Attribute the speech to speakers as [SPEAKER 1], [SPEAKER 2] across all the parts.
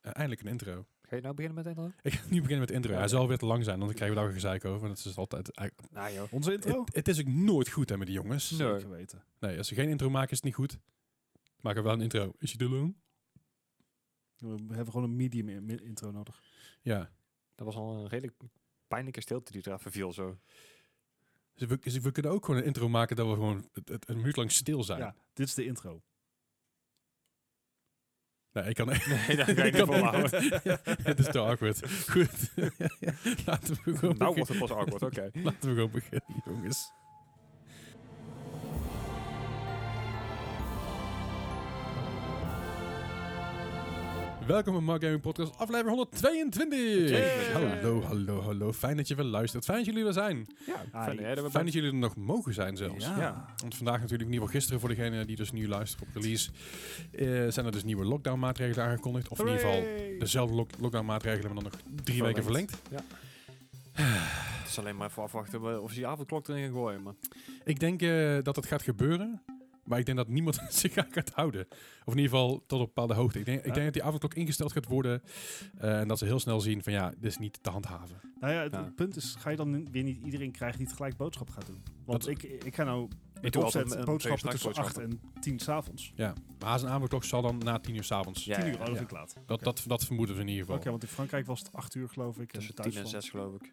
[SPEAKER 1] Eh, eindelijk een intro.
[SPEAKER 2] Ga je nou beginnen met intro?
[SPEAKER 1] Ik ga nu beginnen met intro.
[SPEAKER 2] Ja.
[SPEAKER 1] Hij zal weer te lang zijn, want dan krijgen we daar weer gezeik over. Dat is dus altijd... eigenlijk-
[SPEAKER 2] Nou joh.
[SPEAKER 3] Onze intro?
[SPEAKER 1] Het, het is ook nooit goed hè, met die jongens.
[SPEAKER 2] Nee.
[SPEAKER 3] Zeker weten.
[SPEAKER 1] Oh. Nee, als ze geen intro maken is het niet goed. Maken we wel een intro. Is je de loon?
[SPEAKER 3] We hebben gewoon een medium in- mi- intro nodig.
[SPEAKER 1] Ja.
[SPEAKER 2] Dat was al een redelijk pijnlijke stilte die er even viel zo.
[SPEAKER 1] Dus we, dus we kunnen ook gewoon een intro maken dat we gewoon het, het- een minuut lang stil zijn.
[SPEAKER 3] Ja, dit is de intro.
[SPEAKER 1] Nee, ik kan echt...
[SPEAKER 2] Nee, dat ga ik niet
[SPEAKER 1] kan
[SPEAKER 2] volhouden.
[SPEAKER 1] het is te awkward. Goed. Laten we gewoon beginnen.
[SPEAKER 2] Nou wordt het pas awkward, oké.
[SPEAKER 1] Laten we gewoon beginnen, jongens. Welkom bij Mark Gaming Podcast, aflevering 122.
[SPEAKER 2] Hey.
[SPEAKER 1] Hallo, hallo, hallo. Fijn dat je weer luistert. Fijn dat jullie er zijn.
[SPEAKER 2] Ja,
[SPEAKER 3] Ah,
[SPEAKER 2] fijn, hè, dat we
[SPEAKER 1] Fijn dat jullie er nog mogen zijn zelfs.
[SPEAKER 3] Ja.
[SPEAKER 2] Ja.
[SPEAKER 1] Want vandaag natuurlijk, in ieder geval gisteren voor degenen die dus nu luisteren op release, eh, zijn er dus nieuwe lockdown maatregelen aangekondigd. Of in ieder geval Dus-
[SPEAKER 2] Hooray!
[SPEAKER 1] dezelfde lock- lockdown maatregelen, maar dan nog drie weken verlengd.
[SPEAKER 2] Het is alleen maar even afwachten we- of ze die avondklok erin gaan gooien. Maar
[SPEAKER 1] Ik denk eh, dat het gaat gebeuren. Maar ik denk dat niemand zich aan gaat houden. Of in ieder geval tot op een bepaalde hoogte. Ik denk, ik
[SPEAKER 3] Ja.
[SPEAKER 1] denk dat die avondklok ingesteld gaat worden. eh, en dat ze heel snel zien van ja, dit is niet te handhaven.
[SPEAKER 3] Nou ja, het
[SPEAKER 2] Ja.
[SPEAKER 3] het punt is, ga je dan weer niet iedereen krijgen die tegelijk boodschap gaat doen? Want
[SPEAKER 1] Dat-
[SPEAKER 3] ik, ik ga nou met
[SPEAKER 2] doe
[SPEAKER 3] opzet
[SPEAKER 2] altijd een-
[SPEAKER 3] boodschappen
[SPEAKER 2] twee
[SPEAKER 3] tussen 8 en 10 s'avonds.
[SPEAKER 1] Ja. Maar zijn avondklok zal dan na tien uur s'avonds.
[SPEAKER 2] Ja,
[SPEAKER 3] 10 uur,
[SPEAKER 2] ja,
[SPEAKER 3] oh, dat
[SPEAKER 1] ja.
[SPEAKER 3] vind ik laat. Oké,
[SPEAKER 1] Dat, dat, dat vermoeden we in ieder geval.
[SPEAKER 3] want in Frankrijk was het 8 uur geloof ik.
[SPEAKER 2] tussen
[SPEAKER 3] thuis
[SPEAKER 2] 10 en
[SPEAKER 3] van-
[SPEAKER 2] 6 geloof ik.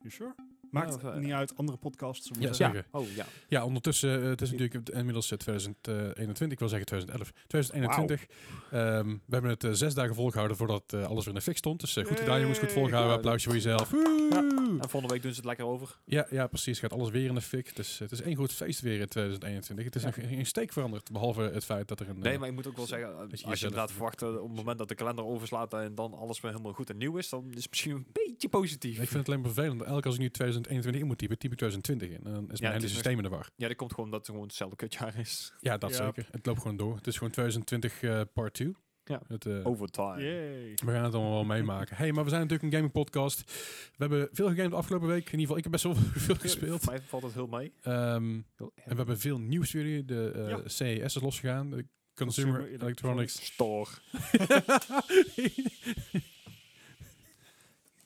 [SPEAKER 3] You sure? Maakt
[SPEAKER 2] of, eh,
[SPEAKER 3] niet uit, andere podcasts.
[SPEAKER 1] Ja,
[SPEAKER 3] moeten-
[SPEAKER 1] zeker.
[SPEAKER 2] Oh ja.
[SPEAKER 1] Ja, ondertussen, eh, het is natuurlijk inmiddels eh, 2021, ik wil zeggen 2011, 2021. Ehm, we hebben het eh, zes dagen volgehouden voordat eh, alles weer in de fik stond. Dus eh, goed gedaan
[SPEAKER 3] Yay!
[SPEAKER 1] jongens, goed volgehouden,
[SPEAKER 2] Ja,
[SPEAKER 1] applausje voor jezelf. Woe!
[SPEAKER 2] En volgende week doen ze het lekker over.
[SPEAKER 1] Ja, ja, precies. Gaat alles weer in de fik. Dus het is één groot feest weer in 2021. Het is
[SPEAKER 3] Ja.
[SPEAKER 1] nog geen steek veranderd. Behalve het feit dat er een.
[SPEAKER 2] Nee,
[SPEAKER 1] eh,
[SPEAKER 2] maar ik moet ook wel zeggen, eh,
[SPEAKER 1] je
[SPEAKER 2] als je
[SPEAKER 1] jezelf-
[SPEAKER 2] inderdaad verwacht eh, op het moment dat de kalender overslaat en dan alles weer helemaal goed en nieuw is, dan is het misschien een beetje positief.
[SPEAKER 1] Ik vind het alleen vervelend. Elke als ik nu 2021 in moet typen, typ ik 2020 in. En dan is mijn
[SPEAKER 2] het
[SPEAKER 1] hele
[SPEAKER 2] is
[SPEAKER 1] systeem in de war.
[SPEAKER 2] Ja, dat komt gewoon dat het gewoon hetzelfde kutjaar is.
[SPEAKER 1] Ja, dat
[SPEAKER 3] Ja.
[SPEAKER 1] zeker. Het loopt gewoon door. Het is gewoon 2020 eh, part 2.
[SPEAKER 2] Ja.
[SPEAKER 1] Het, eh,
[SPEAKER 2] Overtime.
[SPEAKER 3] Yay.
[SPEAKER 1] We gaan het allemaal wel meemaken. hey, maar we zijn natuurlijk een gaming podcast. We hebben veel gegamed de afgelopen week. In ieder geval, ik heb best wel veel gespeeld.
[SPEAKER 2] Voor mij valt het heel mee.
[SPEAKER 1] Ehm,
[SPEAKER 2] Heel
[SPEAKER 1] en we hebben veel nieuws voor jullie. De eh,
[SPEAKER 3] Ja.
[SPEAKER 1] CES is losgegaan. De Consumer,
[SPEAKER 3] Consumer
[SPEAKER 1] Electronics.
[SPEAKER 2] Store.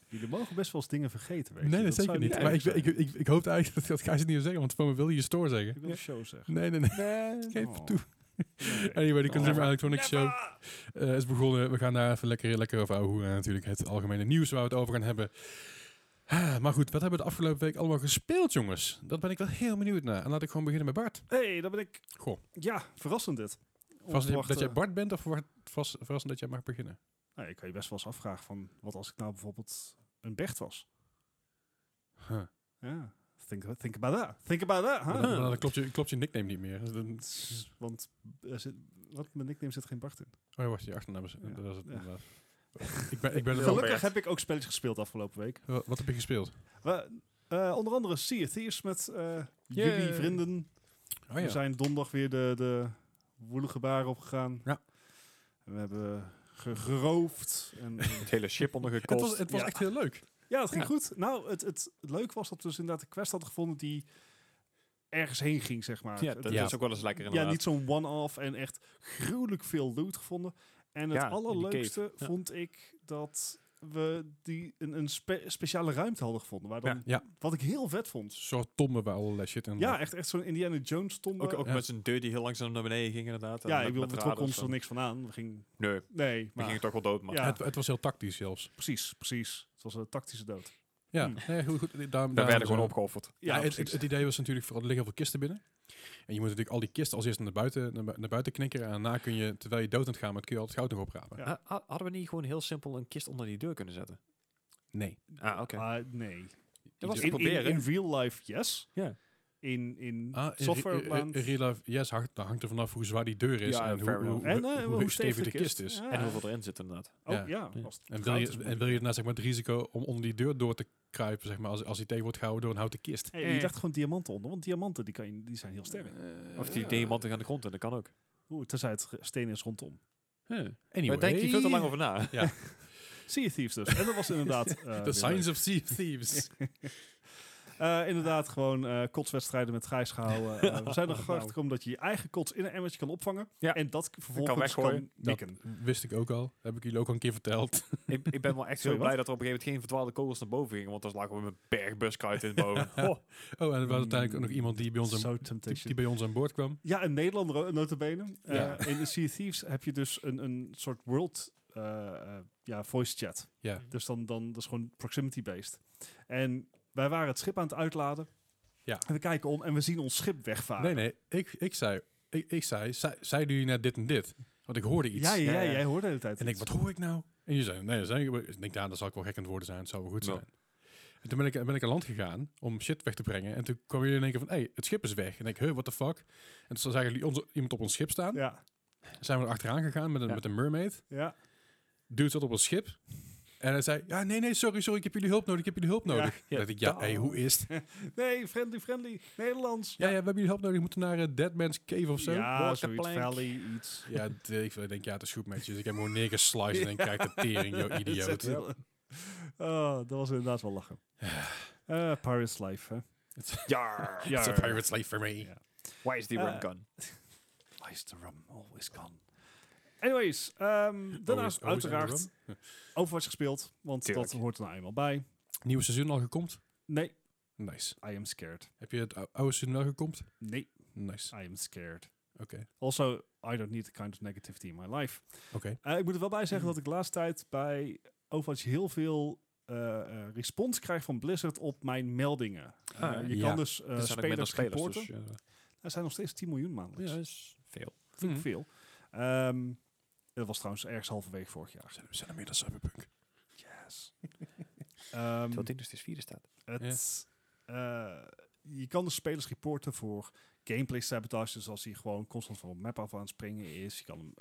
[SPEAKER 3] Jullie mogen best wel eens dingen vergeten, weet je.
[SPEAKER 1] Nee, dat
[SPEAKER 3] zou
[SPEAKER 1] zeker
[SPEAKER 3] je
[SPEAKER 1] niet. maar ik,
[SPEAKER 3] erg
[SPEAKER 1] ik,
[SPEAKER 3] zijn.
[SPEAKER 1] ik, ik hoopte eigenlijk dat, dat Gijs het niet zou zeggen, want voor me wil je store zeggen.
[SPEAKER 3] Ik wil een show zeggen.
[SPEAKER 1] Nee, nee, nee.
[SPEAKER 2] Nee.
[SPEAKER 1] Geef
[SPEAKER 3] Oh.
[SPEAKER 1] toe.
[SPEAKER 3] Nee.
[SPEAKER 1] Anyway, de
[SPEAKER 2] Oh.
[SPEAKER 1] Consumer
[SPEAKER 2] Never.
[SPEAKER 1] Electronics Show eh, is begonnen. We gaan daar even lekker, lekker over ouwehoeren. En natuurlijk het algemene nieuws waar we het over gaan hebben. Ah, Maar goed, wat hebben we de afgelopen week allemaal gespeeld, jongens? Dat ben ik wel heel benieuwd naar. En laat ik gewoon beginnen met Bart.
[SPEAKER 3] hey, daar ben ik.
[SPEAKER 1] Goh.
[SPEAKER 3] Ja, verrassend dit.
[SPEAKER 1] Was het
[SPEAKER 3] Onverwachte-
[SPEAKER 1] dat jij Bart bent of was was- verrassend dat jij mag beginnen?
[SPEAKER 3] Nou, ik kan je best wel eens afvragen van, wat als ik nou bijvoorbeeld een Bert was?
[SPEAKER 1] Huh.
[SPEAKER 3] Ja, think, think about that. Think about that, huh?
[SPEAKER 1] Maar Dan, maar dan klopt, je, klopt je nickname niet meer. Dus dan-
[SPEAKER 3] Tss, Want er zit, wat, mijn nickname zit geen Bart in.
[SPEAKER 1] Oh, wacht, je achternaam is...
[SPEAKER 3] Ja.
[SPEAKER 1] Dat was het
[SPEAKER 3] Ja.
[SPEAKER 1] inderdaad. Ik ben, ik ben er wel-
[SPEAKER 3] Gelukkig heb ik ook spelletjes gespeeld afgelopen week.
[SPEAKER 1] Wa- Wat heb je gespeeld?
[SPEAKER 3] We- eh, onder andere Sea of Thieves met eh,
[SPEAKER 1] Yay.
[SPEAKER 3] jullie vrienden.
[SPEAKER 1] Oh
[SPEAKER 3] We zijn donderdag weer de, de woelige baren opgegaan.
[SPEAKER 1] Ja.
[SPEAKER 3] En we hebben ge- geroofd. En, eh,
[SPEAKER 2] Het hele ship ondergekost.
[SPEAKER 1] Het was, het was
[SPEAKER 3] Ja.
[SPEAKER 1] echt heel leuk.
[SPEAKER 3] ja, het ging
[SPEAKER 2] Ja.
[SPEAKER 3] goed. Nou, het, het, het leuke was dat we dus inderdaad een quest hadden gevonden die ergens heen ging, zeg maar.
[SPEAKER 2] ja,
[SPEAKER 3] Het-
[SPEAKER 2] dat
[SPEAKER 1] Ja.
[SPEAKER 2] is ook wel eens lekker
[SPEAKER 3] ja,
[SPEAKER 2] inderdaad.
[SPEAKER 3] niet zo'n one-off en echt gruwelijk veel loot gevonden. En het
[SPEAKER 2] Ja, in die
[SPEAKER 3] allerleukste
[SPEAKER 2] cave. Ja.
[SPEAKER 3] vond ik dat we die een, een spe- speciale ruimte hadden gevonden. Waar dan,
[SPEAKER 1] Ja,
[SPEAKER 3] Wat ik heel vet vond.
[SPEAKER 1] soort tommen waar allerlei shit in
[SPEAKER 3] Ja, echt, echt zo'n Indiana Jones tombe.
[SPEAKER 2] eh, Ook, ook
[SPEAKER 1] Ja.
[SPEAKER 2] met zijn deur die heel langzaam naar beneden ging inderdaad. En
[SPEAKER 3] ja,
[SPEAKER 2] met-
[SPEAKER 3] ik wil,
[SPEAKER 2] met
[SPEAKER 3] we
[SPEAKER 2] radars
[SPEAKER 3] trokken ons er
[SPEAKER 2] en-
[SPEAKER 3] niks van aan. We gingen...
[SPEAKER 2] Nee, we
[SPEAKER 3] Nee, maar...
[SPEAKER 2] gingen toch wel dood, maar...
[SPEAKER 3] Ja.
[SPEAKER 1] Het, het was heel tactisch zelfs.
[SPEAKER 3] Precies, precies. Het was een tactische dood.
[SPEAKER 1] Ja,
[SPEAKER 3] Hmm.
[SPEAKER 1] nee, goed, goed. Daar,
[SPEAKER 2] Daar werden gewoon opgeofferd.
[SPEAKER 1] Ja, het,
[SPEAKER 3] precies.
[SPEAKER 1] het, het idee was natuurlijk, vooral, er liggen heel veel kisten binnen. En je moet natuurlijk al die kisten als eerst naar buiten, naar, bu- naar buiten knikkeren. En daarna kun je, terwijl je dood aan het gaan bent, kun je al het goud nog oprapen.
[SPEAKER 3] Ja.
[SPEAKER 2] Ha- ha- Ah, Hadden we niet gewoon heel simpel een kist onder die deur kunnen zetten?
[SPEAKER 1] Nee.
[SPEAKER 2] Ah, oké.
[SPEAKER 3] Ah, nee.
[SPEAKER 2] Dat was
[SPEAKER 3] In, in,
[SPEAKER 2] proberen.
[SPEAKER 3] in real life, yes.
[SPEAKER 2] Ja.
[SPEAKER 3] In, in
[SPEAKER 1] Ah, in re- re-
[SPEAKER 3] softwareland.
[SPEAKER 1] re- real life, yes, hangt, dat hangt er vanaf hoe zwaar die deur is
[SPEAKER 2] Ja,
[SPEAKER 1] en hoe,
[SPEAKER 2] fair
[SPEAKER 1] hoe,
[SPEAKER 2] enough.
[SPEAKER 1] hoe,
[SPEAKER 3] En eh,
[SPEAKER 1] hoe stevig de kist is.
[SPEAKER 3] Ja.
[SPEAKER 2] En hoeveel erin zit inderdaad.
[SPEAKER 3] Oh,
[SPEAKER 1] Ja.
[SPEAKER 3] ja.
[SPEAKER 2] Ja.
[SPEAKER 3] als het
[SPEAKER 1] En wil,
[SPEAKER 3] goud
[SPEAKER 1] je,
[SPEAKER 3] is.
[SPEAKER 1] en wil je daarna zeg maar, het risico om onder die deur door te kruipen, zeg maar, als, als die tegen wordt gehouden door een houten kist.
[SPEAKER 3] Hey, je dacht gewoon diamanten onder, want diamanten die kan je, die zijn heel sterk.
[SPEAKER 2] Eh, Of die diamanten gaan de grond in, dat kan ook.
[SPEAKER 3] Oeh, tenzij het ge- steen is rondom.
[SPEAKER 1] Anyway.
[SPEAKER 2] Maar denk je veel te lang over na.
[SPEAKER 3] Sea of Thieves dus. En dat was inderdaad... eh,
[SPEAKER 1] The
[SPEAKER 3] weer leuk.
[SPEAKER 1] Signs of Thie- Thieves.
[SPEAKER 3] Eh, inderdaad, gewoon eh, kotswedstrijden met Gijs gehouden. Eh, we zijn er
[SPEAKER 2] Nou.
[SPEAKER 3] gekomen dat je je eigen kots in een emmertje kan opvangen.
[SPEAKER 2] Ja.
[SPEAKER 3] En dat k- vervolgens kan,
[SPEAKER 2] weggooien.
[SPEAKER 1] Dat
[SPEAKER 3] wikken.
[SPEAKER 1] wist ik ook al. Heb ik jullie ook al een keer verteld.
[SPEAKER 2] ik, ik ben wel echt zo
[SPEAKER 3] Sorry,
[SPEAKER 2] blij dat er op een gegeven moment geen verdwaalde kogels naar boven gingen. Want dan lagen we met een berg buskruid in boven. Ho,
[SPEAKER 1] Oh, en er was uiteindelijk ook nog iemand die bij ons aan,
[SPEAKER 3] So
[SPEAKER 1] die, die
[SPEAKER 3] temptation.
[SPEAKER 1] bij ons aan boord kwam.
[SPEAKER 3] Ja, een Nederlander eh, notabene. Eh,
[SPEAKER 1] Ja.
[SPEAKER 3] in de Sea of Thieves heb je dus een, een soort world eh, eh, ja, voice chat.
[SPEAKER 1] Ja.
[SPEAKER 3] Dus dan, dan dat is gewoon proximity-based. En wij waren het schip aan het uitladen.
[SPEAKER 1] Ja.
[SPEAKER 3] En we kijken om en we zien ons schip wegvaren.
[SPEAKER 1] Nee, nee. Ik, ik zei, ik, ik zei, zei, zeiden jullie net dit en dit? Want ik hoorde iets.
[SPEAKER 3] Ja, ja,
[SPEAKER 2] Ja,
[SPEAKER 3] ja,
[SPEAKER 2] ja.
[SPEAKER 3] jij hoorde de hele tijd.
[SPEAKER 1] En ik,
[SPEAKER 3] iets.
[SPEAKER 1] wat hoor ik nou? En je zei, nee, dat zijn, ik denk, ja, dat zal ik wel gek aan het worden zijn. Het zou wel goed
[SPEAKER 2] Ja.
[SPEAKER 1] zijn. En toen ben ik, ben ik aan land gegaan om shit weg te brengen. En toen kwamen jullie in één keer van, hé, hey, het schip is weg. En ik, huh, what the fuck? En toen zagen jullie onze, iemand op ons schip staan.
[SPEAKER 3] Ja,
[SPEAKER 1] Zijn we er achteraan gegaan met een,
[SPEAKER 2] Ja.
[SPEAKER 1] met een mermaid.
[SPEAKER 3] ja.
[SPEAKER 1] Dude zat op ons schip. En hij zei, ja, nee, nee, sorry, sorry, ik heb jullie hulp nodig, ik heb jullie hulp
[SPEAKER 3] Ja.
[SPEAKER 1] nodig.
[SPEAKER 2] Ja,
[SPEAKER 1] Ja, dacht ik, ja,
[SPEAKER 2] da-
[SPEAKER 1] hey, hoe is het?
[SPEAKER 3] Nee, friendly, friendly. Nederlands.
[SPEAKER 1] Ja, ja, we hebben jullie hulp nodig, we moeten naar eh, Dead Man's Cave of zo.
[SPEAKER 3] Ja,
[SPEAKER 2] Walk the
[SPEAKER 3] zoiets.
[SPEAKER 2] plank.
[SPEAKER 3] Valley, iets.
[SPEAKER 1] Ja, d- ik denk, ja, het is goed met je. Dus ik heb hem gewoon neergesliced en kijk de tering, joh,
[SPEAKER 3] Dat is echt
[SPEAKER 1] idioot.
[SPEAKER 3] wel- Oh, dat was inderdaad wel lachen. Eh Pirates Life, hè?
[SPEAKER 2] ja.
[SPEAKER 3] Ja.
[SPEAKER 1] It's a pirate slave for me.
[SPEAKER 3] Ja.
[SPEAKER 2] Why is the
[SPEAKER 3] Eh,
[SPEAKER 2] rum gun?
[SPEAKER 3] Why is the rum always gone? Anyways, ehm daarnaast
[SPEAKER 1] Always- always on the
[SPEAKER 3] uiteraard
[SPEAKER 1] run.
[SPEAKER 3] Overwatch gespeeld, want
[SPEAKER 2] Tuurlijk.
[SPEAKER 3] dat hoort er nou eenmaal bij.
[SPEAKER 1] Nieuwe seizoen al gekomt?
[SPEAKER 3] Nee,
[SPEAKER 1] Nice.
[SPEAKER 3] I am scared.
[SPEAKER 1] Heb je het ou- oude seizoen al gekomt?
[SPEAKER 3] Nee,
[SPEAKER 1] Nice.
[SPEAKER 3] I am scared.
[SPEAKER 1] Oké.
[SPEAKER 3] Also, I don't need the kind of negativity in my life.
[SPEAKER 1] Oké.
[SPEAKER 3] Eh, ik moet er wel bij
[SPEAKER 2] Hmm.
[SPEAKER 3] zeggen dat ik de laatste tijd bij Overwatch heel veel eh, eh, respons krijg van Blizzard op mijn meldingen. Eh,
[SPEAKER 2] Ah,
[SPEAKER 3] je
[SPEAKER 1] ja.
[SPEAKER 3] kan dus eh
[SPEAKER 2] minder
[SPEAKER 3] spelers
[SPEAKER 2] spelers,
[SPEAKER 3] reporten.
[SPEAKER 2] dus,
[SPEAKER 1] Ja.
[SPEAKER 3] Er zijn nog steeds 10 miljoen maandelijks.
[SPEAKER 2] is veel.
[SPEAKER 3] Vind ik
[SPEAKER 2] Hmm.
[SPEAKER 1] Mhm.
[SPEAKER 3] veel. Ehm, dat was trouwens ergens halverwege vorig jaar.
[SPEAKER 1] Zijn, er- zijn er meer dan Cyberpunk?
[SPEAKER 3] Yes. Ehm,
[SPEAKER 2] Terwijl dit dus de vierde staat.
[SPEAKER 3] het, eh, je kan de spelers reporten voor gameplay sabotage, dus als hij gewoon constant van de map af aan het springen is. Je kan hem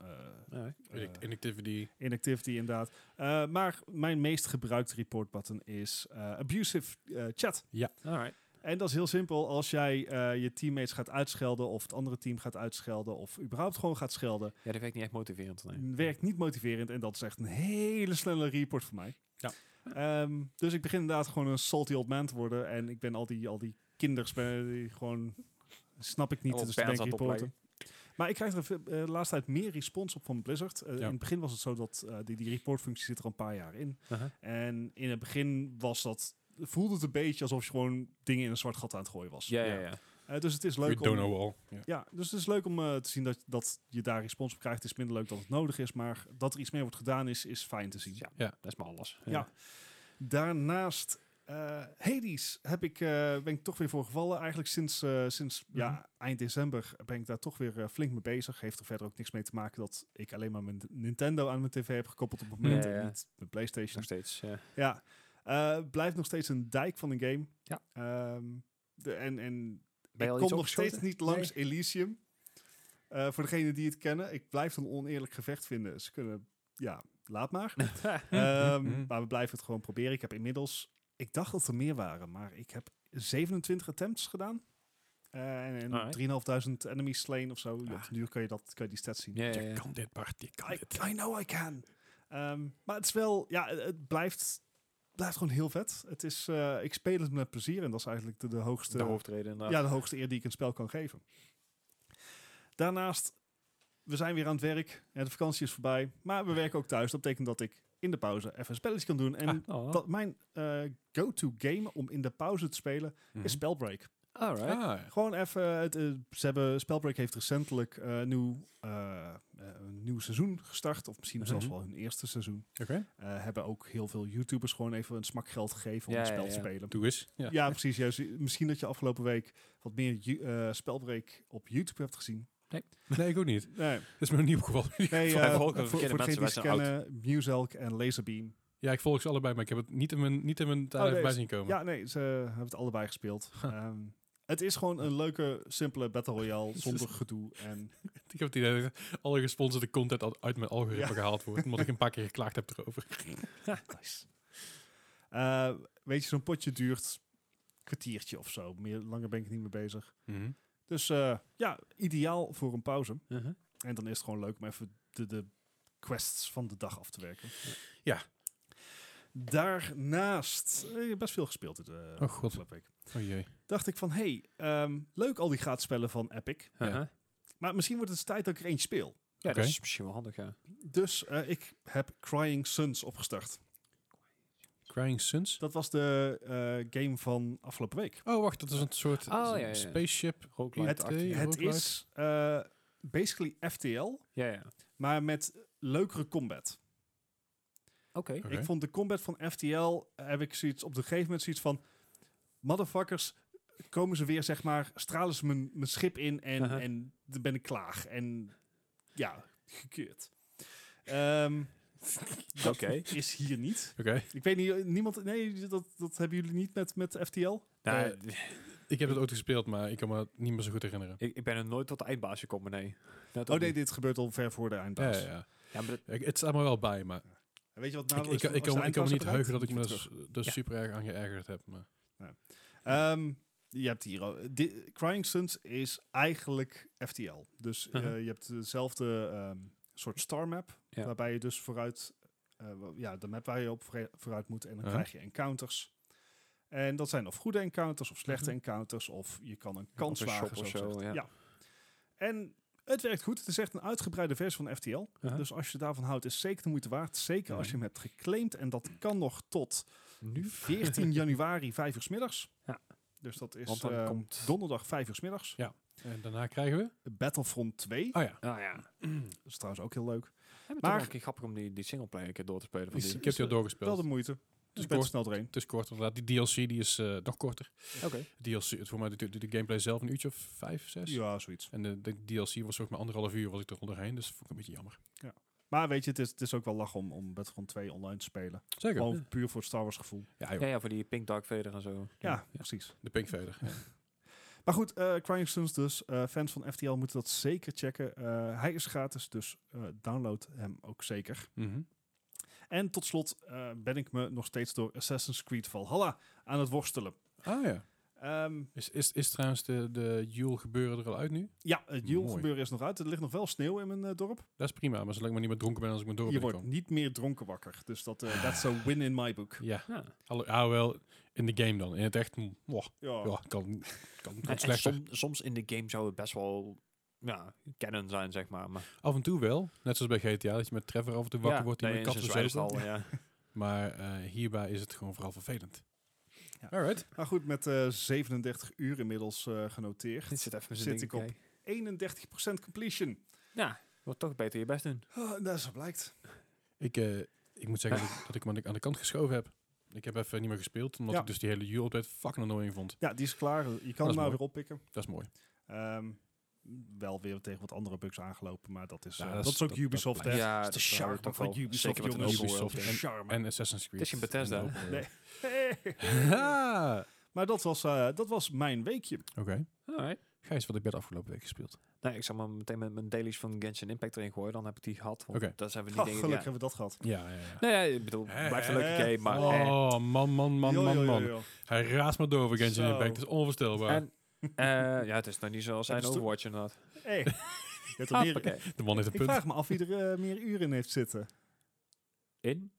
[SPEAKER 3] eh, Eh.
[SPEAKER 1] Inactivity.
[SPEAKER 3] inactivity inderdaad. Eh, maar mijn meest gebruikte report button is eh, abusive eh, chat.
[SPEAKER 2] Alright.
[SPEAKER 3] En dat is heel simpel. Als jij eh, je teammates gaat uitschelden of het andere team gaat uitschelden of überhaupt gewoon gaat schelden,
[SPEAKER 2] Ja, dat werkt niet echt motiverend. Nee.
[SPEAKER 3] werkt niet motiverend en dat is echt een hele snelle report voor mij.
[SPEAKER 1] Ja.
[SPEAKER 3] Ehm, dus ik begin inderdaad gewoon een salty old man te worden en ik ben al die, al die kinders ben, die gewoon snap ik niet.
[SPEAKER 2] Allemaal
[SPEAKER 3] Dus dan denk ik
[SPEAKER 2] pijls aan het
[SPEAKER 3] reporten. Maar ik krijg er veel- eh, de laatste tijd meer respons op van Blizzard. Eh,
[SPEAKER 1] Ja.
[SPEAKER 3] In het begin was het zo dat eh, die, die reportfunctie zit er al een paar jaar in.
[SPEAKER 2] Uh-huh.
[SPEAKER 1] Aha.
[SPEAKER 3] En in het begin was dat voelde het een beetje alsof je gewoon dingen in een zwart gat aan het gooien was.
[SPEAKER 2] Ja, ja, ja.
[SPEAKER 3] Eh, dus het is
[SPEAKER 1] We
[SPEAKER 3] leuk
[SPEAKER 1] don't
[SPEAKER 3] om,
[SPEAKER 1] know all. Ja.
[SPEAKER 3] ja, dus het is leuk om eh, te zien dat, dat je daar respons op krijgt. Het is minder leuk dan het nodig is, maar dat er iets mee wordt gedaan is, is fijn te zien.
[SPEAKER 2] Ja. Dat is maar alles.
[SPEAKER 3] Ja. Daarnaast, eh Hades, heb ik, eh, ben ik toch weer voor gevallen. Eigenlijk sinds, eh, sinds
[SPEAKER 1] Mhm.
[SPEAKER 3] ja, eind december ben ik daar toch weer eh, flink mee bezig. Heeft er verder ook niks mee te maken dat ik alleen maar mijn Nintendo aan mijn tv heb gekoppeld op het moment
[SPEAKER 2] Ja, ja.
[SPEAKER 3] en niet mijn Playstation.
[SPEAKER 2] Nog steeds. ja.
[SPEAKER 3] Ja, Eh, blijft nog steeds een dijk van een game.
[SPEAKER 2] Ja.
[SPEAKER 3] Ehm, de, en, en
[SPEAKER 2] Ben je al
[SPEAKER 3] ik
[SPEAKER 2] iets
[SPEAKER 3] kom nog
[SPEAKER 2] opgeschoten?
[SPEAKER 3] steeds niet langs Elysium. Eh, voor degenen die het kennen, ik blijf een oneerlijk gevecht vinden. Ze kunnen, ja, laat maar. Ehm, maar we blijven het gewoon proberen. Ik heb inmiddels, ik dacht dat er meer waren, maar ik heb 27 attempts gedaan. Eh, en en
[SPEAKER 2] Alright.
[SPEAKER 3] 3.500 enemies slain of zo. Ja,
[SPEAKER 2] Ah.
[SPEAKER 3] Op den duur kan je, dat, kan je die stats zien.
[SPEAKER 2] Ja, ja,
[SPEAKER 1] Je
[SPEAKER 2] ja.
[SPEAKER 1] kan dit, Bart. Je kan
[SPEAKER 3] I,
[SPEAKER 1] dit.
[SPEAKER 3] I know I can. Ehm, maar het is wel, ja, het- het blijft, blijft gewoon heel vet. Het is, eh, ik speel het met plezier en dat is eigenlijk de, de hoogste
[SPEAKER 2] De hoofdreden inderdaad.
[SPEAKER 3] ja, de hoogste eer die ik een spel kan geven. Daarnaast, we zijn weer aan het werk. Ja, de vakantie is voorbij. Maar we werken ook thuis. Dat betekent dat ik in de pauze even een spelletje kan doen. En
[SPEAKER 2] Oh.
[SPEAKER 3] dat mijn eh, go-to game om in de pauze te spelen
[SPEAKER 1] Mhm.
[SPEAKER 2] Mhm.
[SPEAKER 3] is Spellbreak.
[SPEAKER 2] Alright.
[SPEAKER 1] Ah,
[SPEAKER 3] Gewoon even, het, eh, ze hebben, Spellbreak heeft recentelijk eh, nieuw, eh, eh, een nieuw seizoen gestart. Of misschien zelfs
[SPEAKER 1] Mhm.
[SPEAKER 3] wel hun eerste seizoen.
[SPEAKER 1] oké.
[SPEAKER 3] Eh, hebben ook heel veel YouTubers gewoon even een smak geld gegeven om
[SPEAKER 2] Ja,
[SPEAKER 3] het
[SPEAKER 2] ja,
[SPEAKER 3] spel te
[SPEAKER 2] ja.
[SPEAKER 3] spelen.
[SPEAKER 1] Doe eens. Ja.
[SPEAKER 3] Ja, precies. Juist. Misschien dat je afgelopen week wat meer ju- eh, spelbreek op YouTube hebt gezien.
[SPEAKER 1] Nee, ik ook niet.
[SPEAKER 3] Nee,
[SPEAKER 1] Dat is me nog niet opgevallen.
[SPEAKER 3] nee
[SPEAKER 2] Voor-
[SPEAKER 3] eh,
[SPEAKER 2] voor- voor
[SPEAKER 3] voor,
[SPEAKER 2] mensen,
[SPEAKER 3] voor degenen die
[SPEAKER 2] wij
[SPEAKER 3] het
[SPEAKER 2] zijn oud.
[SPEAKER 3] kennen, Muselk en Laserbeam.
[SPEAKER 1] Ja, ik volg ze allebei, maar ik heb het niet in mijn, niet in mijn tijd
[SPEAKER 3] Oh,
[SPEAKER 1] even bij
[SPEAKER 3] deze.
[SPEAKER 1] zien komen.
[SPEAKER 3] Ja, nee, ze hebben het allebei gespeeld. Ehm, het is gewoon een leuke, simpele Battle Royale zonder gedoe. En
[SPEAKER 1] Ik heb het idee dat alle gesponsorde content al uit mijn algoritme
[SPEAKER 3] Ja.
[SPEAKER 1] gehaald wordt. Omdat ik een paar keer geklaagd heb erover.
[SPEAKER 3] nice. Eh, weet je, zo'n potje duurt een kwartiertje of zo. Meer, langer ben ik niet mee bezig. Dus eh, ja, ideaal voor een pauze.
[SPEAKER 2] Mhm.
[SPEAKER 3] En dan is het gewoon leuk om even de, de quests van de dag af te werken.
[SPEAKER 1] Ja.
[SPEAKER 3] Daarnaast, eh, ik heb best veel gespeeld dit, eh,
[SPEAKER 1] Oh, god.
[SPEAKER 3] afgelopen week.
[SPEAKER 1] Oh jee.
[SPEAKER 3] Dacht ik van, hey, ehm, leuk al die gratis spellen van Epic.
[SPEAKER 1] Ja.
[SPEAKER 2] Uh-huh.
[SPEAKER 3] Maar misschien wordt het eens tijd dat ik er eentje speel.
[SPEAKER 2] Ja,
[SPEAKER 1] Oké.
[SPEAKER 2] dat is misschien wel handig, ja.
[SPEAKER 3] Dus eh, ik heb Crying Suns opgestart.
[SPEAKER 1] Crying Suns?
[SPEAKER 3] Dat was de eh, game van afgelopen week.
[SPEAKER 1] Oh, wacht. Dat is een soort
[SPEAKER 2] Oh, ja, ja, ja.
[SPEAKER 1] spaceship.
[SPEAKER 2] Roguelite.
[SPEAKER 1] Het-
[SPEAKER 2] achtig.
[SPEAKER 1] Ja,
[SPEAKER 3] het
[SPEAKER 1] roguelite.
[SPEAKER 3] is eh, basically FTL,
[SPEAKER 2] Ja, ja. Oké.
[SPEAKER 3] maar met leukere combat.
[SPEAKER 1] Oké.
[SPEAKER 3] Ik vond de combat van FTL, eh, heb ik zoiets, op een gegeven moment zoiets van... Motherfuckers, komen ze weer, zeg maar, stralen ze mijn, mijn schip in en,
[SPEAKER 2] Aha.
[SPEAKER 3] en dan ben ik klaar. En ja, gekeurd. Ehm, dat
[SPEAKER 2] Oké.
[SPEAKER 3] is hier niet.
[SPEAKER 1] Oké.
[SPEAKER 3] Ik weet niet, eh, niemand... Nee, dat, dat hebben jullie niet met, met FTL?
[SPEAKER 2] Nou,
[SPEAKER 1] Ik heb het ooit gespeeld, maar ik kan me het niet meer zo goed herinneren.
[SPEAKER 2] ik, ik ben er nooit tot de eindbaas gekomen, nee. Net
[SPEAKER 3] Oh
[SPEAKER 2] ook
[SPEAKER 3] nee,
[SPEAKER 2] niet.
[SPEAKER 3] dit gebeurt al ver voor de
[SPEAKER 1] Ja,
[SPEAKER 3] eindbaas.
[SPEAKER 1] ja, ja.
[SPEAKER 2] Ja, maar dat-
[SPEAKER 1] Ik- Het staat me wel bij, maar
[SPEAKER 3] En Weet je wat
[SPEAKER 1] ik,
[SPEAKER 3] nou
[SPEAKER 1] ik, ik, kan, ik kan me niet heugen dat ik me
[SPEAKER 3] me
[SPEAKER 1] dus, dus
[SPEAKER 2] Ja.
[SPEAKER 1] super erg aan geërgerd heb. Maar.
[SPEAKER 3] Ehm, je hebt hier al. di- Crying Suns is eigenlijk FTL. Dus eh,
[SPEAKER 2] Mhm.
[SPEAKER 3] je hebt dezelfde ehm, soort star map.
[SPEAKER 2] Ja.
[SPEAKER 3] Waarbij je dus vooruit. eh, wa- ja, de map waar je op vre- vooruit moet. En dan
[SPEAKER 2] Uh-huh.
[SPEAKER 1] Ja.
[SPEAKER 3] krijg je encounters. En dat zijn of goede encounters of slechte encounters. Of je kan een kans
[SPEAKER 2] Uh-huh. een shop
[SPEAKER 3] wagen.
[SPEAKER 2] of
[SPEAKER 3] zo
[SPEAKER 2] zo,
[SPEAKER 3] gezegd.
[SPEAKER 2] ja.
[SPEAKER 3] En het werkt goed. Het is echt een uitgebreide versie van FTL.
[SPEAKER 2] Aha.
[SPEAKER 3] Dus als je daarvan houdt, is zeker de moeite waard. Zeker
[SPEAKER 2] Ja.
[SPEAKER 3] als je hem hebt geclaimd. En dat kan nog tot
[SPEAKER 2] nu?
[SPEAKER 3] 14 januari, 5 uur 's middags.
[SPEAKER 2] Ja.
[SPEAKER 3] Dus dat
[SPEAKER 2] Want
[SPEAKER 3] is
[SPEAKER 2] dan
[SPEAKER 3] eh,
[SPEAKER 2] komt-
[SPEAKER 3] donderdag, 5 uur 's middags.
[SPEAKER 1] En daarna krijgen we...
[SPEAKER 3] Battlefront 2.
[SPEAKER 1] Oh ja,
[SPEAKER 2] Ah ja.
[SPEAKER 3] Dat is trouwens ook heel leuk. Maar-
[SPEAKER 2] Maar... Het is grappig om die, die singleplayer een keer door te spelen. Van
[SPEAKER 1] ik,
[SPEAKER 2] die. eh,
[SPEAKER 1] ik heb die al
[SPEAKER 3] Wel
[SPEAKER 1] doorgespeeld.
[SPEAKER 3] de moeite. Dus
[SPEAKER 1] Dus
[SPEAKER 3] best
[SPEAKER 1] kort.
[SPEAKER 3] snel doorheen.
[SPEAKER 1] Het is kort, inderdaad. Die DLC die is eh, nog korter.
[SPEAKER 2] Oké.
[SPEAKER 1] DLC, het, voor mij de, de, de gameplay zelf een uurtje of vijf, zes.
[SPEAKER 3] Ja, zoiets.
[SPEAKER 1] En de, de DLC was ook maar anderhalf uur was ik er onderheen, dus vond ik een beetje jammer.
[SPEAKER 3] Maar weet je, het is, het is ook wel lach om, om Battlefront 2 online te spelen.
[SPEAKER 1] Zeker.
[SPEAKER 3] Gewoon puur voor het Star Wars gevoel.
[SPEAKER 1] Ja, joh.
[SPEAKER 2] Ja, ja, voor die Pink Dark Vader en zo.
[SPEAKER 3] Ja,
[SPEAKER 2] Ja.
[SPEAKER 3] precies.
[SPEAKER 1] De Pink Vader. Ja.
[SPEAKER 3] Maar goed, eh, Crying Suns dus. Eh, fans van FTL moeten dat zeker checken. Eh, hij is gratis, dus eh, download hem ook zeker.
[SPEAKER 1] Mhm.
[SPEAKER 3] En tot slot eh, ben ik me nog steeds door Assassin's Creed Valhalla aan het worstelen.
[SPEAKER 1] Ah ja.
[SPEAKER 3] Ehm,
[SPEAKER 1] Is, is, is trouwens de, de Yule gebeuren er al uit nu?
[SPEAKER 3] Ja, het
[SPEAKER 1] Mooi.
[SPEAKER 3] Jule-gebeuren is nog uit. Er ligt nog wel sneeuw in mijn eh, dorp.
[SPEAKER 1] Dat is prima, maar zolang ik maar niet meer dronken ben als ik mijn dorp
[SPEAKER 3] Je wordt
[SPEAKER 1] binnenkom.
[SPEAKER 3] niet meer dronken wakker. Dus dat eh that's a win in my book.
[SPEAKER 1] Ja,
[SPEAKER 2] Ja.
[SPEAKER 1] Allo- ah, wel in de game dan. In het echt, mm, wow,
[SPEAKER 3] Ja.
[SPEAKER 1] ja, kan, kan,
[SPEAKER 2] Oh. En-
[SPEAKER 1] kan
[SPEAKER 2] en
[SPEAKER 1] slechter.
[SPEAKER 2] som- soms in de game zou het best wel ja, kennen zijn, zeg maar. maar
[SPEAKER 1] Af en toe wel, net zoals bij GTA, dat je met Trevor af en toe wakker
[SPEAKER 2] ja,
[SPEAKER 1] wordt die
[SPEAKER 2] nee,
[SPEAKER 1] met
[SPEAKER 2] in
[SPEAKER 1] kat
[SPEAKER 2] zijn
[SPEAKER 1] verzeept.
[SPEAKER 2] zwijfstal, ja.
[SPEAKER 1] Maar eh, hierbij is het gewoon vooral vervelend.
[SPEAKER 3] Ja.
[SPEAKER 1] Alright.
[SPEAKER 3] Maar goed, met eh, 37 uur inmiddels eh, genoteerd. 31%
[SPEAKER 2] Dit zit even met
[SPEAKER 3] Zit
[SPEAKER 2] zijn
[SPEAKER 3] ik
[SPEAKER 2] ding
[SPEAKER 3] op.
[SPEAKER 2] op.
[SPEAKER 3] completion.
[SPEAKER 2] Ja, wordt toch beter je best doen.
[SPEAKER 3] Oh, dat zo blijkt.
[SPEAKER 1] Ik, eh, ik moet zeggen dat ik- dat ik me aan de kant geschoven heb. Ik heb even niet meer gespeeld, omdat
[SPEAKER 3] Ja.
[SPEAKER 1] ik dus die hele Yule-update fucking annoying vond.
[SPEAKER 3] Ja, die is klaar. Je kan
[SPEAKER 1] is
[SPEAKER 3] hem nou
[SPEAKER 1] mooi.
[SPEAKER 3] weer oppikken.
[SPEAKER 1] Dat is mooi.
[SPEAKER 3] Ehm, wel weer tegen wat andere bugs aangelopen, maar dat is,
[SPEAKER 1] Ja,
[SPEAKER 3] eh,
[SPEAKER 1] dat is-
[SPEAKER 3] dat is ook
[SPEAKER 1] dat- dat
[SPEAKER 3] Ubisoft, hè?
[SPEAKER 1] blijft.
[SPEAKER 2] Ja,
[SPEAKER 3] dat
[SPEAKER 2] dat
[SPEAKER 3] is de
[SPEAKER 2] wel-
[SPEAKER 3] charme
[SPEAKER 2] dat
[SPEAKER 3] van
[SPEAKER 2] wel.
[SPEAKER 3] Ubisoft,
[SPEAKER 2] Zeker met een
[SPEAKER 3] jongens.
[SPEAKER 1] open world,
[SPEAKER 3] De
[SPEAKER 1] ja.
[SPEAKER 3] charme.
[SPEAKER 1] En Assassin's Creed.
[SPEAKER 2] Het is een Bethesda,
[SPEAKER 1] En
[SPEAKER 2] hè?
[SPEAKER 1] open world.
[SPEAKER 3] Nee.
[SPEAKER 1] Ah.
[SPEAKER 3] maar dat was, eh, dat was mijn weekje.
[SPEAKER 1] Oké.
[SPEAKER 2] Alright.
[SPEAKER 1] Gijs, wat heb je de afgelopen week gespeeld?
[SPEAKER 2] Nou, ik zal maar meteen met mijn dailies van Genshin Impact erin gooien. Dan heb ik die gehad. Want
[SPEAKER 1] Oké.
[SPEAKER 2] Dat zijn we niet
[SPEAKER 3] Oh,
[SPEAKER 2] dingen-
[SPEAKER 3] gelukkig
[SPEAKER 2] ja.
[SPEAKER 3] hebben we dat gehad.
[SPEAKER 1] Ja, ja, ja.
[SPEAKER 2] Nee, ja, ik bedoel,
[SPEAKER 1] Hè,
[SPEAKER 2] blijft Nou, een
[SPEAKER 3] hè,
[SPEAKER 2] leuke game, maar... eh.
[SPEAKER 1] Oh, man, man, man,
[SPEAKER 3] Yo,
[SPEAKER 1] man,
[SPEAKER 3] yo, yo,
[SPEAKER 1] man.
[SPEAKER 3] yo.
[SPEAKER 1] Hij raast maar door over Genshin
[SPEAKER 3] Zo.
[SPEAKER 1] Impact. Dat is onvoorstelbaar.
[SPEAKER 2] En, eh, ja, het is nog niet zoals zijn
[SPEAKER 3] Hebben ze-
[SPEAKER 2] Overwatch Ah, inderdaad.
[SPEAKER 3] Hey. Je hebt er meer,
[SPEAKER 2] Hoppakee.
[SPEAKER 1] de man heeft een
[SPEAKER 3] Ik
[SPEAKER 1] punt.
[SPEAKER 3] vraag me af wie er eh, meer uren in heeft zitten.
[SPEAKER 2] In?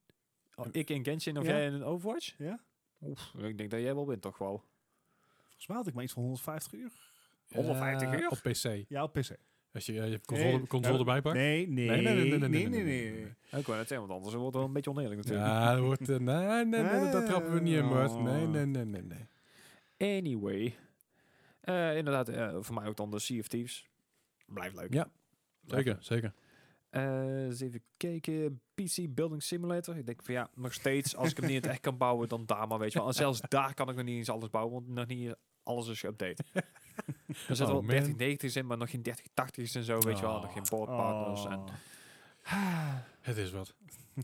[SPEAKER 2] Oh, ik in Genshin of
[SPEAKER 3] Ja.
[SPEAKER 2] jij in een Overwatch?
[SPEAKER 3] Ja?
[SPEAKER 2] Oef, ik denk dat jij wel wint, toch wel?
[SPEAKER 3] Volgens mij had ik maar iets van 150 uur.
[SPEAKER 1] Eh,
[SPEAKER 2] 150 uur?
[SPEAKER 1] Op PC.
[SPEAKER 3] Ja, op PC.
[SPEAKER 1] Als je, eh, je console,
[SPEAKER 3] Nee.
[SPEAKER 1] console
[SPEAKER 3] Ja.
[SPEAKER 1] erbij pakt.
[SPEAKER 3] Nee, nee, nee, nee, nee, nee, nee, nee.
[SPEAKER 2] Ik wou net zeggen, want anders wordt het wel een beetje oneerlijk natuurlijk. Oh.
[SPEAKER 1] Ja, dat wordt... eh, nee, nee, nee, dat- dat trappen we niet in, Mart. Nee,
[SPEAKER 3] Ah.
[SPEAKER 1] nee, nee, nee, nee.
[SPEAKER 2] Anyway. Eh, inderdaad, eh, voor mij ook dan de Sea of Thieves. Blijft leuk.
[SPEAKER 1] Ja, Zeker, zeker.
[SPEAKER 2] Eh, eens even kijken. PC Building Simulator. Ik denk van ja, nog steeds. Als ik hem niet in het echt kan bouwen, dan daar maar, weet je wel. En zelfs daar kan ik nog niet eens alles bouwen, want nog niet alles is geüpdate. er zitten
[SPEAKER 1] Oh,
[SPEAKER 2] wel
[SPEAKER 1] man.
[SPEAKER 2] 3090's in, maar nog geen 3080's en zo, weet je wel.
[SPEAKER 1] Oh.
[SPEAKER 2] Nog geen boardpartners. En,
[SPEAKER 3] Oh.
[SPEAKER 1] Het is wat.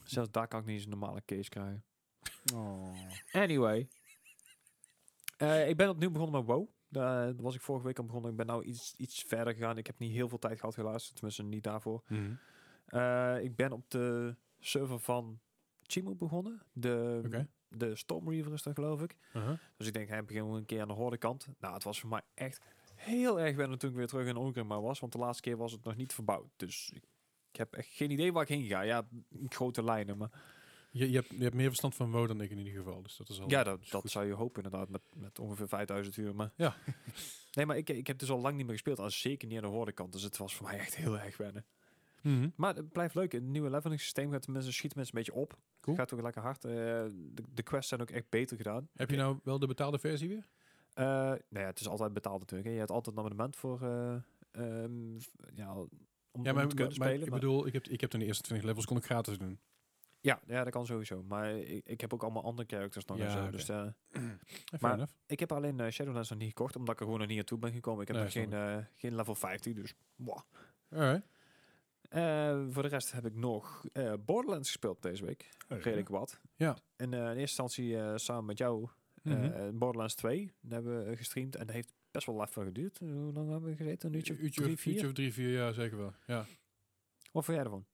[SPEAKER 2] zelfs daar kan ik niet eens een normale case krijgen.
[SPEAKER 3] Oh.
[SPEAKER 2] Anyway. Eh, ik ben opnieuw begonnen met WoW. Daar was ik vorige week al begonnen. Ik ben nou iets, iets verder gegaan. Ik heb niet heel veel tijd gehad helaas. Tenminste, niet daarvoor.
[SPEAKER 1] Mhm.
[SPEAKER 2] Eh, ik ben op de server van Chimo begonnen. De,
[SPEAKER 1] Oké.
[SPEAKER 2] de Storm Reaver is dat geloof ik.
[SPEAKER 1] Aha.
[SPEAKER 2] Dus ik denk, hij begin wel een keer aan de horde kant. Nou, het was voor mij echt heel erg wennen toen ik weer terug in Onkrimma was. Want de laatste keer was het nog niet verbouwd. Dus ik, ik heb echt geen idee waar ik heen ga. Ja, in grote lijnen. Maar
[SPEAKER 1] Je, je, hebt, je hebt meer verstand van WoW dan ik in ieder geval. Dus dat is al
[SPEAKER 2] Ja, dat,
[SPEAKER 1] is
[SPEAKER 2] dat
[SPEAKER 1] goed.
[SPEAKER 2] zou je hopen inderdaad, met, met ongeveer 5000 uur. Maar
[SPEAKER 1] Ja.
[SPEAKER 2] nee, maar ik, ik heb dus al lang niet meer gespeeld, al zeker niet aan de horenkant. Dus het was voor mij echt heel erg wennen.
[SPEAKER 1] Mhm.
[SPEAKER 2] Maar het blijft leuk. Het nieuwe leveling systeem gaat mensen, schieten mensen een beetje op.
[SPEAKER 1] Cool.
[SPEAKER 2] Gaat ook lekker hard. Eh, de, de quests zijn ook echt beter gedaan.
[SPEAKER 1] Heb je nou wel de betaalde versie weer?
[SPEAKER 2] Eh, nou ja, het is altijd betaald natuurlijk. Hè. Je hebt altijd een abonnement voor... eh, ehm, f- ja, om, om
[SPEAKER 1] Ja, maar,
[SPEAKER 2] het te
[SPEAKER 1] maar-
[SPEAKER 2] kunnen
[SPEAKER 1] maar
[SPEAKER 2] spelen.
[SPEAKER 1] ik
[SPEAKER 2] maar-
[SPEAKER 1] bedoel, ik heb, ik heb toen de eerste 20 levels kon ik gratis doen.
[SPEAKER 2] ja, ja, dat kan sowieso. Maar ik, ik heb ook allemaal andere characters nog. en
[SPEAKER 1] Ja,
[SPEAKER 2] zo,
[SPEAKER 1] oké.
[SPEAKER 2] dus, eh,
[SPEAKER 1] Fair
[SPEAKER 2] Maar-
[SPEAKER 1] enough.
[SPEAKER 2] ik heb alleen eh, Shadowlands nog niet gekocht, omdat ik er gewoon nog niet naartoe ben gekomen. Ik heb
[SPEAKER 1] Nee,
[SPEAKER 2] nog geen, eh, geen level 50, dus... mwah.
[SPEAKER 1] Alright.
[SPEAKER 2] Eh, voor de rest heb ik nog eh, Borderlands gespeeld deze week. Redelijk wat.
[SPEAKER 1] Ja.
[SPEAKER 2] En eh, in eerste instantie eh, samen met jou
[SPEAKER 1] Mhm.
[SPEAKER 2] eh, Borderlands 2. Dat hebben we eh, gestreamd en dat heeft best wel laf van geduurd. Eh, Hoe lang hebben we gezeten? Een uurtje of
[SPEAKER 1] uurtje,
[SPEAKER 2] drie,
[SPEAKER 1] of,
[SPEAKER 2] vier?
[SPEAKER 1] uurtje of drie, vier, ja, zeker wel. Ja.
[SPEAKER 2] Wat vond jij ervan?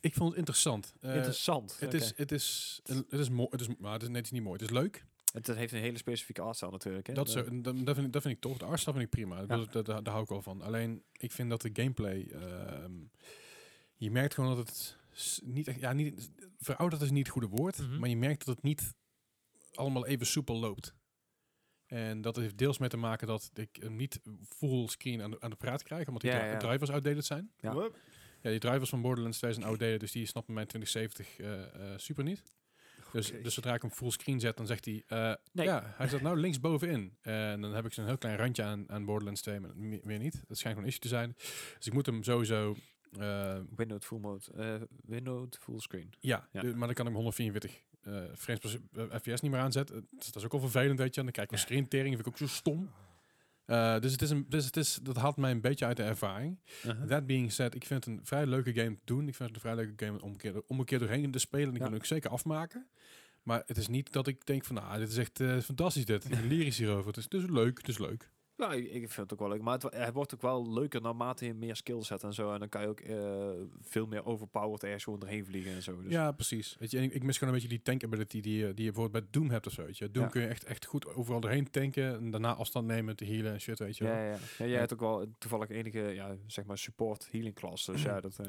[SPEAKER 1] Ik vond het interessant. Eh,
[SPEAKER 2] Interessant.
[SPEAKER 1] het, is, het is, het is mooi, het is, maar het is, nee, het is niet mooi. Het is leuk.
[SPEAKER 2] Het heeft een hele specifieke artstyle natuurlijk. Hè?
[SPEAKER 1] Dat,
[SPEAKER 2] Eh,
[SPEAKER 1] zo, dat, dat, vind ik, dat vind ik tof. De artstyle vind ik prima.
[SPEAKER 2] Ja.
[SPEAKER 1] Dat, dat, daar daar hou ik wel van. Alleen, ik vind dat de gameplay... ehm, je merkt gewoon dat het s- niet echt... Ja, niet, verouderd is niet het goede woord.
[SPEAKER 2] Mhm.
[SPEAKER 1] Maar je merkt dat het niet allemaal even soepel loopt. En dat heeft deels mee te maken dat ik hem niet full screen aan de, aan de praat krijg. Omdat die
[SPEAKER 2] Ja,
[SPEAKER 1] dri-
[SPEAKER 2] ja.
[SPEAKER 1] drivers outdated zijn.
[SPEAKER 2] Ja.
[SPEAKER 3] Hup.
[SPEAKER 1] Ja, die drivers van Borderlands 2 zijn outdated. Dus die snappen mijn 2070 eh, eh, super niet. Dus,
[SPEAKER 3] Oké.
[SPEAKER 1] dus zodra ik hem full screen zet, dan zegt hij... eh,
[SPEAKER 2] Nee.
[SPEAKER 1] Ja, hij zat nou linksbovenin. En dan heb ik zo'n heel klein randje aan, aan Borderlands 2, maar me- meer niet. Dat schijnt gewoon een issue te zijn. Dus ik moet hem sowieso... eh,
[SPEAKER 2] Windowed full mode. eh Windowed full screen.
[SPEAKER 1] ja,
[SPEAKER 2] Ja.
[SPEAKER 1] de- maar dan kan ik hem 144 eh, frames per se- eh, FPS niet meer aanzetten. Dus dat is ook al vervelend, weet je. En dan kijk ik mijn screentering, vind ik ook zo stom. Eh, dus het is een, dus het is, dat haalt mij een beetje uit de ervaring.
[SPEAKER 3] Uh-huh.
[SPEAKER 1] That being said, ik vind het een vrij leuke game te doen. Ik vind het een vrij leuke game om een keer, om een keer doorheen te spelen. En ik
[SPEAKER 2] Ja.
[SPEAKER 1] wil hem ook zeker afmaken. Maar het is niet dat ik denk van, nou, dit is echt eh, fantastisch dit. Ik ben lyrisch hierover. Het is, het is leuk, het is leuk.
[SPEAKER 2] Nou, ik, ik vind het ook wel leuk. Maar het, wa- hij wordt ook wel leuker naarmate je meer skills hebt en zo. En dan kan je ook eh, veel meer overpowered ergens gewoon doorheen vliegen en zo. Dus
[SPEAKER 1] ja, precies. Weet je, en ik, ik mis gewoon een beetje die tank ability die, je- die je bijvoorbeeld bij Doom hebt of zo. Weet je. Doom
[SPEAKER 2] Ja.
[SPEAKER 1] kun je echt, echt goed overal doorheen tanken. En daarna afstand nemen, te healen en shit, weet je. wel.
[SPEAKER 2] Ja, ja, ja. Ja,
[SPEAKER 1] Ja.
[SPEAKER 2] jij hebt ook wel toevallig enige ja, zeg maar support healing class. Dus ja, dat, eh,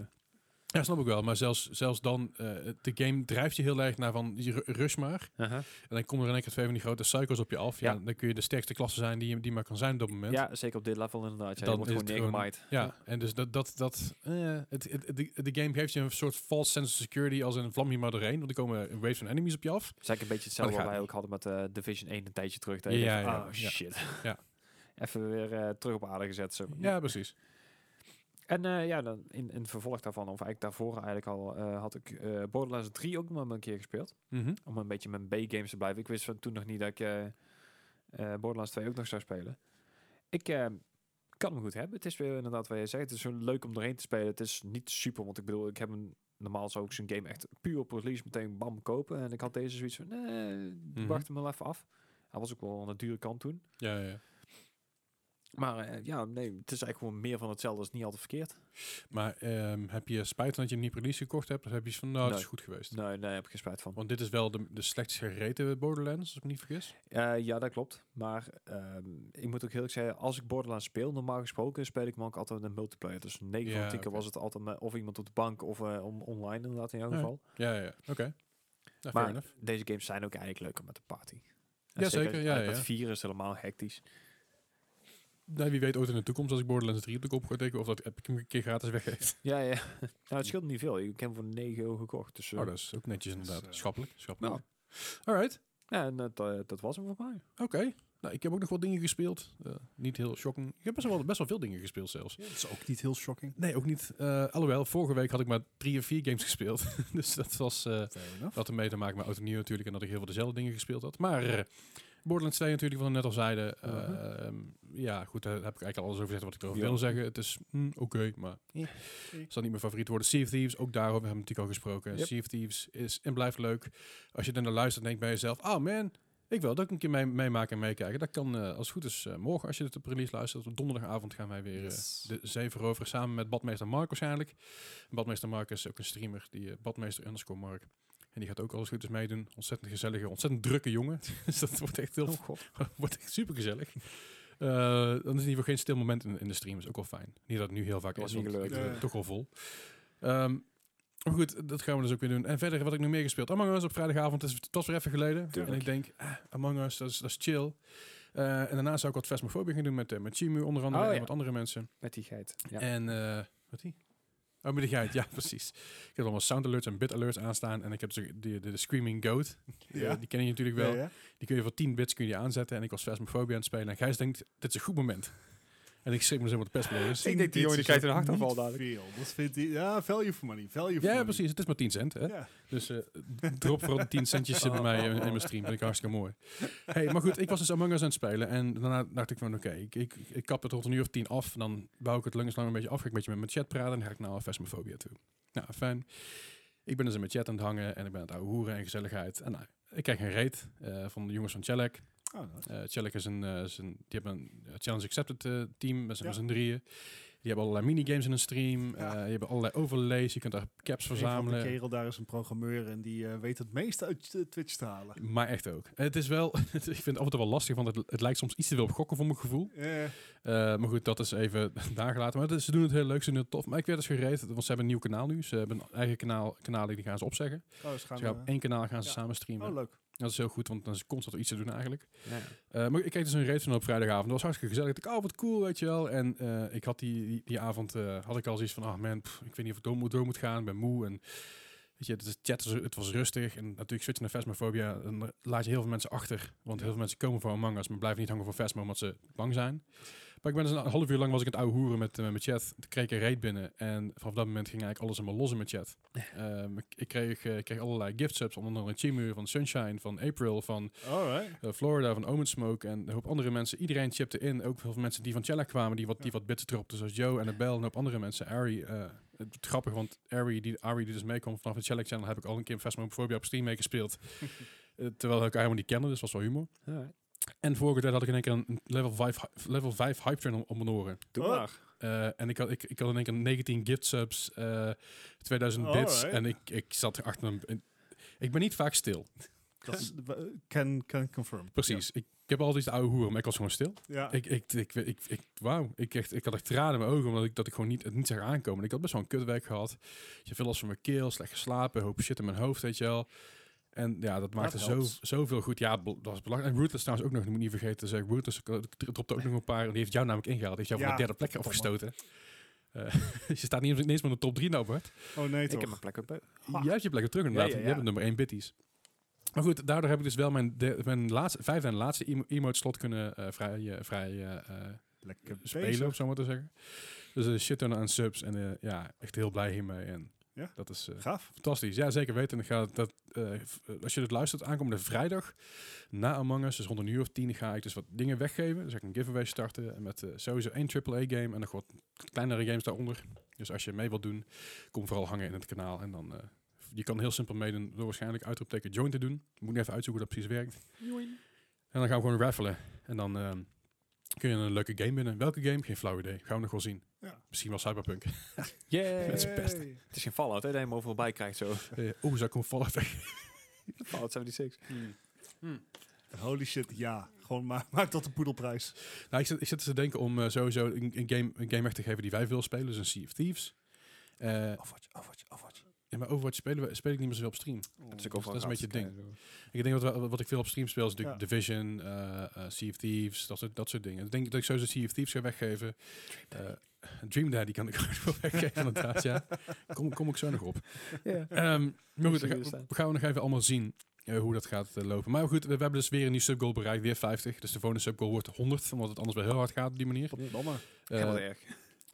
[SPEAKER 1] Ja, snap ik wel. Maar zelfs, zelfs dan, eh, de game drijft je heel erg naar van, je ru- rush maar. En dan komen er in één keer twee van die grote cycles op je af. Ja,
[SPEAKER 2] Ja.
[SPEAKER 1] Dan kun je de sterkste klasse zijn die, je- die maar kan zijn op dat moment.
[SPEAKER 2] ja, zeker op dit level inderdaad. Ja,
[SPEAKER 1] Dan
[SPEAKER 2] je wordt
[SPEAKER 1] is
[SPEAKER 2] gewoon
[SPEAKER 1] het gewoon-
[SPEAKER 2] neergemaaid.
[SPEAKER 1] Ja, en dus dat, dat, dat eh, het, het, het- de, de game geeft je een soort false sense of security als een vlam hier maar doorheen. Want er komen een wave van enemies op je af.
[SPEAKER 2] Dat is eigenlijk een beetje hetzelfde
[SPEAKER 1] Maar
[SPEAKER 2] wat
[SPEAKER 1] Oh, dat
[SPEAKER 2] wij
[SPEAKER 1] gaat
[SPEAKER 2] ook hadden met eh, Division 1 een tijdje terug. Dat je
[SPEAKER 1] Ja,
[SPEAKER 2] denkt,
[SPEAKER 1] ja,
[SPEAKER 2] oh
[SPEAKER 1] ja.
[SPEAKER 2] shit.
[SPEAKER 1] Ja.
[SPEAKER 2] Even weer eh, terug op aarde gezet. Zo.
[SPEAKER 1] Ja, precies.
[SPEAKER 2] En eh, ja, dan in, in het vervolg daarvan, of eigenlijk daarvoor eigenlijk al, eh, had ik eh, Borderlands 3 ook nog maar een keer gespeeld.
[SPEAKER 1] Mhm.
[SPEAKER 2] Om een beetje mijn B-games te blijven. Ik wist van toen nog niet dat ik eh, eh, Borderlands 2 ook nog zou spelen. Ik eh, kan hem goed hebben. Het is weer inderdaad wat jij zegt. Het is zo leuk om doorheen te spelen. Het is niet super, want ik bedoel, ik heb een, normaal zou ik zo'n game echt puur op release meteen bam kopen. En ik had deze zoiets van, nee,
[SPEAKER 1] Mhm.
[SPEAKER 2] wacht hem wel even af. Hij was ook wel aan de dure kant toen.
[SPEAKER 1] Ja, ja, ja.
[SPEAKER 2] Maar eh, ja, nee, het is eigenlijk gewoon meer van hetzelfde. Dat is niet altijd verkeerd.
[SPEAKER 1] Maar ehm, heb je spijt van dat je hem niet per release gekocht hebt? Of heb je iets van, nou, het is
[SPEAKER 2] Nee.
[SPEAKER 1] goed geweest?
[SPEAKER 2] Nee, nee, heb ik geen spijt van.
[SPEAKER 1] Want dit is wel de, de slechtst gereten Borderlands, als ik me niet vergis.
[SPEAKER 2] Eh, ja, dat klopt. Maar ehm, ik moet ook heel erg zeggen, als ik Borderlands speel, normaal gesproken speel ik hem ook altijd een multiplayer. Dus 9
[SPEAKER 1] Ja,
[SPEAKER 2] van 10 keer
[SPEAKER 1] oké.
[SPEAKER 2] was het altijd met of iemand op de bank of eh, on- online inderdaad in jouw
[SPEAKER 1] Ja,
[SPEAKER 2] geval.
[SPEAKER 1] Ja, ja, ja. Oké. Nou, fair
[SPEAKER 2] maar
[SPEAKER 1] enough.
[SPEAKER 2] deze games zijn ook eigenlijk leuker met de party. En
[SPEAKER 1] Ja, zeker, ja,
[SPEAKER 2] eh,
[SPEAKER 1] ja.
[SPEAKER 2] Met 4 is helemaal hectisch.
[SPEAKER 1] Nou, wie weet ooit in de toekomst, als ik Borderlands 3 op de kop ga tikken, of dat Epic hem een keer gratis weggeeft.
[SPEAKER 2] Ja, ja. nou, het scheelt niet veel. Ik heb hem voor 9 euro gekocht. Dus, eh,
[SPEAKER 1] Oh, dat is ook netjes
[SPEAKER 3] is,
[SPEAKER 1] inderdaad.
[SPEAKER 3] eh,
[SPEAKER 1] Schappelijk, schappelijk.
[SPEAKER 2] nou.
[SPEAKER 1] Alright,
[SPEAKER 2] ja, en dat, eh, dat was hem voor mij.
[SPEAKER 1] oké. Nou, ik heb ook nog wat dingen gespeeld. Eh, niet heel shocking. Ik heb best wel, best wel veel dingen gespeeld zelfs.
[SPEAKER 3] Dat is ook niet heel shocking.
[SPEAKER 1] Nee, ook niet. Eh, alhoewel, vorige week had ik maar drie of vier games gespeeld. dus dat was... eh
[SPEAKER 3] Fair enough.
[SPEAKER 1] dat had ermee te maken met autonieuw natuurlijk. En dat ik heel veel dezelfde dingen gespeeld had. Maar eh, Borderlands 2 natuurlijk, wat we net al zeiden. eh,
[SPEAKER 2] Mhm.
[SPEAKER 1] ehm, ja, goed, daar heb ik eigenlijk al alles over gezegd wat ik erover
[SPEAKER 2] Ja.
[SPEAKER 1] wil zeggen. Het is mm, oké, maar... Het zal niet mijn favoriet worden. Sea of Thieves, ook daarover hebben we natuurlijk al gesproken.
[SPEAKER 2] Yep.
[SPEAKER 1] Sea of Thieves is en blijft leuk. Als je dan naar luistert, denk bij jezelf... Oh man, ik wil dat ook een keer mee- meemaken en meekijken. Dat kan eh, als het goed is eh, morgen, als je het op release luistert. Op donderdagavond gaan wij weer eh,
[SPEAKER 3] Yes.
[SPEAKER 1] de zee veroveren samen met Badmeester Mark waarschijnlijk. Badmeester Mark is ook een streamer, die eh, Badmeester underscore Mark. En die gaat ook alles goed eens meedoen. Ontzettend gezellige, ontzettend drukke jongen. dus dat wordt echt heel
[SPEAKER 2] Oh god.
[SPEAKER 1] wordt echt super gezellig. dan is in ieder geval geen stil moment in, in de stream. Is ook wel fijn. Niet dat het nu heel vaak
[SPEAKER 2] Dat
[SPEAKER 1] is,
[SPEAKER 2] was
[SPEAKER 1] want
[SPEAKER 2] niet
[SPEAKER 1] ik
[SPEAKER 2] gelukt.
[SPEAKER 1] ben
[SPEAKER 3] Ja.
[SPEAKER 1] toch wel vol. Ehm, Maar goed, dat gaan we dus ook weer doen. En verder, wat ik nog meer gespeeld. Among Us op vrijdagavond, het is, het was weer even geleden.
[SPEAKER 2] Tuurlijk.
[SPEAKER 1] En ik denk, ah, Among Us, dat is, dat is chill. Eh, en daarna zou ik wat Phasmophobia gaan doen met, eh, met Chimu onder andere
[SPEAKER 2] Oh,
[SPEAKER 1] en
[SPEAKER 2] ja.
[SPEAKER 1] wat andere mensen.
[SPEAKER 2] Met die geit. Ja.
[SPEAKER 1] En, eh, wat die? Oh, met die geit, ja, precies. Ik heb allemaal sound alerts en bit alerts aanstaan. En ik heb dus de, de, de Screaming Goat.
[SPEAKER 3] Ja.
[SPEAKER 1] Eh, die ken je natuurlijk wel.
[SPEAKER 3] Ja, ja.
[SPEAKER 1] Die kun je voor 10 bits kun je die aanzetten. En ik was Phasmophobia aan het spelen. En Gijs denkt, dit is een goed moment. En ik schrik me dus zo met de pestplayers.
[SPEAKER 2] denk die
[SPEAKER 3] Dit
[SPEAKER 2] jongen die
[SPEAKER 3] is
[SPEAKER 2] krijgt een
[SPEAKER 3] niet
[SPEAKER 2] hartaanval dadelijk.
[SPEAKER 3] Veel. Dat vindt hij, ja, value for money. Value for
[SPEAKER 1] Ja,
[SPEAKER 3] money.
[SPEAKER 1] precies. Het is maar 10 cent, hè?
[SPEAKER 3] Ja. Oh.
[SPEAKER 1] Dus eh, drop vooral die 10 centjes eh, bij mij eh, in mijn stream. Vind ik hartstikke mooi. Hey, maar goed, ik was dus Among Us aan het spelen. En daarna dacht ik van, oké, ik, ik, ik kap het tot een uur of tien af. En dan bouw ik het langs lang een beetje af. Ga ik een beetje met mijn chat praten. En dan ga ik naar nou Phasmophobia toe. Nou, fijn. Ik ben dus in mijn chat aan het hangen. En ik ben aan het ouwe hoeren en gezelligheid. En nou, ik krijg een raid eh, van de jongens van Chelak.
[SPEAKER 3] Oh, nice.
[SPEAKER 1] Eh Chalik is een, eh, is een- die hebben een eh, Challenge Accepted eh, team met z'n
[SPEAKER 3] Ja.
[SPEAKER 1] met z'n drieën. Die hebben allerlei minigames in een stream. eh
[SPEAKER 3] Ja.
[SPEAKER 1] die hebben allerlei overlays. Je kunt daar caps
[SPEAKER 3] Een
[SPEAKER 1] verzamelen.
[SPEAKER 3] kerel daar is een programmeur en die eh, weet het meeste uit eh, Twitch te halen.
[SPEAKER 1] Maar echt ook. Het is wel, het- ik vind het altijd wel lastig, want het, het lijkt soms iets te veel op gokken voor mijn gevoel.
[SPEAKER 3] Eh,
[SPEAKER 1] Eh, maar goed, dat is even nagelaten. Maar het- ze doen het heel leuk, ze doen het tof. Maar ik werd dus gereed, want ze hebben een nieuw kanaal nu. Ze hebben een eigen kanaal, kanalen die gaan ze opzeggen.
[SPEAKER 3] oh, ze gaan,
[SPEAKER 1] Ze gaan op
[SPEAKER 3] eh,
[SPEAKER 1] één kanaal gaan ze
[SPEAKER 3] ja.
[SPEAKER 1] samen streamen.
[SPEAKER 3] oh, leuk.
[SPEAKER 1] Dat is heel goed, want dan is constant iets te doen eigenlijk.
[SPEAKER 2] Ja.
[SPEAKER 1] Eh, maar ik keek dus een race van op vrijdagavond. Dat was hartstikke gezellig. Ik dacht, oh, wat cool, weet je wel. En eh, ik had die, die, die avond eh, had ik al zoiets van, ah man, pff, ik weet niet of ik door moet, door moet gaan. Ik ben moe. En weet je, het, is- chat, was- het was rustig. En natuurlijk switchen naar Phasmophobia. Dan eh, laat je heel veel mensen achter. Want heel veel mensen komen voor Among Us, maar blijven niet hangen voor Phasmo, omdat ze bang zijn. Maar ik ben dus een half uur lang was ik aan het ouwe hoeren met, eh, met mijn chat. Toen kreeg ik een raid binnen. En vanaf dat moment ging eigenlijk alles helemaal los in mijn chat. Ehm, ik, ik kreeg, eh, ik kreeg allerlei gift subs, onder andere Chimu van Sunshine, van April, van
[SPEAKER 3] Alright.
[SPEAKER 1] eh, Florida van Omen Smoke en een hoop andere mensen. Iedereen chipte in. Ook heel veel mensen die van Cella kwamen, die wat, die wat bits dropten. Zoals Joe en Abel en een hoop andere mensen. Ari, eh, het het grappig, want Ari die, Ari die dus meekomt vanaf het Cella Channel, heb ik al een keer in Phasmophobia op stream meegespeeld. Eh, terwijl ik haar helemaal niet kende, dus was wel humor.
[SPEAKER 2] Alright.
[SPEAKER 1] En vorige tijd had ik in één keer een level 5, hy- level 5 hype train om, om mijn oren.
[SPEAKER 2] Doe
[SPEAKER 3] Oh.
[SPEAKER 2] maar.
[SPEAKER 1] Eh, en ik had, ik, ik had in één keer 19 gift subs, eh, 2000 bits.
[SPEAKER 3] Alright.
[SPEAKER 1] En ik, ik zat achter een... een- ik ben niet vaak stil,
[SPEAKER 3] Dat is- we- can, can confirm.
[SPEAKER 1] precies. Ik, ik heb altijd de oude hoeren, maar ik was gewoon stil.
[SPEAKER 3] Ja.
[SPEAKER 1] Ik, ik, ik, ik, ik, wauw. Ik, echt, ik had echt tranen in mijn ogen, omdat ik, dat ik gewoon niet, het niet zag aankomen. Ik had best wel een kutwerk gehad. Je hebt veel last van mijn keel, slecht geslapen, een hoop shit in mijn hoofd, weet je wel. En ja, dat maakte zo,
[SPEAKER 3] helpt.
[SPEAKER 1] zoveel goed. Ja, bel- dat was belangrijk. En Rootless trouwens ook nog, dat moet ik niet vergeten te zeggen. Rootless eh, dropte ook nog een paar. Die heeft jou namelijk ingehaald. Die heeft jou
[SPEAKER 3] Ja,
[SPEAKER 1] van de derde plek
[SPEAKER 3] verdomme.
[SPEAKER 1] afgestoten. Eh, dus je staat niet eens meer in de top 3 nou, Bart.
[SPEAKER 3] Oh nee,
[SPEAKER 2] Ik heb
[SPEAKER 3] toch.
[SPEAKER 2] mijn plek op.
[SPEAKER 3] Ah.
[SPEAKER 1] Jij hebt je plek op terug inderdaad.
[SPEAKER 2] Ja, ja,
[SPEAKER 1] Je hebt
[SPEAKER 2] ja.
[SPEAKER 1] nummer 1 bitties. Maar goed, daardoor heb ik dus wel mijn, de- mijn laatste, vijfde en laatste emo- emote slot kunnen eh, vrij, eh, vrij eh, eh,
[SPEAKER 3] Lekker
[SPEAKER 1] spelen,
[SPEAKER 3] bezig.
[SPEAKER 1] om zo maar te zeggen. Dus een shit ton aan subs en eh, ja, echt heel blij hiermee. En
[SPEAKER 3] Ja.
[SPEAKER 1] dat is eh,
[SPEAKER 3] Gaaf.
[SPEAKER 1] fantastisch. Ja, zeker weten. En ik ga dat, eh, v- eh, als je dit luistert, aankomende vrijdag na Among Us, dus rond een uur of tien, ga ik dus wat dingen weggeven. Dus ik een giveaway starten en met eh, sowieso één AAA-game en nog wat kleinere games daaronder. Dus als je mee wilt doen, kom vooral hangen in het kanaal en dan... eh, je kan heel simpel meedoen door waarschijnlijk uitroepteken join te doen. Moet ik even uitzoeken hoe dat precies werkt. En dan gaan we gewoon raffelen. En dan ehm, kun je een leuke game winnen. Welke game? Geen flauw idee. Gaan we nog wel zien.
[SPEAKER 3] Ja.
[SPEAKER 1] Misschien wel Cyberpunk.
[SPEAKER 2] Yeah.
[SPEAKER 1] Met z'n pesten.
[SPEAKER 3] Hey.
[SPEAKER 2] Het is geen Fallout, hè, dat je hem overal bij krijgt zo.
[SPEAKER 1] Eh, Oeh, zou ik hem vallen weg?
[SPEAKER 2] Fallout 76.
[SPEAKER 3] Hmm. Holy shit, ja. Gewoon ma- maak dat een poedelprijs.
[SPEAKER 1] nou, ik zit, ik zit te denken om eh, sowieso een, een game, een game weg te geven die wij veel spelen. Dus een Sea of Thieves. Eh,
[SPEAKER 3] Overwatch, Overwatch, Overwatch.
[SPEAKER 1] ja, maar Overwatch spelen we, speel ik niet meer zoveel op stream. Dus
[SPEAKER 2] Dat is ook overal
[SPEAKER 1] dat is een beetje het
[SPEAKER 2] gratis te krijgen, zo.
[SPEAKER 1] Ik denk dat wat, wat ik veel op stream speel is natuurlijk
[SPEAKER 3] Ja.
[SPEAKER 1] Division, eh, eh, Sea of Thieves, dat soort, dat soort dingen. Ik denk dat ik sowieso Sea of Thieves ga weggeven. Eh, Dream Daddy kan ik ook wel weggeven inderdaad, ja. Kom, kom ik zo nog op.
[SPEAKER 2] Ja.
[SPEAKER 1] Ehm maar goed,
[SPEAKER 2] zie
[SPEAKER 1] dan
[SPEAKER 2] je
[SPEAKER 1] gaan,
[SPEAKER 2] staan.
[SPEAKER 1] we gaan we nog even allemaal zien eh, hoe dat gaat eh, lopen. Maar goed, we, we hebben dus weer een nieuw subgoal bereikt, weer 50. Dus de volgende subgoal wordt 100, omdat het anders wel heel hard gaat op die manier.
[SPEAKER 3] Godverdamme.
[SPEAKER 2] Geen wel
[SPEAKER 1] Eh,
[SPEAKER 2] erg.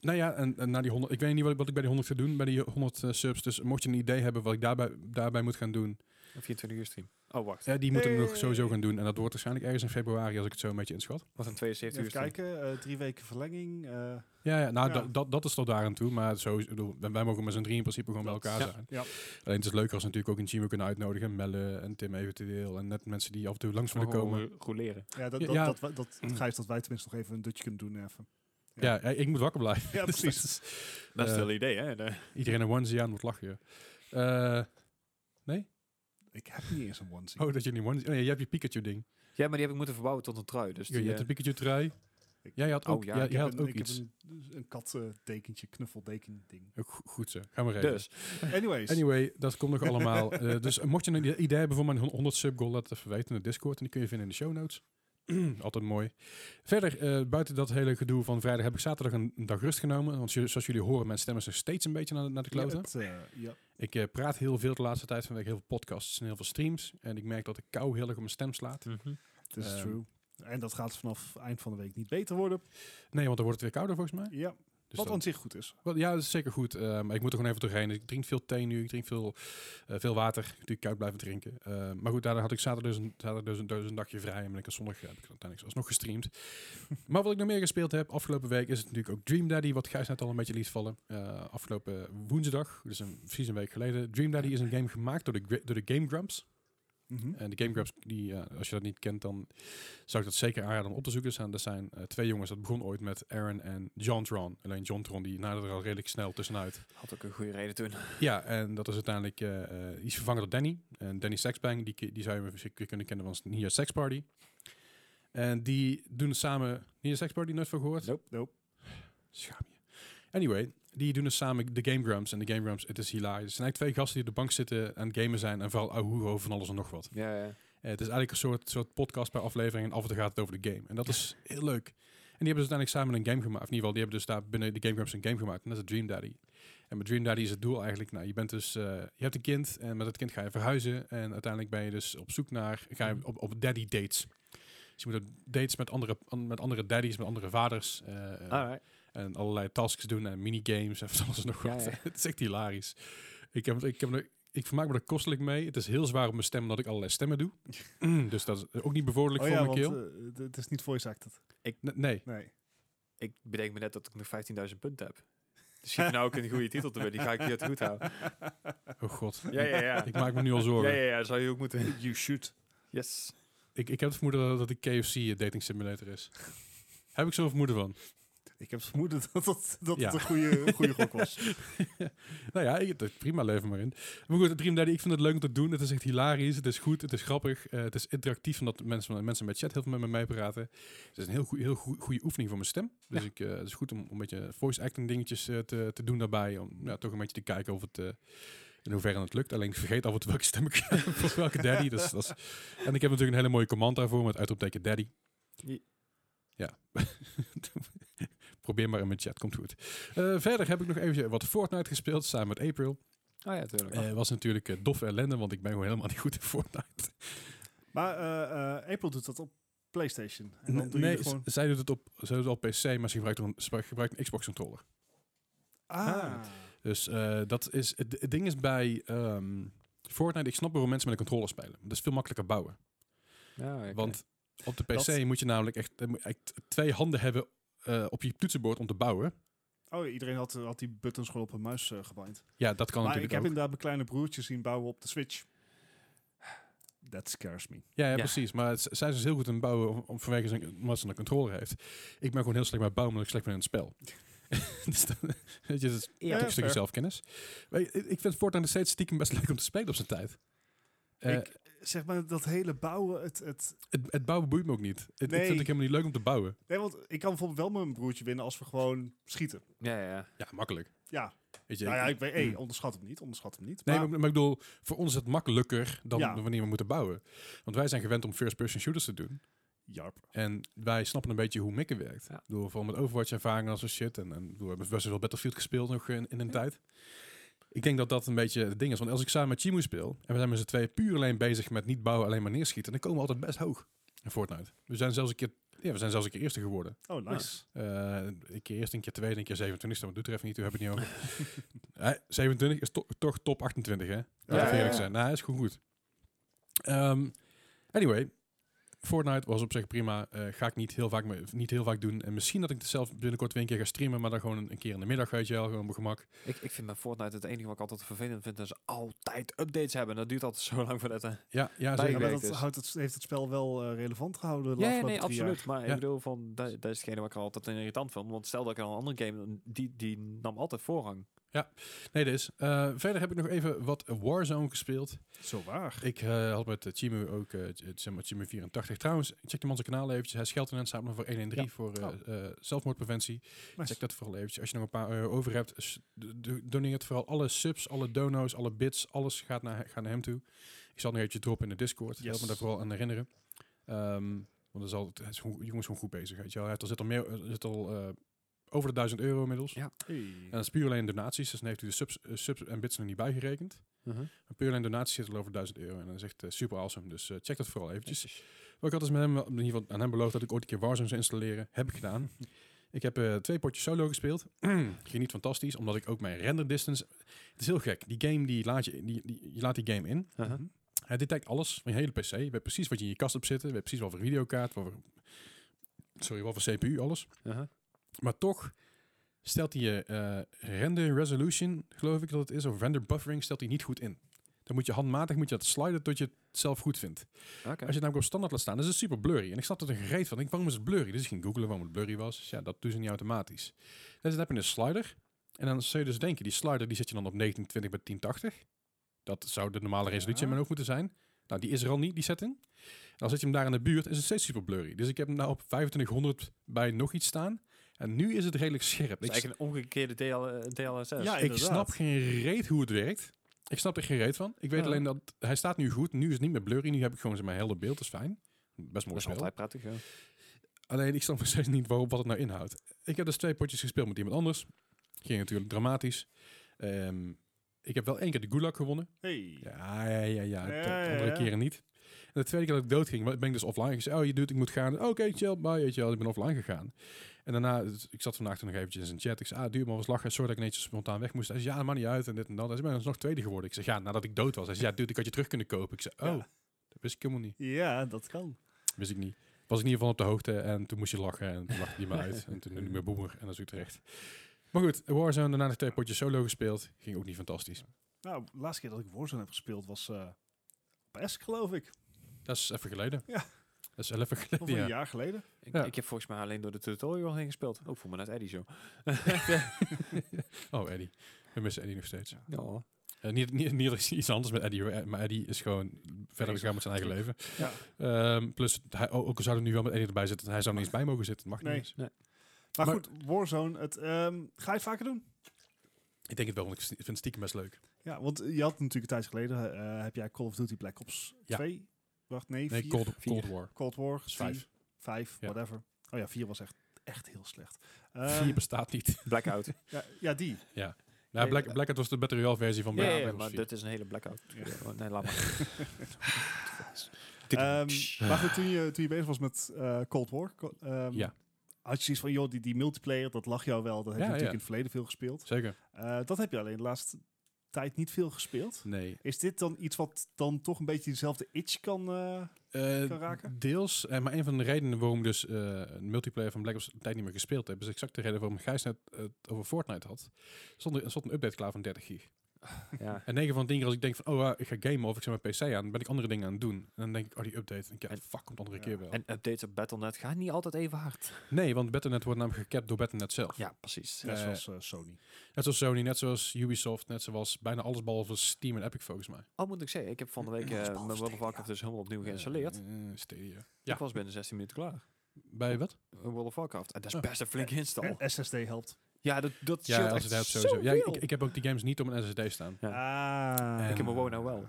[SPEAKER 1] nou ja, en, en na die 100, ik weet niet wat, ik- wat ik bij die 100 ga doen, bij die 100 eh, subs. Dus mocht je een idee hebben wat ik daarbij, daarbij moet gaan doen,
[SPEAKER 2] 24 uur stream. Oh, wacht.
[SPEAKER 1] eh, die moeten we nog
[SPEAKER 3] Hey.
[SPEAKER 1] sowieso gaan doen. En dat wordt waarschijnlijk ergens in februari, als ik het zo een beetje inschat.
[SPEAKER 2] Wat een 72 uur
[SPEAKER 3] Even
[SPEAKER 2] stream.
[SPEAKER 3] kijken, eh, drie weken verlenging. eh,
[SPEAKER 1] Ja, ja nou,
[SPEAKER 3] Ja.
[SPEAKER 1] dat- dat, dat is tot daar aan toe. Maar zo, ik bedoel, wij- wij mogen met z'n drie in principe gewoon bij elkaar
[SPEAKER 2] Ja.
[SPEAKER 1] zijn.
[SPEAKER 3] Ja.
[SPEAKER 1] Alleen het is leuker als we natuurlijk ook een Gmail kunnen uitnodigen. Melle en Tim eventueel. En net mensen die af en toe langs
[SPEAKER 2] Oh,
[SPEAKER 1] willen komen.
[SPEAKER 2] Rouleren.
[SPEAKER 3] ja, dat,
[SPEAKER 1] Ja,
[SPEAKER 3] dat,
[SPEAKER 1] ja.
[SPEAKER 3] Dat, wij- dat, Gijs, dat wij tenminste nog even een dutje kunnen doen. Even.
[SPEAKER 1] Ja, ja, ik moet wakker blijven.
[SPEAKER 3] Ja,
[SPEAKER 1] Dus
[SPEAKER 3] precies.
[SPEAKER 1] dat is-
[SPEAKER 2] Dat is het
[SPEAKER 1] Eh,
[SPEAKER 2] hele idee, hè? De-
[SPEAKER 1] Iedereen een onesie aan moet lachen. joh. Eh,
[SPEAKER 3] Ik heb niet eens een onesie.
[SPEAKER 1] oh, dat je niet onesie... Nee, je oh, hebt je Pikachu-ding.
[SPEAKER 2] Ja, maar die heb ik moeten verbouwen tot een trui. Dus
[SPEAKER 1] Je
[SPEAKER 2] die,
[SPEAKER 1] hebt
[SPEAKER 2] eh,
[SPEAKER 1] de Pikachu-trui. Ja, je had ook,
[SPEAKER 2] Oh, ja,
[SPEAKER 1] ja,
[SPEAKER 2] ik
[SPEAKER 1] je
[SPEAKER 3] heb
[SPEAKER 1] had
[SPEAKER 3] een,
[SPEAKER 1] ook
[SPEAKER 3] ik
[SPEAKER 1] iets.
[SPEAKER 3] heb een, een katdekentje, knuffeldeken ding.
[SPEAKER 1] Ook go- Goed zo, gaan we regelen.
[SPEAKER 2] Dus,
[SPEAKER 3] Anyways,
[SPEAKER 1] Anyway, dat komt nog allemaal. Eh, dus mocht je een idee- idee hebben voor mijn 100 sub goal, laat het even weten in de Discord. En die kun je vinden in de show notes. Altijd mooi. Verder, eh, buiten dat hele gedoe van vrijdag heb ik zaterdag een, een dag rust genomen. Want ju- zoals jullie horen, mijn stem is nog steeds een beetje naar, naar de kloten.
[SPEAKER 3] het, eh, ja.
[SPEAKER 1] Ik eh, praat heel veel de laatste tijd vanwege heel veel podcasts en heel veel streams. En ik merk dat de kou heel erg op mijn stem slaat.
[SPEAKER 2] Mhm.
[SPEAKER 3] Het is
[SPEAKER 1] Ehm.
[SPEAKER 3] true. En dat gaat vanaf eind van de week niet beter worden.
[SPEAKER 1] Nee, want dan wordt het weer kouder volgens mij.
[SPEAKER 3] Ja,
[SPEAKER 1] Dus
[SPEAKER 3] wat
[SPEAKER 1] dan-
[SPEAKER 3] aan zich goed is.
[SPEAKER 1] Wel, ja, dat is zeker goed. eh, maar ik moet er gewoon even doorheen. Ik drink veel thee nu. Ik drink veel, eh, veel water. Natuurlijk koud blijven drinken. Eh, maar goed, daarna had ik zaterdag dus een, zaterdag dus een, dus een dagje vrij. En ben ik er zondag eh, heb ik uiteindelijk alsnog gestreamd. maar wat ik nog meer gespeeld heb afgelopen week is het natuurlijk ook Dream Daddy. Wat Gijs net al een beetje liet vallen. Eh, afgelopen woensdag, dus een, precies een week geleden. Dream Daddy is een game gemaakt door de, gra- door de Game Grumps.
[SPEAKER 3] Mhm.
[SPEAKER 1] En de Game Grumps, die, ja, als je dat niet kent, dan zou ik dat zeker aanraden om op te zoeken. Er zijn, er zijn eh, twee jongens, dat begon ooit met Aaron en John Tron. Alleen John Tron, die naderde er al redelijk snel tussenuit.
[SPEAKER 2] had ook een goede reden toen.
[SPEAKER 1] Ja, en dat is uiteindelijk, eh, eh, die is vervangen door Danny. En Danny Sexbang, die, ki- die zou je misschien kunnen kennen van Nia Sex Party. En die doen samen, Nia Sex Party, nooit van gehoord?
[SPEAKER 2] Nope.
[SPEAKER 3] Nope.
[SPEAKER 1] Schaam je. Anyway, die doen dus samen de Game Grumps. En de Game Grumps, het is hilarisch. Het zijn eigenlijk twee gasten die op de bank zitten aan het gamen zijn. En vooral ahoero van alles en nog wat.
[SPEAKER 2] Ja, ja.
[SPEAKER 1] Eh, het is eigenlijk een soort, soort podcast per aflevering en af en toe gaat het over de game. En dat is heel leuk. En die hebben dus uiteindelijk samen een game gemaakt. Of in ieder geval, die hebben dus daar binnen de Game Grumps een game gemaakt. En dat is Dream Daddy. En met Dream Daddy is het doel eigenlijk, nou, je bent dus, eh, je hebt een kind en met dat kind ga je verhuizen. En uiteindelijk ben je dus op zoek naar, ga je op, op daddy dates. Dus je moet op dates met andere, an- met andere daddies, met andere vaders. eh, eh,
[SPEAKER 2] Alright.
[SPEAKER 1] en allerlei tasks doen en minigames en van alles en nog
[SPEAKER 2] Ja,
[SPEAKER 1] wat.
[SPEAKER 2] ja.
[SPEAKER 1] het is echt hilarisch. Ik, heb, ik, heb, er- ik vermaak me er kostelijk mee. Het is heel zwaar op mijn stem omdat ik allerlei stemmen doe. dus dat is ook niet bevorderlijk
[SPEAKER 3] Oh
[SPEAKER 1] voor
[SPEAKER 3] ja,
[SPEAKER 1] mijn
[SPEAKER 3] want
[SPEAKER 1] keel.
[SPEAKER 3] eh, d- het is niet voice acted.
[SPEAKER 2] eh,
[SPEAKER 1] N- nee.
[SPEAKER 3] Nee.
[SPEAKER 2] Ik bedenk me net dat ik nog 15.000 punten heb. Dus ik heb nou ook een goede titel te winnen. Die ga ik niet goed houden.
[SPEAKER 1] Oh god.
[SPEAKER 2] Ja, ja, ja.
[SPEAKER 1] Ik maak me nu al
[SPEAKER 2] Ja,
[SPEAKER 1] zorgen.
[SPEAKER 2] ja, ja. Zou je ook moeten.
[SPEAKER 3] You shoot.
[SPEAKER 2] Yes.
[SPEAKER 1] Ik, ik heb het vermoeden dat, dat de KFC een dating simulator is. heb ik zo'n vermoeden van?
[SPEAKER 3] Ik heb het vermoeden dat, dat, dat
[SPEAKER 1] Ja.
[SPEAKER 3] het een goede, goede gok was.
[SPEAKER 1] nou ja, ik- dat- prima, leven maar in. Maar goed, Dream Daddy, ik vind het leuk om te doen. Het is echt hilarisch, het is goed, het is grappig. eh, het is interactief, omdat mensen, mensen met chat heel veel met me meepraten. Het is een heel, goe- heel goe- goede oefening voor mijn stem. Dus ik, eh, het is goed om, om een beetje voice acting dingetjes eh, te, te doen daarbij. Om ja, toch een beetje te kijken of het... eh, in hoeverre het lukt. Alleen ik vergeet af en toe welke stem ik heb voor welke daddy. Dus, dat is- en ik heb natuurlijk een hele mooie command daarvoor met uitroepteken daddy.
[SPEAKER 2] Je-
[SPEAKER 1] Ja. Probeer maar in mijn chat, komt goed. Eh, verder heb ik nog even wat Fortnite gespeeld samen met April.
[SPEAKER 2] Ah ja, tuurlijk.
[SPEAKER 1] Eh, was natuurlijk eh, doffe ellende, want ik ben gewoon helemaal niet goed in Fortnite.
[SPEAKER 3] Maar eh, eh, Apple doet dat op PlayStation. En dan doe je
[SPEAKER 1] nee,
[SPEAKER 3] er gewoon...
[SPEAKER 1] z- zij doet het op, zij doet het op PC, maar ze gebruikt een, ze gebruikt een Xbox controller.
[SPEAKER 3] Ah.
[SPEAKER 1] Dus eh, dat is, het, het ding is bij ehm, Fortnite, ik snap waarom mensen met een controller spelen. Dat is veel makkelijker bouwen.
[SPEAKER 2] Ja, oké.
[SPEAKER 1] Want op de PC
[SPEAKER 3] Dat-
[SPEAKER 1] moet je namelijk echt, eh, moet je echt twee handen hebben eh, op je toetsenbord om te bouwen.
[SPEAKER 3] Oh, iedereen had, had die buttons gewoon op een muis eh gebind.
[SPEAKER 1] Ja, dat kan
[SPEAKER 3] Maar ik
[SPEAKER 1] natuurlijk
[SPEAKER 3] heb
[SPEAKER 1] ook.
[SPEAKER 3] inderdaad mijn kleine broertje zien bouwen op de Switch. That scares me.
[SPEAKER 1] Ja, ja,
[SPEAKER 2] Ja.
[SPEAKER 1] precies. Maar het- zij is dus heel goed in bouwen om, om- vanwege zijn, omdat ze een controller heeft. Ik ben gewoon heel slecht bij bouwen omdat ik slecht ben in het spel. dus dat, weet je, dat is
[SPEAKER 2] Ja,
[SPEAKER 1] toch een stukje
[SPEAKER 3] fair.
[SPEAKER 1] zelfkennis. Maar ik, ik vind Fortnite nog steeds stiekem best leuk om te spelen op zijn tijd. Eh,
[SPEAKER 3] Ik- Zeg maar, dat hele bouwen, het, het...
[SPEAKER 1] het, het bouwen boeit me ook niet. Het, Ik
[SPEAKER 3] Nee.
[SPEAKER 1] vind het helemaal niet leuk om te bouwen.
[SPEAKER 3] Nee, want ik kan bijvoorbeeld wel mijn broertje winnen als we gewoon schieten.
[SPEAKER 2] Ja, ja, ja.
[SPEAKER 1] Ja, makkelijk.
[SPEAKER 3] Ja,
[SPEAKER 1] Weet je,
[SPEAKER 3] nou ja, ik weet... Hey,
[SPEAKER 1] Mm.
[SPEAKER 3] onderschat hem niet, onderschat hem niet.
[SPEAKER 1] Nee,
[SPEAKER 3] maar,
[SPEAKER 1] maar, maar ik bedoel, voor ons is het makkelijker dan
[SPEAKER 3] Ja.
[SPEAKER 1] wanneer we moeten bouwen. Want wij zijn gewend om first-person shooters te doen.
[SPEAKER 3] Jarp.
[SPEAKER 1] En wij snappen een beetje hoe mikken werkt.
[SPEAKER 2] Ja.
[SPEAKER 1] Ik bedoel, vooral met Overwatch ervaring en zo shit. En, en ik bedoel, we hebben best wel veel Battlefield gespeeld nog in, in een tijd. Ik denk dat dat een beetje het ding is. Want als ik samen met Chimu speel, en we zijn met z'n twee puur alleen bezig met niet bouwen, alleen maar neerschieten, dan komen we altijd best hoog in Fortnite. We zijn zelfs een keer, ja, we zijn zelfs een keer eerste geworden.
[SPEAKER 3] Oh, nice.
[SPEAKER 1] Eh, een keer eerst, een keer tweede, een keer 27 Maar doet er even niet toe, heb ik het niet over. Eh, 27 is to- toch top 28, hè? Laten
[SPEAKER 3] Ja,
[SPEAKER 1] we
[SPEAKER 3] ja,
[SPEAKER 1] eerlijk
[SPEAKER 3] ja.
[SPEAKER 1] zijn. Nou, is gewoon goed. Ehm, anyway, Fortnite was op zich prima. Eh, ga ik niet heel, vaak me- niet heel vaak doen. En misschien dat ik het zelf binnenkort weer een keer ga streamen, maar dan gewoon een, een keer in de middag, weet je wel, gewoon op mijn gemak.
[SPEAKER 2] Ik, ik vind mijn Fortnite het enige wat ik altijd vervelend vind. Dat ze altijd updates hebben. En dat duurt altijd zo lang voordat... eh,
[SPEAKER 1] Ja, ja zeker.
[SPEAKER 2] Bij-
[SPEAKER 3] Ja, maar
[SPEAKER 2] werkt
[SPEAKER 3] dat
[SPEAKER 2] dus.
[SPEAKER 3] houdt het, heeft het spel wel eh, relevant gehouden de
[SPEAKER 2] Ja, ja,
[SPEAKER 3] afgelopen
[SPEAKER 2] nee,
[SPEAKER 3] drie
[SPEAKER 2] absoluut. Maar
[SPEAKER 1] Ja.
[SPEAKER 2] ik bedoel, van, dat, dat is hetgene wat ik er altijd irritant van. Want stel dat ik aan een andere game... Die, die nam altijd voorrang.
[SPEAKER 1] Nee, dat is. Eh, verder heb ik nog even wat Warzone gespeeld.
[SPEAKER 3] Zo waar.
[SPEAKER 1] Ik eh, had met eh, Chimu ook, eh, t- zeg maar, Chimu 84. Trouwens, check hem onze kanaal eventjes. Hij scheldt in het samen voor 113 voor eh, eh, zelfmoordpreventie.
[SPEAKER 3] Oh. Nice.
[SPEAKER 1] Check dat vooral eventjes. Als je nog een paar euro over hebt, s- do- do- doneer het vooral alle subs, alle dono's, alle bits. Alles gaat naar, gaat naar hem toe. Ik zal nog eventjes droppen in de Discord. Help me
[SPEAKER 3] Yes.
[SPEAKER 1] daar vooral aan herinneren. Ehm, want dat is al, hij is gewoon- die jongen is gewoon goed bezig. Weet je wel. Hij heeft al- zit al, meer, er zit al eh, over de 1000 euro inmiddels.
[SPEAKER 2] Ja.
[SPEAKER 3] Hey.
[SPEAKER 1] En dat is puur alleen donaties. Dus dan heeft u de subs, eh, subs en bits nog niet bijgerekend. Een puur en donatie zit al over 1000 euro. En dat is echt eh, super awesome. Dus eh, check dat vooral eventjes. Maar ik had dus met hem, wel- in ieder geval aan hem beloofd dat ik ooit een keer Warzone zou installeren. Heb ik gedaan. ik heb eh, twee potjes solo gespeeld. Ging niet fantastisch, omdat ik ook mijn render distance... Het is heel gek. Die game, die laat je, die, die, je laat die game in. Mhm.
[SPEAKER 2] Uh-huh.
[SPEAKER 1] Hij detect alles van je hele PC. Je weet precies wat je in je kast hebt zitten. Je weet precies wat voor videokaart, wat voor, sorry, wat voor CPU, alles.
[SPEAKER 2] Uh-huh.
[SPEAKER 1] Maar toch stelt hij je eh, render resolution, geloof ik dat het is, of render buffering, stelt hij niet goed in. Dan moet je handmatig moet je dat sliden tot je het zelf goed vindt.
[SPEAKER 2] Oké.
[SPEAKER 1] Als je het namelijk op standaard laat staan, dan is het super blurry. En ik snapte er gereed van. Ik, waarom is het blurry? Dus ik ging googlen waarom het blurry was. Dus ja, dat doen ze niet automatisch. Dus dan heb je een slider. En dan zou je dus denken, die slider die zet je dan op 1920 bij 1080. Dat zou de normale resolutie in mijn oog moeten zijn. Nou, die is er al niet, die setting. En als zet je hem daar in de buurt, is het steeds super blurry. Dus ik heb hem nou op 2500 bij nog iets staan. En nu is het redelijk scherp.
[SPEAKER 2] Dat is
[SPEAKER 1] Ik,
[SPEAKER 2] eigenlijk een omgekeerde DL, DLSS.
[SPEAKER 3] Ja,
[SPEAKER 1] ik snap
[SPEAKER 3] inderdaad.
[SPEAKER 1] geen reet hoe het werkt. Ik snap er geen reet van. Ik weet
[SPEAKER 2] Ja.
[SPEAKER 1] alleen dat hij staat nu goed. Nu is het niet meer blurry. Nu heb ik gewoon mijn helder beeld. Dat is fijn. Best
[SPEAKER 2] dat
[SPEAKER 1] mooi
[SPEAKER 2] is
[SPEAKER 1] spel.
[SPEAKER 2] altijd prettig. Ja.
[SPEAKER 1] Alleen ik snap nog steeds niet waarom, wat het nou inhoudt. Ik heb dus twee potjes gespeeld met iemand anders. Ging natuurlijk dramatisch. Ehm, ik heb wel één keer de gulag gewonnen.
[SPEAKER 3] Hey.
[SPEAKER 1] Ja, ja, ja, ja. De
[SPEAKER 3] Ja, ja,
[SPEAKER 1] andere
[SPEAKER 3] ja.
[SPEAKER 1] keren niet. En de tweede keer dat ik dood ging, ben ik dus offline gezegd. Oh, je doet, ik moet gaan. Oké, chill, bye, weet je wel. Ik ben offline gegaan. En daarna, dus ik zat vandaag toen nog eventjes in zijn chat. Ik zei, ah, duur maar was lachen. Sorry dat ik netjes spontaan weg moest. Hij zei, ja, dat maakt niet uit. En dit en dat. Hij zei, maar dat is nog tweede geworden. Ik zei, ja, nadat ik dood was. Hij zei, ja, dude, ik had je terug kunnen kopen. Ik zei, oh,
[SPEAKER 3] Ja.
[SPEAKER 1] dat wist ik helemaal niet.
[SPEAKER 3] Ja, dat kan.
[SPEAKER 1] Wist ik niet. Was ik in ieder geval op de hoogte en toen moest je lachen en toen lachte die me uit. En toen noemde hij me boemer en dat is ook terecht. Maar goed, Warzone, daarna nog twee potjes solo gespeeld. Ging ook niet fantastisch.
[SPEAKER 3] Nou, de laatste keer dat ik Warzone heb gespeeld was eh op Esk, geloof ik.
[SPEAKER 1] Dat is even geleden.
[SPEAKER 3] Ja.
[SPEAKER 1] Dat is wel even
[SPEAKER 3] Of
[SPEAKER 1] geleden,
[SPEAKER 3] een
[SPEAKER 1] ja.
[SPEAKER 3] jaar geleden.
[SPEAKER 2] Ik,
[SPEAKER 1] Ja.
[SPEAKER 2] ik heb volgens mij alleen door de tutorial heen gespeeld. Ook voor me net Eddie zo.
[SPEAKER 1] Oh, Eddie. We missen Eddie nog steeds.
[SPEAKER 2] Ja.
[SPEAKER 1] Eh, niet, niet, niet dat is iets anders met Eddie, hoor. Eh, maar Eddie is gewoon verder gegaan met zijn eigen leven.
[SPEAKER 3] Ja.
[SPEAKER 1] Ehm, plus, hij, o- ook al zou er nu wel met Eddie erbij zitten, hij zou er niet eens bij mogen zitten. Dat mag
[SPEAKER 3] Nee.
[SPEAKER 1] niet eens.
[SPEAKER 3] Maar,
[SPEAKER 1] Maar-
[SPEAKER 3] goed, Warzone, het, ehm, ga je het vaker doen?
[SPEAKER 1] Ik denk het wel, want ik st- vind het stiekem best leuk.
[SPEAKER 3] Ja, want je had natuurlijk een tijd geleden, eh, heb jij Call of Duty Black Ops
[SPEAKER 1] Ja.
[SPEAKER 3] 2? Wacht, nee,
[SPEAKER 1] Nee,
[SPEAKER 3] 4?
[SPEAKER 1] Cold,
[SPEAKER 2] Vier.
[SPEAKER 1] Cold War.
[SPEAKER 3] Cold War
[SPEAKER 1] is vijf.
[SPEAKER 3] 3, 5,
[SPEAKER 1] Ja.
[SPEAKER 3] whatever. Oh ja, 4 was echt, echt heel slecht.
[SPEAKER 2] Eh.
[SPEAKER 1] Vier
[SPEAKER 3] Ehm,
[SPEAKER 1] bestaat niet.
[SPEAKER 2] Blackout.
[SPEAKER 3] ja, ja, die.
[SPEAKER 1] Nou,
[SPEAKER 2] Nee,
[SPEAKER 1] Black,
[SPEAKER 2] eh,
[SPEAKER 1] Black Ops was de Battle Royale versie van
[SPEAKER 2] ja,
[SPEAKER 1] Black
[SPEAKER 2] ja, ja,
[SPEAKER 1] Black Ops
[SPEAKER 2] maar
[SPEAKER 1] 4.
[SPEAKER 2] dit is een hele blackout. oh,
[SPEAKER 3] Ja.
[SPEAKER 2] Nee, laat maar.
[SPEAKER 3] Ehm, maar goed, toen je, toen je bezig was met eh, Cold War, ko- ehm,
[SPEAKER 1] Ja.
[SPEAKER 3] had je zoiets van, joh, die, die multiplayer, dat lag jou wel. Dat heb
[SPEAKER 1] Ja,
[SPEAKER 3] je natuurlijk
[SPEAKER 1] ja.
[SPEAKER 3] in het verleden veel gespeeld.
[SPEAKER 1] Zeker.
[SPEAKER 3] Eh, dat heb je alleen de laatste tijd niet veel gespeeld.
[SPEAKER 1] Nee.
[SPEAKER 3] Is dit dan iets wat dan toch een beetje dezelfde itch kan... eh, Kan raken?
[SPEAKER 1] Deels, eh, maar een van de redenen waarom dus eh een multiplayer van Black Ops een tijd niet meer gespeeld heb, is exact de reden waarom Gijs net eh, het over Fortnite had. Stond er stond een update klaar van 30 gig.
[SPEAKER 2] ja.
[SPEAKER 1] En 9 van de 10 keer als ik denk van, oh, eh, ik ga gamen of ik zet mijn PC aan, ben ik andere dingen aan het doen. En dan denk ik, oh, die update, en ik, ja,
[SPEAKER 2] En-
[SPEAKER 1] fuck, komt de andere
[SPEAKER 3] Ja.
[SPEAKER 1] keer wel.
[SPEAKER 2] En updates op Battle.net gaan niet altijd even hard.
[SPEAKER 1] nee, want Battle.net wordt namelijk gekapt door Battle.net zelf.
[SPEAKER 2] Ja, precies.
[SPEAKER 1] Ja.
[SPEAKER 3] net
[SPEAKER 1] Eh,
[SPEAKER 3] zoals eh, Sony.
[SPEAKER 1] Net zoals Sony, net zoals Ubisoft, net zoals bijna alles behalve Steam en Epic volgens mij.
[SPEAKER 2] Al Oh, moet ik zeggen, ik heb van de week eh, mijn World of Warcraft dus helemaal opnieuw geïnstalleerd.
[SPEAKER 1] Eh, eh, Stadia. Ja.
[SPEAKER 2] Ik was binnen 16 minuten klaar.
[SPEAKER 1] Bij wat?
[SPEAKER 2] Eh, World of Warcraft. En dat is
[SPEAKER 1] Oh.
[SPEAKER 2] best een flinke install.
[SPEAKER 3] Eh, SSD helpt.
[SPEAKER 2] Ja, dat, dat
[SPEAKER 1] Ja,
[SPEAKER 2] scheelt
[SPEAKER 1] als
[SPEAKER 2] echt
[SPEAKER 1] het helpt sowieso. Ja, ik,
[SPEAKER 2] zoveel.
[SPEAKER 1] ik heb ook die games niet op mijn SSD staan.
[SPEAKER 3] Ah.
[SPEAKER 1] En-
[SPEAKER 2] Ik heb mijn WoNow wel.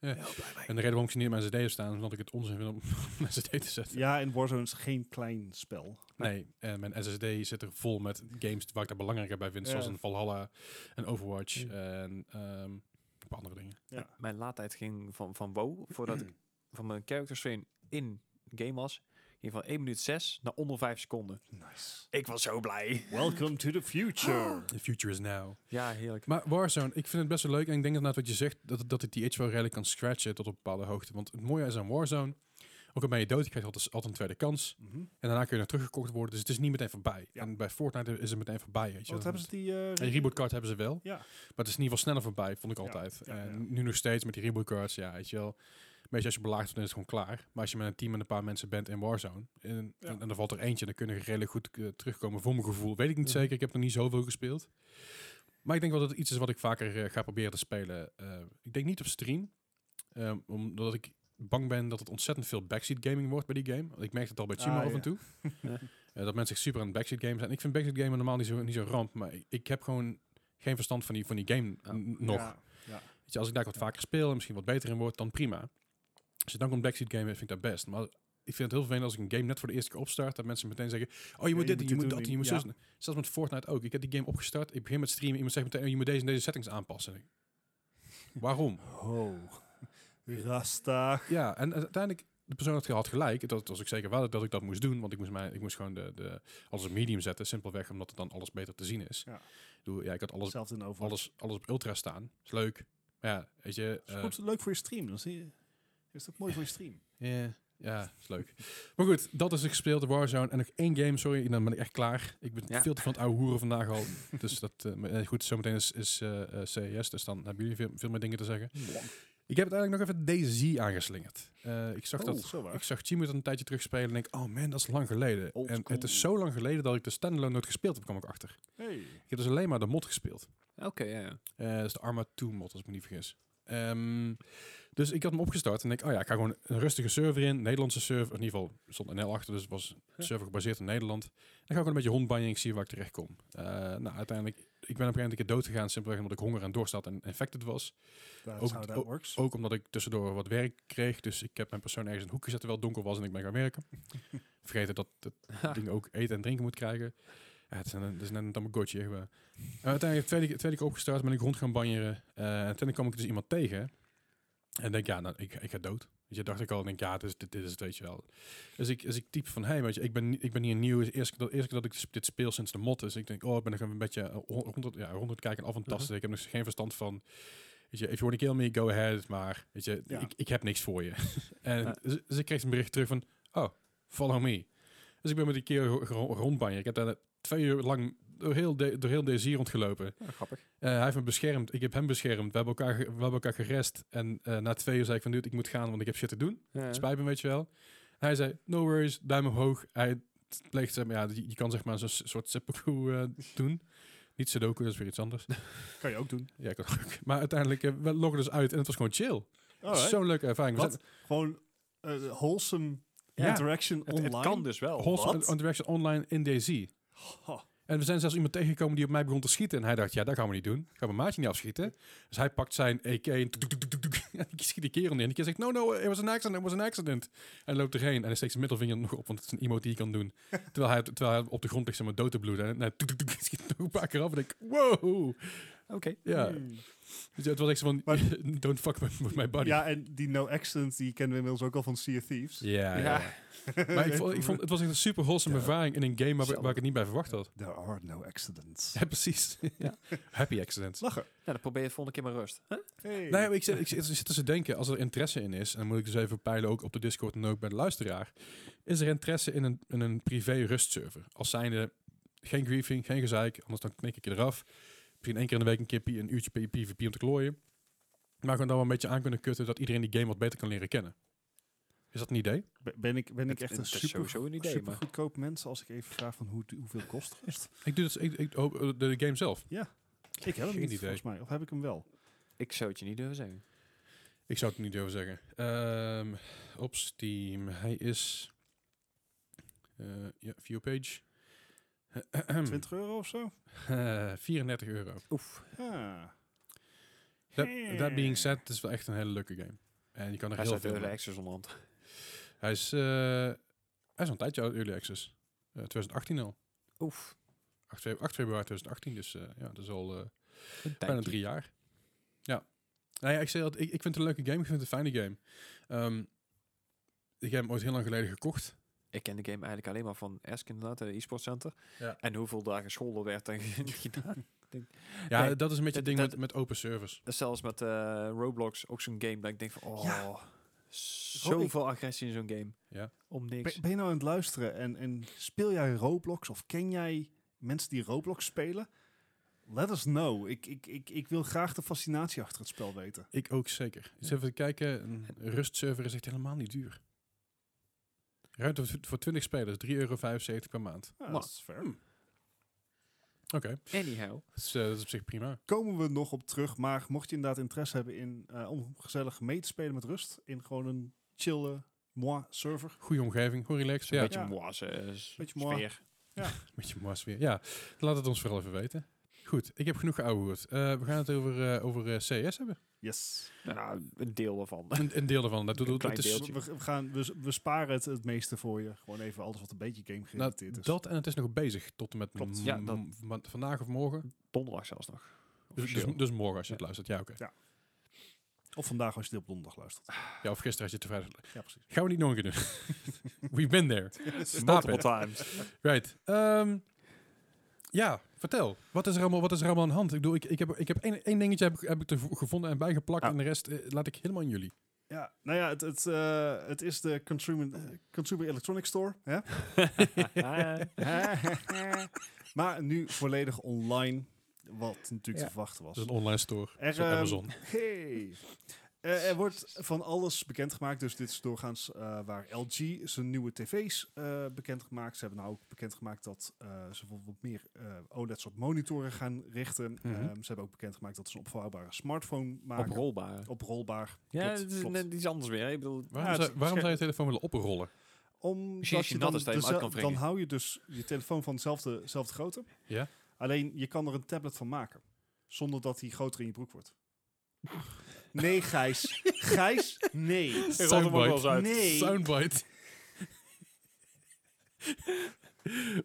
[SPEAKER 1] Ja.
[SPEAKER 2] Heel blij mee.
[SPEAKER 1] En de reden waarom ik ze niet op mijn SSD heb staan, is omdat ik het onzin vind om op mijn SSD te zetten.
[SPEAKER 3] Ja, en Warzone is geen klein spel.
[SPEAKER 1] Nee, en mijn SSD zit er vol met games waar ik daar belangrijker bij vind, zoals
[SPEAKER 3] Ja.
[SPEAKER 1] een Valhalla en Overwatch
[SPEAKER 2] Ja.
[SPEAKER 1] en ehm, een paar andere dingen.
[SPEAKER 3] Ja.
[SPEAKER 2] Mijn laadtijd ging van, van WoW, voordat ik van mijn character train in game was, ging van 1 minuut 6 naar onder 5 seconden.
[SPEAKER 3] Nice. Oh.
[SPEAKER 2] Ik was zo blij.
[SPEAKER 3] Welcome to the future.
[SPEAKER 1] The future is now.
[SPEAKER 2] Ja, heerlijk.
[SPEAKER 1] Maar Warzone, ik vind het best wel leuk. En ik denk inderdaad wat je zegt, dat, dat het die edge wel redelijk kan scratchen tot op een bepaalde hoogte. Want het mooie is aan Warzone, ook al ben je dood, je krijgt altijd, altijd een tweede kans.
[SPEAKER 3] Mhm.
[SPEAKER 1] En daarna kun je nog teruggekocht worden, dus het is niet meteen voorbij.
[SPEAKER 3] Ja.
[SPEAKER 1] En bij Fortnite is het meteen voorbij, weet je.
[SPEAKER 3] Wat
[SPEAKER 1] Dan-
[SPEAKER 3] hebben ze die... eh,
[SPEAKER 1] Een rebootcard hebben ze wel.
[SPEAKER 3] Ja.
[SPEAKER 1] Maar het is in ieder geval sneller voorbij, vond ik altijd.
[SPEAKER 3] ja,
[SPEAKER 1] en
[SPEAKER 3] ja.
[SPEAKER 1] nu nog steeds met die rebootcards, ja, weet je wel. Meestal als je belaagd wordt, dan is het gewoon klaar. Maar als je met een team en een paar mensen bent in Warzone... en,
[SPEAKER 3] Ja.
[SPEAKER 1] en, en er valt er eentje, dan kunnen we redelijk goed eh, terugkomen. Voor mijn gevoel, weet ik niet
[SPEAKER 2] Mhm.
[SPEAKER 1] zeker. Ik heb nog niet zoveel gespeeld. Maar ik denk wel dat het iets is wat ik vaker eh, ga proberen te spelen. Eh, ik denk niet op stream. Ehm, omdat ik bang ben dat het ontzettend veel backseat gaming wordt bij die game. Want Ik merk het al bij Chima
[SPEAKER 3] Ah,
[SPEAKER 1] af
[SPEAKER 3] ja.
[SPEAKER 1] en toe. Eh, dat mensen echt super aan het backseat games zijn. Ik vind backseat gamen normaal niet zo, niet zo ramp. Maar ik, ik heb gewoon geen verstand van die, van die game
[SPEAKER 2] Ja.
[SPEAKER 1] n- nog.
[SPEAKER 3] Ja, ja.
[SPEAKER 1] Weet je, als ik daar wat vaker speel en misschien wat beter in word, dan prima. Als je dan komt backseat gamen, vind ik dat best. Maar ik vind het heel vervelend als ik een game net voor de eerste keer opstart, dat mensen meteen zeggen, oh je moet dit, en je
[SPEAKER 3] je moet dit
[SPEAKER 1] moet
[SPEAKER 3] doen,
[SPEAKER 1] dat, en
[SPEAKER 3] je-
[SPEAKER 1] je moet
[SPEAKER 3] ja.
[SPEAKER 1] zo. Zelfs met Fortnite ook. Ik heb die game opgestart, ik begin met streamen, iemand zegt meteen, oh, je moet deze en deze settings aanpassen. Ik, Waarom?
[SPEAKER 3] Oh. Rasta.
[SPEAKER 1] Ja, en uiteindelijk, de persoon had, had gelijk. Dat was ik zeker wel dat ik dat moest doen. Want ik moest, mijn, ik moest gewoon de, de, alles op medium zetten. Simpelweg omdat het dan alles beter te zien is.
[SPEAKER 3] Ja.
[SPEAKER 1] Ik, bedoel, ja, ik had alles,
[SPEAKER 3] Hetzelfde in over.
[SPEAKER 1] alles, alles op ultra staan. Is leuk. Maar ja, weet je...
[SPEAKER 3] Is
[SPEAKER 1] eh,
[SPEAKER 3] goed, leuk voor je stream. Dan zie je. Is dat mooi voor je stream?
[SPEAKER 1] Ja, ja, is leuk. Maar goed, dat is gespeeld, de Warzone. En nog één game, sorry, en dan ben ik echt klaar. Ik ben
[SPEAKER 2] Ja.
[SPEAKER 1] veel te van het oude hoeren vandaag al. dus dat, eh, maar, eh, goed, zometeen is, is eh, eh, CES, dus dan hebben jullie veel, veel meer dingen te zeggen. Hmm. Ik heb uiteindelijk nog even Daisy aangeslingerd. Eh, ik zag
[SPEAKER 3] Oh,
[SPEAKER 1] dat...
[SPEAKER 3] zo waar.
[SPEAKER 1] Ik zag Chimo het een tijdje terugspelen en denk, oh man, dat is lang geleden.
[SPEAKER 3] Old
[SPEAKER 1] en het
[SPEAKER 3] school.
[SPEAKER 1] is zo lang geleden dat ik de standalone nooit gespeeld heb, kwam ik achter.
[SPEAKER 3] Hey.
[SPEAKER 1] Ik heb dus alleen maar de mod gespeeld.
[SPEAKER 2] Oké, ja, ja.
[SPEAKER 1] Eh, dat is de Arma 2 mod, als ik me niet vergis. Ehm, dus ik had hem opgestart en denk, oh ja, ik ga gewoon een rustige server in. Nederlandse server, in ieder geval er stond NL achter, dus het was een server gebaseerd in Nederland. Dan ga ik gewoon een beetje rondbanjen en ik zie waar ik terecht kom. Eh, nou, uiteindelijk, ik ben op een gegeven moment een keer dood gegaan, simpelweg omdat ik honger en dorst had en infected was.
[SPEAKER 3] Daar
[SPEAKER 1] Ook-
[SPEAKER 3] zou dat
[SPEAKER 1] ook-
[SPEAKER 3] works.
[SPEAKER 1] Ook omdat ik tussendoor wat werk kreeg, dus ik heb mijn persoon ergens in een hoek gezet terwijl het donker was en ik ben gaan werken. Vergeten dat het ding ook eten en drinken moet krijgen. Ja, het, is een, het is net een tamagotchi. echt waar. En uiteindelijk tweede, keer- tweede keer opgestart, ben ik rond gaan banjeren. Eh, en uiteindelijk kwam ik dus iemand tegen. En denk, ja, nou, ik, ik ga dood. Dus je dacht ik al, denk, ja, dit, is- dit, dit is het, weet je wel. Dus ik, dus ik type van, hey, weet je, ik ben, niet- ik ben hier nieuw. Het is de eerste, keer dat- eerste keer dat ik dit speel sinds de mod. Dus ik denk, oh, ik ben nog een beetje eh, hon- rond het, ja, rond het kijken en af en tasten. Ik heb nog geen verstand van, weet je, if you want to kill me, go ahead. Maar, weet je,
[SPEAKER 3] Ja.
[SPEAKER 1] ik, ik heb niks voor je. en
[SPEAKER 2] Ja.
[SPEAKER 1] dus, dus ik kreeg een bericht terug van, oh, follow me. Dus ik ben met die keer ro- ro- rondbanjeren. Ik heb daar twee uur lang door heel, de, door heel DC rondgelopen.
[SPEAKER 2] Ja, grappig.
[SPEAKER 1] Eh, hij heeft me beschermd, ik heb hem beschermd. We hebben elkaar, ge- we hebben elkaar gerest. En eh, na twee uur zei ik van, dude, ik moet gaan, want ik heb shit te doen.
[SPEAKER 2] Ja, ja.
[SPEAKER 1] Spijt me, weet je wel. En hij zei, no worries, duim omhoog. Hij pleegt, zeg maar, ja, je, je kan zeg maar zo'n s- soort seppuku eh, doen. Niet sudoku, dat is weer iets anders.
[SPEAKER 3] Kan je ook doen.
[SPEAKER 1] ja, ik had ook. Maar uiteindelijk, eh, we loggen dus uit en het was gewoon chill.
[SPEAKER 3] Alright.
[SPEAKER 1] Zo'n leuke ervaring. We
[SPEAKER 3] Wat? Gewoon eh, wholesome
[SPEAKER 1] Ja.
[SPEAKER 3] interaction
[SPEAKER 2] Het, het
[SPEAKER 3] online.
[SPEAKER 2] kan dus wel.
[SPEAKER 1] zijn wholesome
[SPEAKER 3] Oh, Wat?
[SPEAKER 1] interaction online in DayZ.
[SPEAKER 3] Ha.
[SPEAKER 1] En we zijn zelfs iemand tegengekomen die op mij begon te schieten. En hij dacht, ja, dat gaan we niet doen. Ik ga mijn maatje niet afschieten. Dus hij pakt zijn AK en, toek, toek, toek, toek, toek. en ik schiet die kerel neer. En die kerel zegt, no, no, it was an accident, it was an accident. En loopt erheen en hij steekt zijn middelvinger nog op, want het is een emote die je kan doen. terwijl, hij, terwijl hij op de grond ligt zeg maar dood te bloeden. En hij toek, toek, toek, schiet nog een paar keer af en ik, wow. Oh,
[SPEAKER 2] Oké.
[SPEAKER 1] Ja,
[SPEAKER 3] Hmm.
[SPEAKER 1] dus het was echt zo van,
[SPEAKER 3] Maar-
[SPEAKER 1] don't fuck with, with my body.
[SPEAKER 3] Ja, en die no accident die kennen we inmiddels ook al van Sea of Thieves.
[SPEAKER 1] Ja, ja.
[SPEAKER 2] Ja. Nou,
[SPEAKER 1] Maar ik vond, ik vond, het was echt een super wholesome
[SPEAKER 3] Ja.
[SPEAKER 1] ervaring in een game waar, waar
[SPEAKER 2] Zelfde.
[SPEAKER 1] ik het niet bij verwacht had.
[SPEAKER 3] There are no accidents.
[SPEAKER 1] Ja, precies.
[SPEAKER 2] Ja.
[SPEAKER 1] Happy accidents.
[SPEAKER 3] Lachen.
[SPEAKER 2] Nou, dan probeer je het volgende keer maar rust. Huh?
[SPEAKER 3] Hey.
[SPEAKER 1] Nee, maar ik zit, ik zit, ik zit dus te denken, als er interesse in is, en dan moet ik dus even peilen ook op de Discord en ook bij de luisteraar, is er interesse in een, in een privé rustserver? Als zijnde geen griefing, geen gezeik, anders dan knik ik je eraf. Misschien één keer in de week een keer pi- een uurtje pi- PvP om te klooien. Maar gewoon dan wel een beetje aan kunnen kutten dat iedereen die game wat beter kan leren kennen. Is dat een idee?
[SPEAKER 3] Be- ben ik, ben ik echt een
[SPEAKER 2] Het is
[SPEAKER 3] super,
[SPEAKER 2] sowieso een idee,
[SPEAKER 3] super
[SPEAKER 2] maar...
[SPEAKER 3] goedkoop mens als ik even vraag van hoe, hoeveel kost het?
[SPEAKER 1] Ik doe dat, ik, ik, oh, eh, de, de game zelf.
[SPEAKER 3] ik heb hem
[SPEAKER 1] Geen
[SPEAKER 3] niet,
[SPEAKER 1] idee.
[SPEAKER 3] volgens mij. Of heb ik hem wel?
[SPEAKER 2] Ik zou het je niet durven zeggen.
[SPEAKER 1] Ik zou het niet durven zeggen. Ehm, op Steam, hij is... eh ja, viewpage. Hmm.
[SPEAKER 3] 20 euro of zo?
[SPEAKER 1] Eh, 34 euro.
[SPEAKER 2] Oef.
[SPEAKER 3] Ah.
[SPEAKER 1] That,
[SPEAKER 3] Hmm.
[SPEAKER 1] that being said, het is wel echt een hele leuke game. En je kan er
[SPEAKER 2] Hij
[SPEAKER 1] heel
[SPEAKER 2] staat
[SPEAKER 1] veel
[SPEAKER 2] veel
[SPEAKER 1] mee.
[SPEAKER 2] extra's onderhand.
[SPEAKER 1] Hij is, eh, hij is al een tijdje uit Early Access. Eh, 2018 al.
[SPEAKER 2] Oef.
[SPEAKER 1] 8, fe- 8 februari 2018, dus eh, ja, dat is al eh,
[SPEAKER 2] Een
[SPEAKER 1] bijna
[SPEAKER 2] tijdje.
[SPEAKER 1] drie jaar. Ja. Nou ja, ik zei dat, ik, ik vind het een leuke game, ik vind het een fijne game. Ehm, ik heb hem ooit heel lang geleden gekocht.
[SPEAKER 2] Ik ken de game eigenlijk alleen maar van Esk inderdaad, de e-sport center.
[SPEAKER 1] Ja.
[SPEAKER 2] En hoeveel dagen school er werd en gedaan.
[SPEAKER 1] Ja,
[SPEAKER 2] Nee,
[SPEAKER 1] dat is een beetje het
[SPEAKER 2] dat-
[SPEAKER 1] ding met,
[SPEAKER 2] dat-
[SPEAKER 1] met open service.
[SPEAKER 2] Zelfs met eh, Roblox, ook zo'n game dat ik denk van, oh,
[SPEAKER 3] Ja.
[SPEAKER 2] zoveel agressie in zo'n game.
[SPEAKER 1] Ja.
[SPEAKER 2] Om
[SPEAKER 3] Ben,
[SPEAKER 2] niks.
[SPEAKER 3] ben je nou aan het luisteren en, en speel jij Roblox of ken jij mensen die Roblox spelen? Let us know. Ik, ik, ik, ik wil graag de fascinatie achter het spel weten.
[SPEAKER 1] Ik ook zeker. Eens even kijken, een rustserver is echt helemaal niet duur. Ruimte voor 20 spelers, 3,75 euro per maand.
[SPEAKER 3] Ah,
[SPEAKER 2] Nou,
[SPEAKER 3] dat is fair.
[SPEAKER 1] hmm. Oké,
[SPEAKER 2] Anyhow.
[SPEAKER 1] dat, is, eh, dat is op zich prima.
[SPEAKER 3] Komen we nog op terug, maar mocht je inderdaad interesse hebben in, eh, om gezellig mee te spelen met rust, in gewoon een chille, moi server.
[SPEAKER 1] Goede omgeving, gewoon relaxed.
[SPEAKER 2] Zo'n
[SPEAKER 1] Ja,
[SPEAKER 2] beetje
[SPEAKER 3] Ja.
[SPEAKER 2] moise eh,
[SPEAKER 3] Beetje mooi.
[SPEAKER 2] sfeer.
[SPEAKER 1] een beetje mars weer. Ja, laat het ons vooral even weten. Goed, ik heb genoeg geouwehoerd. Eh we gaan het over, eh, over eh, CS hebben.
[SPEAKER 3] Yes.
[SPEAKER 2] Nou, een deel daarvan.
[SPEAKER 1] Een, een deel ervan. Dat doet
[SPEAKER 2] Een
[SPEAKER 1] het
[SPEAKER 2] klein
[SPEAKER 1] is-
[SPEAKER 2] deeltje.
[SPEAKER 3] We, we gaan, we, we sparen het het meeste voor je. Gewoon even alles wat een beetje game
[SPEAKER 1] nou,
[SPEAKER 3] gerelateerd is.
[SPEAKER 1] dat en het is nog bezig tot en met
[SPEAKER 3] Klopt.
[SPEAKER 1] m-
[SPEAKER 2] Ja, dat-
[SPEAKER 1] m- van- vandaag of morgen.
[SPEAKER 2] Donderdag zelfs nog.
[SPEAKER 1] Dus, dus,
[SPEAKER 2] Officieel.
[SPEAKER 1] dus morgen als je het
[SPEAKER 2] Ja.
[SPEAKER 1] luistert. Ja, oké.
[SPEAKER 3] Of vandaag als je dit op donderdag luistert.
[SPEAKER 1] Ja, of gisteren als je het vrijdag...
[SPEAKER 3] Ja, precies.
[SPEAKER 1] Gaan we niet nog een keer doen. We've been there. Stop
[SPEAKER 2] Multiple
[SPEAKER 1] it.
[SPEAKER 2] times.
[SPEAKER 1] Right. Ehm, ja, vertel. Wat is, er allemaal, wat is er allemaal aan de hand? Ik bedoel, ik, ik heb, ik heb één, één dingetje heb, ik- heb ik te vo- gevonden en bijgeplakt.
[SPEAKER 2] Ja.
[SPEAKER 1] En de rest eh, laat ik helemaal aan jullie.
[SPEAKER 3] Ja, nou ja, het, het, eh, het is de Consumer, eh, consumer Electronics Store. Hè? maar nu volledig online. Wat natuurlijk
[SPEAKER 2] Ja.
[SPEAKER 3] te verwachten was.
[SPEAKER 1] Dat is een online store.
[SPEAKER 3] Er,
[SPEAKER 1] Dus Is op
[SPEAKER 3] ehm,
[SPEAKER 1] Amazon.
[SPEAKER 3] Hey. Eh, er wordt van alles bekendgemaakt. Dus dit is doorgaans eh, waar LG zijn nieuwe tv's eh, bekendgemaakt. Ze hebben nou ook bekendgemaakt dat eh, ze bijvoorbeeld meer eh, OLED's op monitoren gaan richten.
[SPEAKER 1] Mhm.
[SPEAKER 3] Ehm, ze hebben ook bekendgemaakt dat ze een opvouwbare smartphone maken.
[SPEAKER 2] Oprolbaar.
[SPEAKER 3] Oprolbaar.
[SPEAKER 2] Ja,
[SPEAKER 3] Klopt,
[SPEAKER 2] dat is,
[SPEAKER 3] klopt.
[SPEAKER 2] net iets anders weer. hè. Ik bedoel,
[SPEAKER 1] Waarom,
[SPEAKER 3] ja, het
[SPEAKER 1] zou, waarom
[SPEAKER 3] scherm-
[SPEAKER 1] zou je telefoon willen oprollen?
[SPEAKER 3] Omdat
[SPEAKER 2] Misschien als
[SPEAKER 3] je
[SPEAKER 2] je
[SPEAKER 3] dan,
[SPEAKER 2] nat is dat je hem uit
[SPEAKER 3] dezel-
[SPEAKER 2] kan
[SPEAKER 3] dan
[SPEAKER 2] wringen.
[SPEAKER 3] hou je dus je telefoon van dezelfde, dezelfde grootte.
[SPEAKER 1] Ja.
[SPEAKER 3] Alleen je kan er een tablet van maken. Zonder dat hij groter in je broek wordt. Nee, Gijs. Gijs, nee.
[SPEAKER 2] Ik rolt hem ook wel eens uit.
[SPEAKER 3] Nee.
[SPEAKER 1] Soundbite.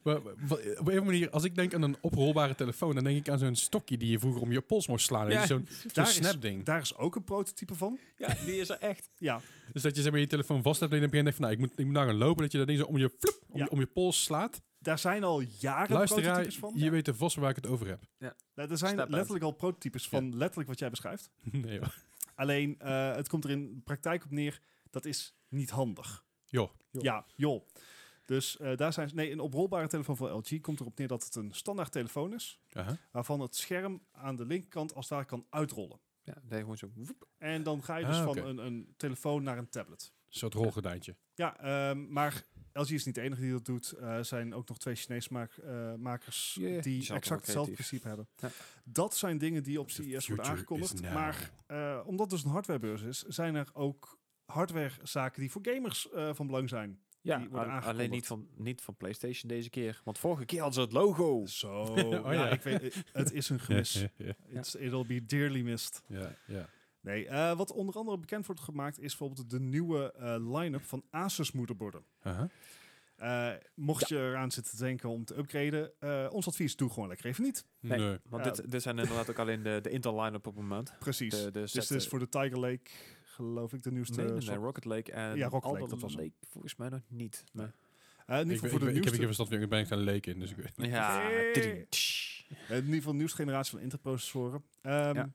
[SPEAKER 1] maar, maar, wa- op een of andere manier, als ik denk aan een oprolbare telefoon, dan denk ik aan zo'n stokje die je vroeger om je pols moest slaan.
[SPEAKER 2] Ja.
[SPEAKER 1] Zo'n zo'n
[SPEAKER 3] Daar is-
[SPEAKER 1] snapding.
[SPEAKER 3] Daar is ook een prototype van.
[SPEAKER 2] Ja, die is er echt.
[SPEAKER 3] Ja,
[SPEAKER 1] Dus dat je zeg maar, je telefoon vast hebt en dan heb je denkt van, nou, ik moet, ik moet nou gaan lopen. Dat je dat ding zo om je, flup, om,
[SPEAKER 3] Ja.
[SPEAKER 1] je, om je pols slaat.
[SPEAKER 3] daar zijn al jaren
[SPEAKER 1] Luisteraar,
[SPEAKER 3] prototypes van.
[SPEAKER 1] je weet de vast waar ik het over heb.
[SPEAKER 3] Nou, er zijn
[SPEAKER 2] Stap uit.
[SPEAKER 3] letterlijk al prototypes van letterlijk wat jij beschrijft.
[SPEAKER 1] nee hoor.
[SPEAKER 3] Alleen, eh, het komt er in de praktijk op neer. Dat is niet handig.
[SPEAKER 1] Joh.
[SPEAKER 3] Ja, joh. Dus eh, daar zijn ze... Nee, een oprolbare telefoon van LG komt erop neer dat het een standaard telefoon is.
[SPEAKER 1] Aha.
[SPEAKER 3] Waarvan het scherm aan de linkerkant als daar kan uitrollen.
[SPEAKER 2] Ja, nee, gewoon zo. woep.
[SPEAKER 3] En dan ga je dus
[SPEAKER 1] Ah,
[SPEAKER 3] van
[SPEAKER 1] oké.
[SPEAKER 3] een, een telefoon naar een tablet.
[SPEAKER 1] Een soort rolgordijntje.
[SPEAKER 3] Ja, ehm, maar LG is niet de enige die dat doet. Eh, Er zijn ook nog twee Chinese maak- eh, makers
[SPEAKER 2] Ja, die zijn
[SPEAKER 3] die
[SPEAKER 2] altijd wel
[SPEAKER 3] exact hetzelfde
[SPEAKER 2] creatief.
[SPEAKER 3] principe hebben.
[SPEAKER 2] Ja.
[SPEAKER 3] Dat zijn dingen die op
[SPEAKER 1] The
[SPEAKER 3] CES
[SPEAKER 1] future
[SPEAKER 3] worden
[SPEAKER 1] is
[SPEAKER 3] aangekondigd.
[SPEAKER 1] now.
[SPEAKER 3] Maar eh, omdat het dus een hardwarebeurs is, zijn er ook hardwarezaken die voor gamers eh, van belang zijn.
[SPEAKER 2] Ja,
[SPEAKER 3] Die worden
[SPEAKER 2] al- alleen
[SPEAKER 3] aangekondigd.
[SPEAKER 2] niet van, niet van PlayStation deze keer. Want vorige keer hadden ze het logo.
[SPEAKER 3] Zo,
[SPEAKER 1] ja.
[SPEAKER 3] ja,
[SPEAKER 2] Oh,
[SPEAKER 3] ik weet, eh, het is een gemis.
[SPEAKER 1] ja,
[SPEAKER 3] It's, it'll be dearly missed.
[SPEAKER 1] ja, ja.
[SPEAKER 3] Nee, eh, wat onder andere bekend wordt gemaakt is bijvoorbeeld de nieuwe eh, line-up van Asus moederborden.
[SPEAKER 1] Aha.
[SPEAKER 3] Eh, mocht je eraan zitten te denken om te upgraden, eh, ons advies doe gewoon lekker even niet.
[SPEAKER 1] Nee.
[SPEAKER 2] Nee. Want
[SPEAKER 3] Ja.
[SPEAKER 2] dit, dit zijn inderdaad ook alleen de, de Intel line-up op het moment.
[SPEAKER 3] Precies.
[SPEAKER 2] De, de
[SPEAKER 3] dus dit is
[SPEAKER 2] zetten-
[SPEAKER 3] voor de Tiger Lake, geloof ik, de nieuwste.
[SPEAKER 2] nee, nee, nee,
[SPEAKER 3] soort.
[SPEAKER 2] Rocket Lake en
[SPEAKER 3] Ja, Rocket
[SPEAKER 2] Alder
[SPEAKER 3] Lake, dat was hem.
[SPEAKER 2] Lake volgens mij nog niet. Maar
[SPEAKER 3] Eh, in
[SPEAKER 1] Ik,
[SPEAKER 3] ieder geval
[SPEAKER 1] weet-
[SPEAKER 3] voor
[SPEAKER 1] ik, weet-
[SPEAKER 3] de
[SPEAKER 1] ik heb
[SPEAKER 3] nieuwste,
[SPEAKER 1] hier verstand van, ik ben echt een leek in. Dus ik weet.
[SPEAKER 2] Ja,
[SPEAKER 3] Hey.
[SPEAKER 2] tiding, tsch.
[SPEAKER 3] eh, in ieder geval de nieuwste generatie van Intel-processoren. Ehm,
[SPEAKER 2] Ja.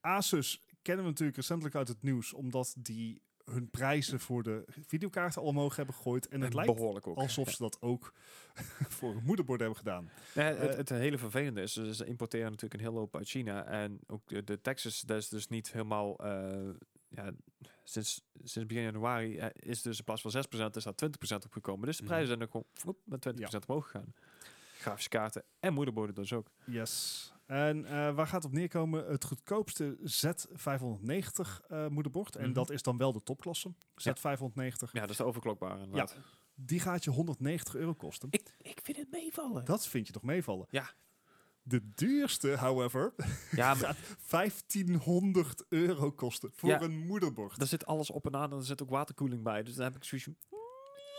[SPEAKER 3] Asus kennen we natuurlijk recentelijk uit het nieuws, omdat die hun prijzen voor de videokaarten al omhoog hebben gegooid. En het
[SPEAKER 2] En
[SPEAKER 3] lijkt
[SPEAKER 2] behoorlijk ook.
[SPEAKER 3] alsof
[SPEAKER 2] Ja.
[SPEAKER 3] ze dat ook voor hun moederbord hebben gedaan.
[SPEAKER 2] Nee, het,
[SPEAKER 3] eh,
[SPEAKER 2] het hele vervelende is, dus ze importeren natuurlijk een hele hoop uit China. En ook de, de Texas, dat is dus niet helemaal... eh, ja, sinds, sinds begin januari eh, is dus in plaats van 6% is daar 20% op gekomen. Dus de
[SPEAKER 1] Mhm.
[SPEAKER 2] prijzen zijn ook gewoon vloep, met 20% omhoog gegaan. Grafische kaarten en moederborden dus ook.
[SPEAKER 3] Yes. En eh, waar gaat het op neerkomen? Het goedkoopste Z590 eh, moederbord. En
[SPEAKER 1] Mhm.
[SPEAKER 3] dat is dan wel de topklasse. Z590.
[SPEAKER 2] Ja, dat is de overklokbare inderdaad.
[SPEAKER 3] Die gaat je 190 euro kosten.
[SPEAKER 2] Ik, ik vind het meevallen.
[SPEAKER 3] Dat vind je toch meevallen?
[SPEAKER 2] Ja.
[SPEAKER 3] De duurste, however,
[SPEAKER 2] Ja, maar
[SPEAKER 3] gaat 1500 euro kosten voor
[SPEAKER 2] Ja.
[SPEAKER 3] een moederbord.
[SPEAKER 2] daar zit alles op en aan en er zit ook waterkoeling bij. Dus dan heb ik zoiets van, mm,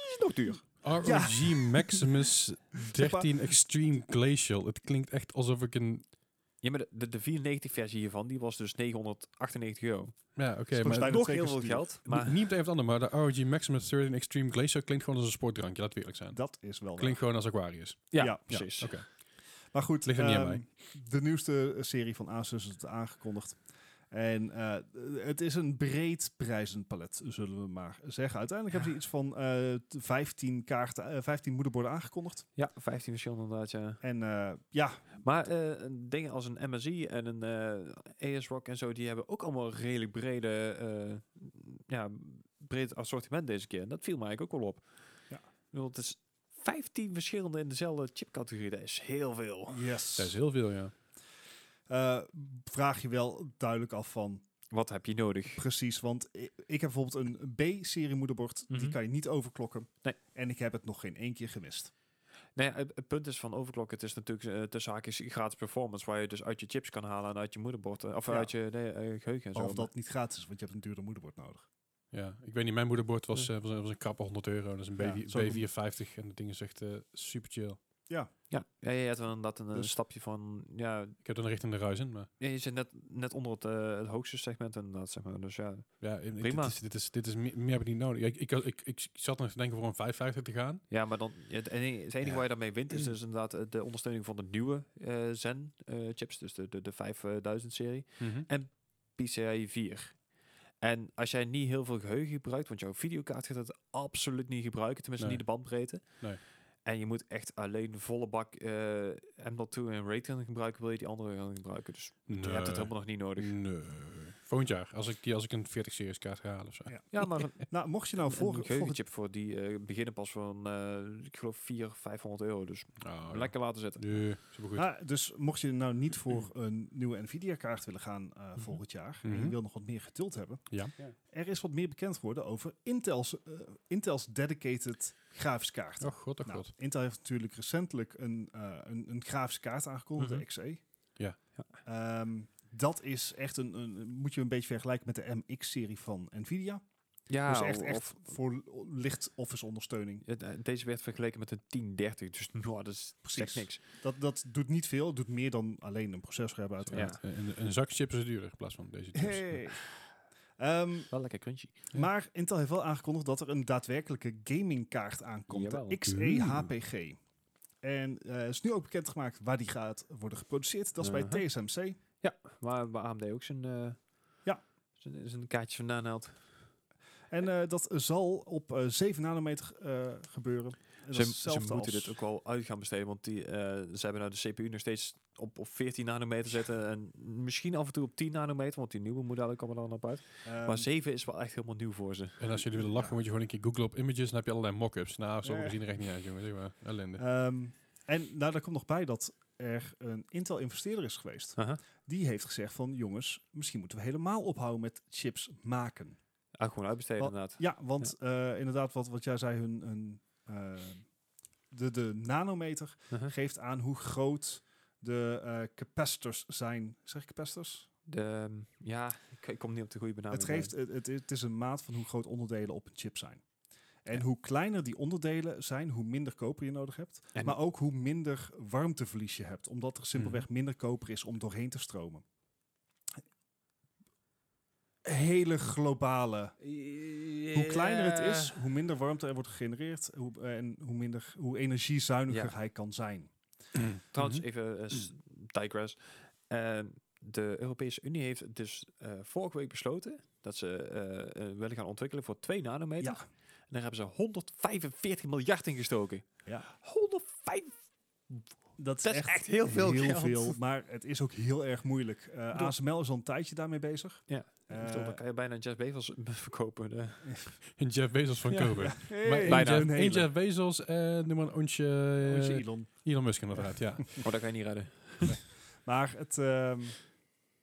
[SPEAKER 2] is nog duur.
[SPEAKER 1] ROG Maximus 13 Extreme Glacial. Het klinkt echt alsof ik een...
[SPEAKER 2] Ja, maar de, de, de 94 versie hiervan, die was dus 998 euro. Dus
[SPEAKER 1] Ja, oké,
[SPEAKER 3] Volgens
[SPEAKER 1] maar...
[SPEAKER 3] mij
[SPEAKER 2] Nog
[SPEAKER 3] twee
[SPEAKER 2] heel
[SPEAKER 3] keer
[SPEAKER 2] veel
[SPEAKER 3] duur.
[SPEAKER 2] geld,
[SPEAKER 1] Maar
[SPEAKER 2] maar...
[SPEAKER 1] niet even ander, maar de ROG Maximus 13 Extreme Glacial klinkt gewoon als een sportdrankje, laten we eerlijk zijn.
[SPEAKER 3] Dat is wel. waar.
[SPEAKER 1] Klinkt gewoon als Aquarius.
[SPEAKER 2] Ja,
[SPEAKER 3] Ja,
[SPEAKER 1] Ja,
[SPEAKER 2] precies.
[SPEAKER 1] Oké.
[SPEAKER 3] Maar goed,
[SPEAKER 1] Ligt er niet aan
[SPEAKER 3] ehm, de nieuwste eh, serie van Asus is het aangekondigd. En eh, het is een breed prijzenpalet, zullen we maar zeggen. Uiteindelijk hebben ze iets van eh, t- 15, kaarten, eh, 15 moederborden aangekondigd.
[SPEAKER 2] Ja, 15 verschillende inderdaad, ja.
[SPEAKER 3] En eh, ja,
[SPEAKER 2] Maar eh, dingen als een MSI en een eh ASRock en zo, die hebben ook allemaal redelijk brede, eh, ja, breed assortiment deze keer. En dat viel mij eigenlijk ook wel op.
[SPEAKER 3] Ja.
[SPEAKER 2] Ik bedoel, het is 15 verschillende in dezelfde chipcategorie. Dat is heel veel.
[SPEAKER 3] Yes.
[SPEAKER 1] Dat is heel veel, ja.
[SPEAKER 3] Eh, vraag je wel duidelijk af van
[SPEAKER 2] Wat heb je nodig?
[SPEAKER 3] precies. Want i- ik heb bijvoorbeeld een B-serie moederbord.
[SPEAKER 2] Mhm.
[SPEAKER 3] Die kan je niet overklokken.
[SPEAKER 2] Nee.
[SPEAKER 3] En ik heb het nog geen één keer gemist.
[SPEAKER 2] Nee, Nou het, het punt is van overklokken. Het is natuurlijk eh tussen haakjes gratis performance. Waar je dus uit je chips kan halen en uit je moederbord. eh, of
[SPEAKER 3] Ja.
[SPEAKER 2] uit je nee, eh, geheugen en zo.
[SPEAKER 3] Of dat niet gratis is, want je hebt een duurder moederbord nodig.
[SPEAKER 1] ja. Ik weet niet, mijn moederbord was, eh, was, was een krappe 100 euro. Dat is een
[SPEAKER 3] Ja,
[SPEAKER 1] B,
[SPEAKER 3] zo'n-
[SPEAKER 1] B450 en dat ding is echt eh, super chill.
[SPEAKER 2] Ja, ja je hebt wel inderdaad een, eh,
[SPEAKER 3] Dus-
[SPEAKER 2] stapje van... Ja,
[SPEAKER 1] Ik heb er een richting de ruis in, maar
[SPEAKER 2] ja, je zit net, net onder het, eh, het hoogste segment inderdaad, zeg maar. Dus ja,
[SPEAKER 1] ja, ik- ik-
[SPEAKER 2] Prima.
[SPEAKER 1] Dit is, dit is, dit is me- meer heb ik niet nodig. Ja, Ik, ik, ik, ik zat nog te denken voor een 550 te gaan.
[SPEAKER 2] ja maar dan, ja, het enige, het enige
[SPEAKER 1] Ja.
[SPEAKER 2] waar je daarmee wint is dus inderdaad eh, de ondersteuning van de nieuwe eh, Zen eh, chips. Dus de, de, de 5000-serie. PCI 4. En als jij niet heel veel geheugen gebruikt, want jouw videokaart gaat het absoluut niet gebruiken, tenminste
[SPEAKER 1] Nee.
[SPEAKER 2] niet de bandbreedte.
[SPEAKER 1] Nee.
[SPEAKER 2] En je moet echt alleen volle bak eh M.2 en Raytracing gebruiken, wil je die andere gaan gebruiken. Dus je hebt het helemaal nog niet nodig.
[SPEAKER 1] Nee. Volgend jaar, als ik, die, als ik een 40 series kaart ga halen of zo.
[SPEAKER 3] Ja.
[SPEAKER 2] Ja, maar een,
[SPEAKER 3] Nou, mocht je nou
[SPEAKER 2] een
[SPEAKER 3] voor, volgend,
[SPEAKER 2] geheugenchip voor die eh, beginnen pas van, eh, ik geloof, 400, 500 euro. Dus
[SPEAKER 1] Oh, ja.
[SPEAKER 2] lekker laten zitten.
[SPEAKER 1] Nee, supergoed.
[SPEAKER 3] Ah, dus mocht je nou niet voor een nieuwe Nvidia-kaart willen gaan eh, volgend jaar, en
[SPEAKER 1] Mhm.
[SPEAKER 3] je wil nog wat meer geduld hebben,
[SPEAKER 1] Ja.
[SPEAKER 3] er is wat meer bekend geworden over Intel's, eh, Intel's dedicated grafische kaart.
[SPEAKER 1] Oh god, oh
[SPEAKER 3] Nou,
[SPEAKER 1] god.
[SPEAKER 3] Intel heeft natuurlijk recentelijk een, eh, een, een grafische kaart aangekondigd,
[SPEAKER 1] Mhm.
[SPEAKER 3] de XE.
[SPEAKER 1] Ja.
[SPEAKER 3] Ehm, dat is echt een, een, moet je een beetje vergelijken met de MX-serie van Nvidia.
[SPEAKER 2] Ja,
[SPEAKER 1] Nou,
[SPEAKER 3] dus echt,
[SPEAKER 2] of-
[SPEAKER 3] echt voor licht office ondersteuning.
[SPEAKER 2] het, eh, deze werd vergeleken met een 1030, dus nou, dat is
[SPEAKER 3] Precies.
[SPEAKER 2] echt niks.
[SPEAKER 3] Dat, dat doet niet veel, het doet meer dan alleen een processor hebben uiteraard.
[SPEAKER 2] Ja.
[SPEAKER 1] Een, een- een zak chips is duurder in plaats van deze chips.
[SPEAKER 3] Hey. Ehm,
[SPEAKER 2] Wel lekker crunchy.
[SPEAKER 1] Ja.
[SPEAKER 3] Maar Intel heeft wel aangekondigd dat er een daadwerkelijke gamingkaart aankomt, E
[SPEAKER 2] Jawel.
[SPEAKER 3] de XE-HPG. En eh, is nu ook bekendgemaakt waar die gaat worden geproduceerd. Dat is bij
[SPEAKER 2] Uh-huh.
[SPEAKER 3] TSMC.
[SPEAKER 2] Waar, waar AMD ook zijn, eh,
[SPEAKER 3] Ja.
[SPEAKER 2] zijn, zijn kaartjes vandaan haalt.
[SPEAKER 3] En eh, dat zal op eh 7 nanometer eh, gebeuren. En dat is
[SPEAKER 2] Ze, ze
[SPEAKER 3] hetzelfde
[SPEAKER 2] moeten
[SPEAKER 3] als-
[SPEAKER 2] dit ook wel uit gaan besteden, want die, eh, ze hebben nou de CPU nog steeds op, op 14 nanometer zitten en misschien af en toe op 10 nanometer, want die nieuwe modellen komen er dan op uit.
[SPEAKER 3] Ehm,
[SPEAKER 2] maar 7 is wel echt helemaal nieuw voor ze.
[SPEAKER 1] En als jullie willen lachen, moet je gewoon een keer googlen op images. Dan heb je allerlei mock-ups. Nou, sommige
[SPEAKER 3] Ja.
[SPEAKER 1] zien er echt niet uit, jongen. Zeg maar, ellende.
[SPEAKER 3] ehm, en nou, daar komt nog bij dat er een Intel-investeerder is geweest.
[SPEAKER 2] Aha.
[SPEAKER 3] Die heeft gezegd van, jongens, misschien moeten we helemaal ophouden met chips maken.
[SPEAKER 2] Ah, gewoon uitbesteden
[SPEAKER 3] Wat-
[SPEAKER 2] inderdaad.
[SPEAKER 3] Ja, want eh, inderdaad, wat, wat jij zei, hun, hun, eh, de, de nanometer
[SPEAKER 2] Uh-huh.
[SPEAKER 3] geeft aan hoe groot de eh, capacitors zijn. Zeg ik capacitors?
[SPEAKER 2] De, ehm, ja, ik, Nou, ik kom niet op de goede benaming.
[SPEAKER 3] het, geeft, het, het, het is een maat van hoe groot onderdelen op een chip zijn. En hoe kleiner die onderdelen zijn, hoe minder koper je nodig hebt.
[SPEAKER 2] En-
[SPEAKER 3] maar ook hoe minder warmteverlies je hebt. Omdat er simpelweg minder koper is om doorheen te stromen. Hele globale Hoe kleiner het is, hoe minder warmte er wordt gegenereerd hoe, en hoe, minder, hoe energiezuiniger
[SPEAKER 2] Ja.
[SPEAKER 3] hij kan zijn.
[SPEAKER 2] Trouwens,
[SPEAKER 3] Mhm.
[SPEAKER 2] even eh, s- digress. Ehm, de Europese Unie heeft dus eh, vorige week besloten dat ze eh, eh, willen gaan ontwikkelen voor 2 nanometer.
[SPEAKER 3] Ja.
[SPEAKER 2] En daar hebben ze 145 miljard in gestoken.
[SPEAKER 3] Ja.
[SPEAKER 2] 105.
[SPEAKER 3] Dat is,
[SPEAKER 2] Dat is echt heel veel
[SPEAKER 3] heel
[SPEAKER 2] geld.
[SPEAKER 3] veel, maar het is ook heel erg moeilijk. Eh,
[SPEAKER 2] bedoel-
[SPEAKER 3] ASML is al een tijdje daarmee bezig.
[SPEAKER 2] Ja.
[SPEAKER 3] Eh,
[SPEAKER 2] Ik bedoel, dan kan je bijna Jeff Bezos verkopen. eh. De,
[SPEAKER 1] En Jeff Bezos van
[SPEAKER 2] Ja.
[SPEAKER 1] Kobe.
[SPEAKER 3] hey,
[SPEAKER 1] Maar-
[SPEAKER 2] bijna.
[SPEAKER 1] Jeff-
[SPEAKER 3] een
[SPEAKER 1] en
[SPEAKER 3] hele.
[SPEAKER 1] Jeff Bezos en noem maar een ontje, eh,
[SPEAKER 3] Moet je Elon.
[SPEAKER 1] Elon Musk inderdaad, ja.
[SPEAKER 2] oh, dat kan je niet redden.
[SPEAKER 3] Maar het, ehm,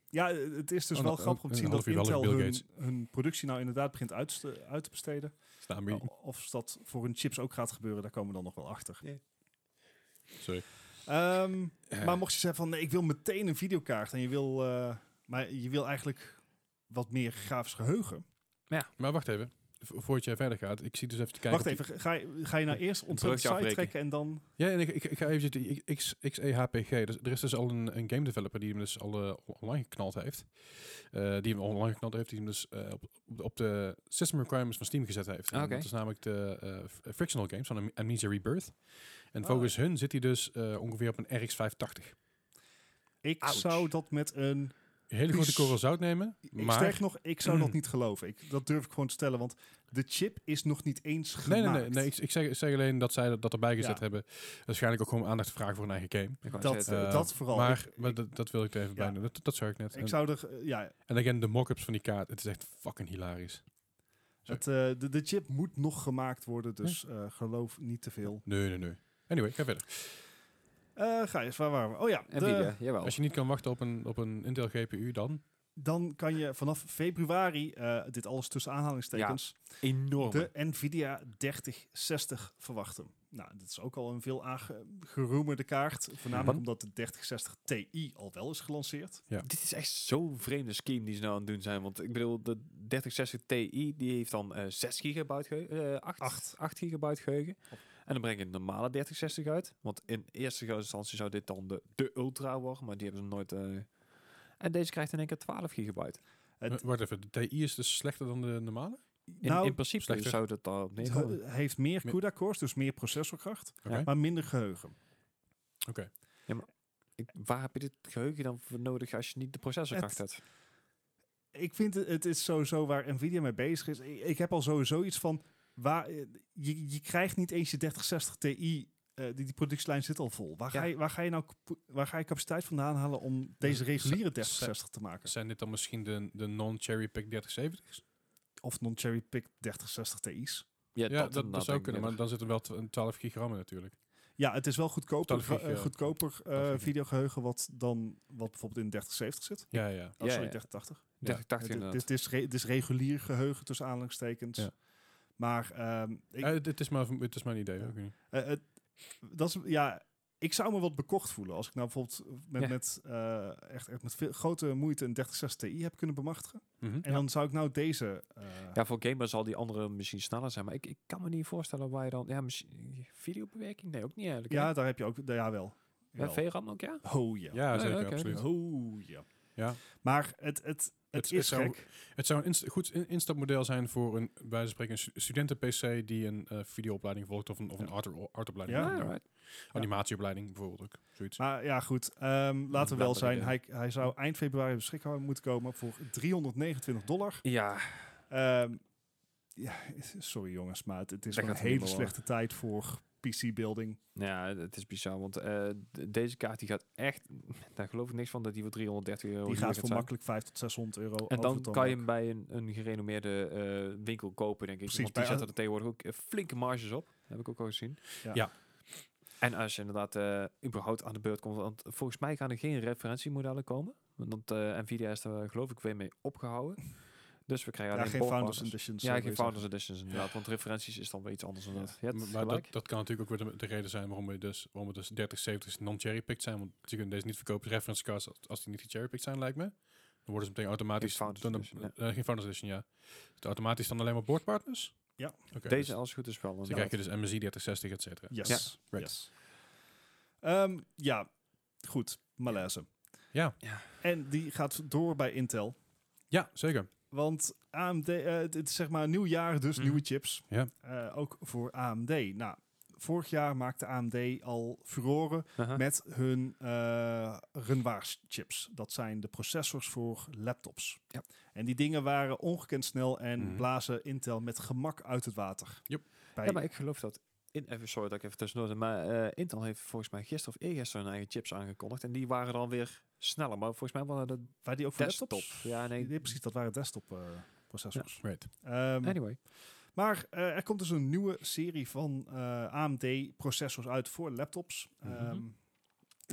[SPEAKER 3] ja, het is dus
[SPEAKER 1] Oh,
[SPEAKER 3] wel
[SPEAKER 1] nou,
[SPEAKER 3] grappig om te
[SPEAKER 1] een
[SPEAKER 3] zien dat
[SPEAKER 1] half uur wel
[SPEAKER 3] Intel
[SPEAKER 1] Bill
[SPEAKER 3] hun,
[SPEAKER 1] Gates.
[SPEAKER 3] hun productie nou inderdaad begint uit te, uit te besteden.
[SPEAKER 1] Staan we-
[SPEAKER 3] O- Of dat voor hun chips ook gaat gebeuren, daar komen we dan nog wel achter.
[SPEAKER 1] Sorry.
[SPEAKER 3] Ehm,
[SPEAKER 1] Eh.
[SPEAKER 3] Maar mocht je zeggen van nee, ik wil meteen een videokaart en je wil, eh, maar je wil eigenlijk wat meer grafisch geheugen.
[SPEAKER 1] Maar wacht even. Vo- Voordat jij verder gaat, ik zie dus even te kijken.
[SPEAKER 3] Wacht
[SPEAKER 1] op die-
[SPEAKER 3] even, ga- ga je, ga je nou eerst ontzettend
[SPEAKER 2] brugje
[SPEAKER 3] side
[SPEAKER 2] afbreken.
[SPEAKER 3] trekken en dan.
[SPEAKER 1] Ja, en ik, ik, ik ga even zitten. I- X, XEHPG. Dus, er is dus al een, een game developer die hem dus al eh, online geknald heeft. Eh, die hem online geknald heeft, die hem dus eh, op, op de- op de system requirements van Steam gezet heeft. En
[SPEAKER 3] Ah,
[SPEAKER 2] Oké.
[SPEAKER 1] Dat is namelijk de eh, f- eh, Frictional Games van Am- Amnesia Rebirth. En
[SPEAKER 3] Oh,
[SPEAKER 1] volgens hun zit hij dus eh, ongeveer op een RX 580.
[SPEAKER 3] Ik
[SPEAKER 2] Ouch.
[SPEAKER 3] zou dat met een.
[SPEAKER 1] Een hele grote
[SPEAKER 3] Pies.
[SPEAKER 1] korrel zout nemen,
[SPEAKER 3] Ik
[SPEAKER 1] maar...
[SPEAKER 3] sterk nog, ik zou dat niet geloven. Ik, dat durf ik gewoon te stellen, want de chip is nog niet eens
[SPEAKER 1] Nee,
[SPEAKER 3] gemaakt.
[SPEAKER 1] nee, nee. nee ik, ik zeg, ik zeg alleen dat zij dat, dat erbij gezet
[SPEAKER 3] Ja.
[SPEAKER 1] hebben. Waarschijnlijk ook gewoon aandacht vragen voor hun eigen game.
[SPEAKER 2] Ik wou
[SPEAKER 3] Dat,
[SPEAKER 2] zeggen,
[SPEAKER 1] eh,
[SPEAKER 3] dat vooral.
[SPEAKER 1] maar
[SPEAKER 3] Ik-
[SPEAKER 1] maar
[SPEAKER 3] ik,
[SPEAKER 1] dat, dat wil ik er even
[SPEAKER 3] Ja.
[SPEAKER 1] bij doen. Dat, dat zag ik net.
[SPEAKER 3] ik
[SPEAKER 1] En-
[SPEAKER 3] zou er. eh, Ja,
[SPEAKER 1] En again, de mock-ups van die kaart, het is echt fucking hilarisch. Zo.
[SPEAKER 3] Het, eh, de, de chip moet nog gemaakt worden, dus eh, geloof niet te veel.
[SPEAKER 1] Nee, nee, nee. Anyway, ga verder.
[SPEAKER 3] Eh Gijs, waar waren we? Oh ja, de-
[SPEAKER 2] Nvidia, jawel.
[SPEAKER 1] Als je niet kan wachten op een, op een Intel GPU, dan...
[SPEAKER 3] dan kan je vanaf februari, eh, dit alles tussen aanhalingstekens,
[SPEAKER 2] Enorm.
[SPEAKER 3] de Nvidia 3060 verwachten. Nou, dit is ook al een veel aangeroemerde kaart. Voornamelijk
[SPEAKER 2] Mhm.
[SPEAKER 3] omdat de 3060 Ti al wel is gelanceerd.
[SPEAKER 2] Dit is echt zo'n vreemde scheme die ze nou aan het doen zijn. Want ik bedoel, de 3060 Ti die heeft dan eh 6 gigabyte geheugen. 8,
[SPEAKER 3] Acht.
[SPEAKER 2] 8 gigabyte geheugen. En dan breng je een normale 3060 uit. Want in eerste instantie zou dit dan de, de Ultra worden. Maar die hebben ze nooit... eh, en deze krijgt in één keer 12 gigabyte. Dus
[SPEAKER 3] Het-
[SPEAKER 1] Eh, wacht even, de TI is dus slechter dan de normale?
[SPEAKER 2] In,
[SPEAKER 3] Nou,
[SPEAKER 2] in principe
[SPEAKER 1] slechter.
[SPEAKER 2] zou dat daarop
[SPEAKER 3] Het
[SPEAKER 2] neerkomen.
[SPEAKER 3] he- heeft meer
[SPEAKER 1] Meer-
[SPEAKER 3] CUDA-cores, dus meer processorkracht,
[SPEAKER 1] Oké.
[SPEAKER 3] maar minder geheugen.
[SPEAKER 2] Ik- waar heb je dit geheugen dan voor nodig als je niet de processorkracht hebt?
[SPEAKER 3] Ik vind het, het is sowieso waar Nvidia mee bezig is. Ik, ik heb al sowieso iets van, waar, eh, je, je krijgt niet eens je 3060 Ti, eh, die, die productielijn zit al vol. Waar, ga
[SPEAKER 2] Ja.
[SPEAKER 3] je, waar ga je nou cap- waar ga je capaciteit vandaan halen om deze reguliere 3060 te maken?
[SPEAKER 1] Zijn dit dan misschien de, de non-cherry pick 3070's?
[SPEAKER 3] Of non-cherry pick 3060 Ti's.
[SPEAKER 1] Ja, dat, dat zou
[SPEAKER 2] inderdaad, denk ik
[SPEAKER 1] kunnen, maar
[SPEAKER 2] eerder.
[SPEAKER 1] dan zitten wel tw- 12 gig RAM in natuurlijk.
[SPEAKER 3] Ja, het is wel goedkoper,
[SPEAKER 1] Dat vind ik,
[SPEAKER 3] eh,
[SPEAKER 1] eh,
[SPEAKER 3] goedkoper eh,
[SPEAKER 1] vind ik.
[SPEAKER 3] videogeheugen wat dan wat bijvoorbeeld in 3070 zit.
[SPEAKER 1] Ja, ja.
[SPEAKER 3] Oh,
[SPEAKER 2] Ja,
[SPEAKER 3] sorry,
[SPEAKER 2] ja.
[SPEAKER 3] 3080.
[SPEAKER 1] Ja.
[SPEAKER 2] 3080
[SPEAKER 3] Ja, dit-
[SPEAKER 2] inderdaad.
[SPEAKER 3] dit, is re- dit is regulier geheugen tussen aanhalingstekens.
[SPEAKER 1] Ja.
[SPEAKER 3] Maar ehm, ik,
[SPEAKER 1] Eh, Het het is maar het is maar een idee.
[SPEAKER 3] Ja.
[SPEAKER 1] ook niet.
[SPEAKER 3] eh, het- dat is, ja, ik zou me wat bekocht voelen als ik nou bijvoorbeeld met,
[SPEAKER 2] Ja.
[SPEAKER 3] met, eh, echt, echt met veel, grote moeite een 3060 Ti heb kunnen bemachtigen.
[SPEAKER 1] Mhm.
[SPEAKER 3] En dan zou ik nou deze. eh,
[SPEAKER 2] Ja, voor gamers zal die andere misschien sneller zijn. Maar ik, ik kan me niet voorstellen waar je dan... Ja, misschien videobewerking? Nee, ook niet eigenlijk. hè?
[SPEAKER 3] ja, daar heb je ook. daar- Ja, wel.
[SPEAKER 2] ja
[SPEAKER 3] Jawel.
[SPEAKER 2] VRAM ook, ja?
[SPEAKER 3] Oh ja.
[SPEAKER 1] Ja,
[SPEAKER 2] Ja,
[SPEAKER 1] zeker,
[SPEAKER 2] oké.
[SPEAKER 1] absoluut.
[SPEAKER 3] Oh ja.
[SPEAKER 1] Ja.
[SPEAKER 3] Maar het, het, het,
[SPEAKER 1] Het-
[SPEAKER 3] is
[SPEAKER 1] het zou-
[SPEAKER 3] gek.
[SPEAKER 1] Het zou een inst- goed in- instapmodel zijn voor een, bij wijze van spreken, een stu- studenten-PC die een eh, videoopleiding volgt of een, of een
[SPEAKER 3] Ja.
[SPEAKER 1] art- artopleiding.
[SPEAKER 3] Ja.
[SPEAKER 1] volgt.
[SPEAKER 2] Ah, Alright.
[SPEAKER 1] Animatieopleiding bijvoorbeeld ook. Zoiets.
[SPEAKER 3] Maar ja, goed. ehm, laten we wel
[SPEAKER 2] Laat maar
[SPEAKER 3] zijn.
[SPEAKER 2] idee.
[SPEAKER 3] Hij, hij zou eind februari beschikbaar moeten komen voor 329 dollar.
[SPEAKER 2] ja.
[SPEAKER 3] Ehm, ja, sorry jongens, maar het, het is
[SPEAKER 2] Daar
[SPEAKER 3] wel een
[SPEAKER 2] gaat het niet
[SPEAKER 3] hele
[SPEAKER 2] meer
[SPEAKER 3] slechte tijd voor PC-building.
[SPEAKER 2] ja, het is bizar. Want eh, d- deze kaart die gaat echt... Daar geloof ik niks van dat die voor 330 euro
[SPEAKER 3] Die
[SPEAKER 2] hier
[SPEAKER 3] gaat voor
[SPEAKER 2] zijn.
[SPEAKER 3] makkelijk 500 tot 600 euro.
[SPEAKER 2] En
[SPEAKER 3] over
[SPEAKER 2] dan
[SPEAKER 3] het
[SPEAKER 2] kan je
[SPEAKER 3] ook.
[SPEAKER 2] hem bij een, een gerenommeerde eh, winkel kopen, denk ik.
[SPEAKER 3] Precies,
[SPEAKER 2] Want
[SPEAKER 3] bij
[SPEAKER 2] die
[SPEAKER 3] a-
[SPEAKER 2] zetten er tegenwoordig ook eh, flinke marges op. Heb ik ook al gezien.
[SPEAKER 3] Ja.
[SPEAKER 1] Ja.
[SPEAKER 2] En als je inderdaad eh, überhaupt aan de beurt komt, want volgens mij gaan er geen referentiemodellen komen. Want eh, Nvidia is er eh, geloof ik weer mee opgehouden. Dus we krijgen
[SPEAKER 3] ja,
[SPEAKER 2] alleen
[SPEAKER 3] geen
[SPEAKER 2] boardpartners.
[SPEAKER 3] Founders eh, Editions.
[SPEAKER 2] Ja,
[SPEAKER 3] zou
[SPEAKER 2] geen
[SPEAKER 3] ik willen
[SPEAKER 2] Founders Editions inderdaad. Want referenties is dan weer iets anders dan dat. Ja,
[SPEAKER 1] M-
[SPEAKER 2] het is
[SPEAKER 1] maar dat,
[SPEAKER 2] gelijk.
[SPEAKER 1] dat kan natuurlijk ook weer de, de reden zijn waarom we dus, waarom we dus 3070 non-cherrypicked zijn. Want ze kunnen deze niet verkopen. De reference cards, als, als die niet gecherrypicked zijn, lijkt me. Dan worden ze meteen automatisch...
[SPEAKER 2] Geen Founders
[SPEAKER 1] dan,
[SPEAKER 2] Edition, ja.
[SPEAKER 1] eh, geen Founders Edition, ja. Dus automatisch dan alleen maar boardpartners?
[SPEAKER 3] Ja.
[SPEAKER 1] Oké, dus-
[SPEAKER 2] Deze als het goed is wel.
[SPEAKER 1] dus dan
[SPEAKER 2] inderdaad.
[SPEAKER 1] krijg je dus MSI 3060, et cetera.
[SPEAKER 3] zeggen.
[SPEAKER 2] Ja.
[SPEAKER 3] Yes.
[SPEAKER 1] Right.
[SPEAKER 3] yes. Ehm, ja, goed. Malaise.
[SPEAKER 1] Ja.
[SPEAKER 2] Ja.
[SPEAKER 3] En die gaat door bij Intel.
[SPEAKER 1] Ja, zeker.
[SPEAKER 3] Want AMD, eh, het het is zeg maar een nieuw jaar, dus
[SPEAKER 1] Mhm.
[SPEAKER 3] nieuwe chips.
[SPEAKER 1] Ja.
[SPEAKER 3] Eh, ook voor AMD. Nou, vorig jaar maakte AMD al furoren
[SPEAKER 2] Aha.
[SPEAKER 3] met hun eh Renoirs chips. Dat zijn de processors voor laptops.
[SPEAKER 2] Ja.
[SPEAKER 3] En die dingen waren ongekend snel en
[SPEAKER 1] Mhm.
[SPEAKER 3] blazen Intel met gemak uit het water.
[SPEAKER 1] Yep.
[SPEAKER 3] Bij,
[SPEAKER 2] Ja, maar ik geloof dat. In, even, sorry dat ik even tussendoor zit, maar eh, Intel heeft volgens mij gisteren of eergisteren hun eigen chips aangekondigd. En die waren dan weer sneller, maar volgens mij waren dat
[SPEAKER 3] waren die ook voor
[SPEAKER 2] desktop.
[SPEAKER 3] laptops?
[SPEAKER 2] Ja, nee.
[SPEAKER 3] Nee, precies, dat waren desktop eh, processors.
[SPEAKER 1] Right.
[SPEAKER 3] Ehm,
[SPEAKER 2] Anyway.
[SPEAKER 3] maar eh, er komt dus een nieuwe serie van eh, AMD processors uit voor laptops.
[SPEAKER 1] Mhm.
[SPEAKER 3] Ehm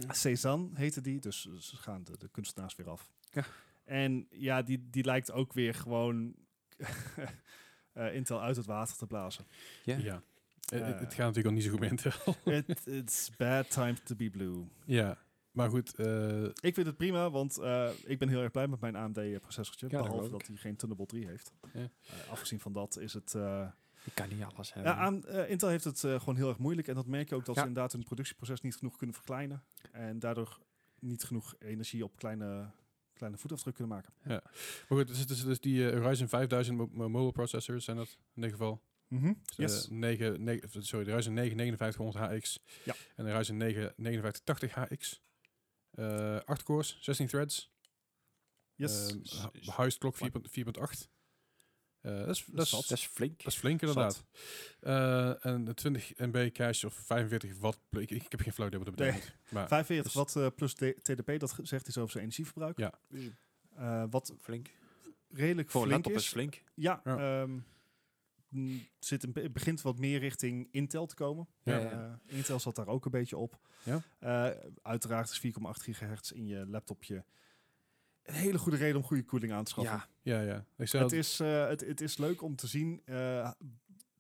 [SPEAKER 3] Cezanne heette die, dus eh, ze gaan de, de kunstenaars weer af.
[SPEAKER 2] Ja.
[SPEAKER 3] En ja, die, die lijkt ook weer gewoon eh, Intel uit het water te blazen.
[SPEAKER 2] Ja.
[SPEAKER 1] Ja. Eh,
[SPEAKER 3] Eh.
[SPEAKER 1] het gaat natuurlijk al niet zo goed met Intel.
[SPEAKER 3] It, it's bad time to be blue.
[SPEAKER 1] ja. Maar goed, eh,
[SPEAKER 3] Ik vind het prima, want eh, ik ben heel erg blij met mijn AMD processortje.
[SPEAKER 2] Ja, dat
[SPEAKER 3] behalve
[SPEAKER 2] geloof
[SPEAKER 3] dat hij geen Thunderbolt 3 heeft.
[SPEAKER 1] Ja.
[SPEAKER 3] Eh, afgezien van dat is het... eh,
[SPEAKER 2] Ik kan niet alles hebben.
[SPEAKER 3] ja, aan, eh, Intel heeft het eh, gewoon heel erg moeilijk. En dat merk je ook dat
[SPEAKER 2] Ehm, Ja.
[SPEAKER 3] ze inderdaad hun productieproces niet genoeg kunnen verkleinen. En daardoor niet genoeg energie op kleine, kleine voetafdruk kunnen maken.
[SPEAKER 1] maar goed, dus, dus, dus die eh, Ryzen 5000 mo- mo- mobile processors zijn dat in dit geval.
[SPEAKER 3] Mhm.
[SPEAKER 1] Dus,
[SPEAKER 3] Yes.
[SPEAKER 1] eh, 9, 9, sorry, de Ryzen 9 5900 HX.
[SPEAKER 3] Ja.
[SPEAKER 1] En de Ryzen 9 5980 HX. Eh 8 cores, 16 threads.
[SPEAKER 3] Yes.
[SPEAKER 1] ehm,
[SPEAKER 2] S-
[SPEAKER 1] hu- huisklok 4.8. Eh, dat, is, dat, is,
[SPEAKER 2] dat is flink.
[SPEAKER 1] dat is flink inderdaad. Eh, en de 20 MB cache of 45 watt. pl- Ik, ik heb geen flauw idee wat dat
[SPEAKER 3] Nee.
[SPEAKER 1] betekent. Maar
[SPEAKER 3] 45 watt eh, plus D- TDP, dat ge- zegt iets over zijn energieverbruik.
[SPEAKER 1] Ja.
[SPEAKER 3] Eh, wat
[SPEAKER 2] flink.
[SPEAKER 3] redelijk
[SPEAKER 2] Voor een
[SPEAKER 3] flink
[SPEAKER 2] laptop
[SPEAKER 3] is.
[SPEAKER 2] is flink.
[SPEAKER 3] Ja,
[SPEAKER 1] Ja.
[SPEAKER 3] ehm, mm, zit een, be- het begint wat meer richting Intel te komen.
[SPEAKER 1] Ja.
[SPEAKER 3] Eh, Intel zat daar ook een beetje op.
[SPEAKER 1] Ja.
[SPEAKER 3] Eh, uiteraard is 4,8 gigahertz in je laptopje een hele goede reden om goede koeling aan te schaffen.
[SPEAKER 2] Ja,
[SPEAKER 1] Ja, ja. Ik zei dat-
[SPEAKER 3] Het is, eh, het, het is leuk om te zien. eh,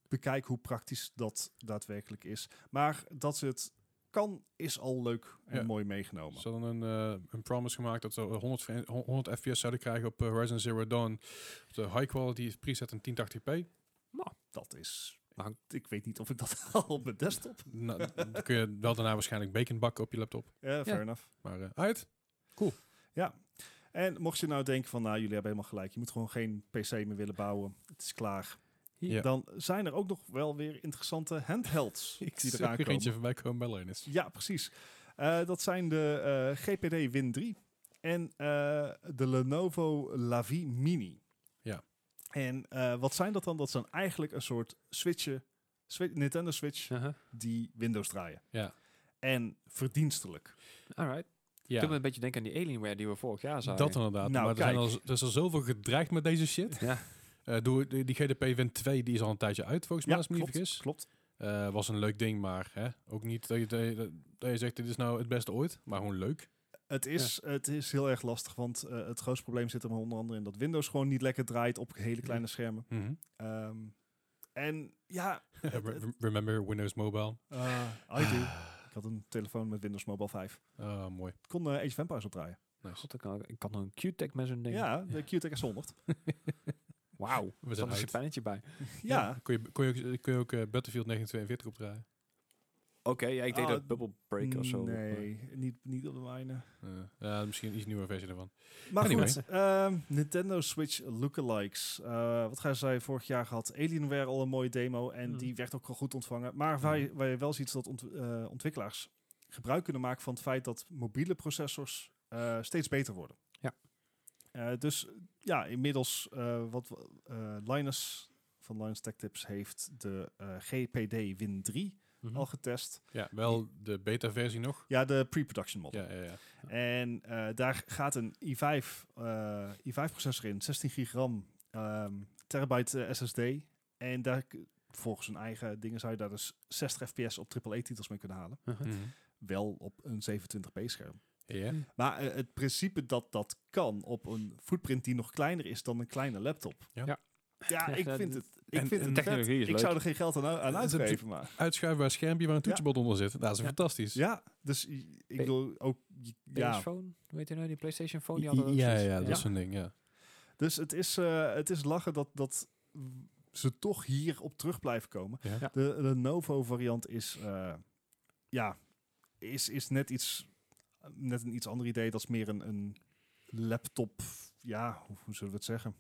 [SPEAKER 3] bekijk hoe praktisch dat daadwerkelijk is. Maar dat ze het kan, is al leuk en
[SPEAKER 1] Ja.
[SPEAKER 3] mooi meegenomen.
[SPEAKER 1] Ze hadden een, eh, een promise gemaakt dat ze 100, v- 100 fps zouden krijgen op eh, Horizon Zero Dawn. Op de high quality preset in 1080p.
[SPEAKER 3] Dat is.
[SPEAKER 2] Maar-
[SPEAKER 3] Ik weet niet of ik dat al op mijn desktop.
[SPEAKER 1] Nou, dan kun je wel daarna waarschijnlijk bacon bakken op je laptop.
[SPEAKER 3] Ja, fair
[SPEAKER 2] Ja.
[SPEAKER 3] enough.
[SPEAKER 1] Maar eh, uit.
[SPEAKER 3] En mocht je nou denken van, nou, jullie hebben helemaal gelijk. Je moet gewoon geen PC meer willen bouwen. Het is klaar.
[SPEAKER 1] Ja.
[SPEAKER 3] Dan zijn er ook nog wel weer interessante handhelds
[SPEAKER 1] Ik
[SPEAKER 3] die
[SPEAKER 1] zie
[SPEAKER 3] eraan
[SPEAKER 1] er
[SPEAKER 3] komen.
[SPEAKER 1] eentje voorbij komen bij Linus.
[SPEAKER 3] Ja, precies. Eh, dat zijn de eh, GPD Win 3 en eh, de Lenovo Lavi Mini.
[SPEAKER 1] Ja.
[SPEAKER 3] En eh, wat zijn dat dan? Dat zijn eigenlijk een soort switchen, swi- Nintendo Switch
[SPEAKER 2] uh
[SPEAKER 3] die Windows draaien.
[SPEAKER 1] Ja.
[SPEAKER 3] En verdienstelijk.
[SPEAKER 2] alright.
[SPEAKER 1] Ja,
[SPEAKER 2] Toen me een beetje denken aan die Alienware die we vorig jaar zagen.
[SPEAKER 1] dat inderdaad.
[SPEAKER 3] Nou,
[SPEAKER 1] maar er, zijn al,
[SPEAKER 3] kijk.
[SPEAKER 1] z- er is al zoveel gedreigd met deze shit.
[SPEAKER 2] Ja.
[SPEAKER 1] Eh, doe, die die GDP Win 2 die is al een tijdje uit, volgens mij, als ik me niet
[SPEAKER 3] klopt.
[SPEAKER 1] vergis.
[SPEAKER 3] klopt.
[SPEAKER 1] Eh, was een leuk ding, maar hè, ook niet dat je, dat, je, dat je zegt dit is nou het beste ooit, maar gewoon leuk.
[SPEAKER 3] Het is, het is heel erg lastig, want eh, het grootste probleem zit er onder andere in dat Windows gewoon niet lekker draait op hele kleine schermen.
[SPEAKER 1] Mhm.
[SPEAKER 3] Ehm, en ja,
[SPEAKER 1] Eh, Re- Remember Windows Mobile?
[SPEAKER 3] eh, I do.
[SPEAKER 2] Ah.
[SPEAKER 3] Ik had een telefoon met Windows Mobile 5.
[SPEAKER 1] Ah, mooi.
[SPEAKER 3] Ik kon eh Age of Empires opdraaien.
[SPEAKER 1] Nice.
[SPEAKER 2] God, ik kan, ik kan nog een Q-tech met zo'n ding.
[SPEAKER 3] Ja, de QTech is 100.
[SPEAKER 2] Wauw.
[SPEAKER 1] We
[SPEAKER 2] Er zat
[SPEAKER 1] zijn
[SPEAKER 2] een
[SPEAKER 1] uit.
[SPEAKER 2] spannetje bij.
[SPEAKER 3] ja,
[SPEAKER 1] Kun je, kun je ook, kun je ook eh, Battlefield 1942 opdraaien?
[SPEAKER 2] Oké, ja, ik denk
[SPEAKER 3] Ah,
[SPEAKER 2] dat Bubble Break of zo.
[SPEAKER 3] Nee, niet, niet op de mijne.
[SPEAKER 1] Eh, ja, misschien een iets nieuwe versie daarvan.
[SPEAKER 3] Maar
[SPEAKER 1] Anyway.
[SPEAKER 3] goed, ehm, Nintendo Switch lookalikes. Eh wat gaan zij vorig jaar gehad? Alienware al een mooie demo en
[SPEAKER 2] Hmm.
[SPEAKER 3] die werd ook wel goed ontvangen. Maar waar, je- waar je wel ziet dat ont- eh, ontwikkelaars gebruik kunnen maken van het feit dat mobiele processors eh, steeds beter worden.
[SPEAKER 2] Ja.
[SPEAKER 3] Eh, dus ja, inmiddels eh, wat we- eh, Linus van Linus Tech Tips heeft de eh, GPD Win 3
[SPEAKER 2] Mhm.
[SPEAKER 3] al getest.
[SPEAKER 1] Ja, wel de beta-versie nog.
[SPEAKER 3] Ja, de pre-production model.
[SPEAKER 1] Ja, ja, ja.
[SPEAKER 3] En eh, daar gaat een i5, eh, i5 processor in, 16 gig RAM, ehm, terabyte eh, SSD. En daar, k- volgens hun eigen dingen, zou je daar dus 60 fps op AAA titels mee kunnen halen.
[SPEAKER 2] Mhm.
[SPEAKER 3] Wel op een 27p scherm.
[SPEAKER 1] Ja.
[SPEAKER 3] Maar eh, het principe dat dat kan op een footprint die nog kleiner is dan een kleine laptop.
[SPEAKER 1] Ja.
[SPEAKER 2] Ja.
[SPEAKER 3] Ja, ik
[SPEAKER 2] Ja,
[SPEAKER 3] vind
[SPEAKER 2] dat-
[SPEAKER 3] het, ik
[SPEAKER 1] en-
[SPEAKER 3] vind
[SPEAKER 1] en
[SPEAKER 3] het vet.
[SPEAKER 2] technologie is
[SPEAKER 3] Ik
[SPEAKER 2] leuk.
[SPEAKER 3] zou er geen geld aan, aan
[SPEAKER 1] Dat is een
[SPEAKER 3] uitgeven, maar...
[SPEAKER 1] Uitschuifbaar schermpje waar een toetsenbord onder zit. Dat is
[SPEAKER 2] Ja.
[SPEAKER 1] fantastisch.
[SPEAKER 3] Ja, dus i- ik bedoel ook... j- Ja,
[SPEAKER 2] PS Phone? Weet je nou, die PlayStation Phone? Die
[SPEAKER 1] Ja,
[SPEAKER 2] hadden ook
[SPEAKER 1] ja,
[SPEAKER 2] zoiets.
[SPEAKER 1] ja, dat is zo'n ding, ja.
[SPEAKER 3] Dus het is, eh, het is lachen dat, dat ze toch hier op terug blijven komen.
[SPEAKER 1] Ja.
[SPEAKER 2] Ja.
[SPEAKER 3] De Lenovo variant is, eh, ja, is, is net iets, net een iets ander idee. Dat is meer een, een laptop, ja, hoe, hoe zullen we het zeggen?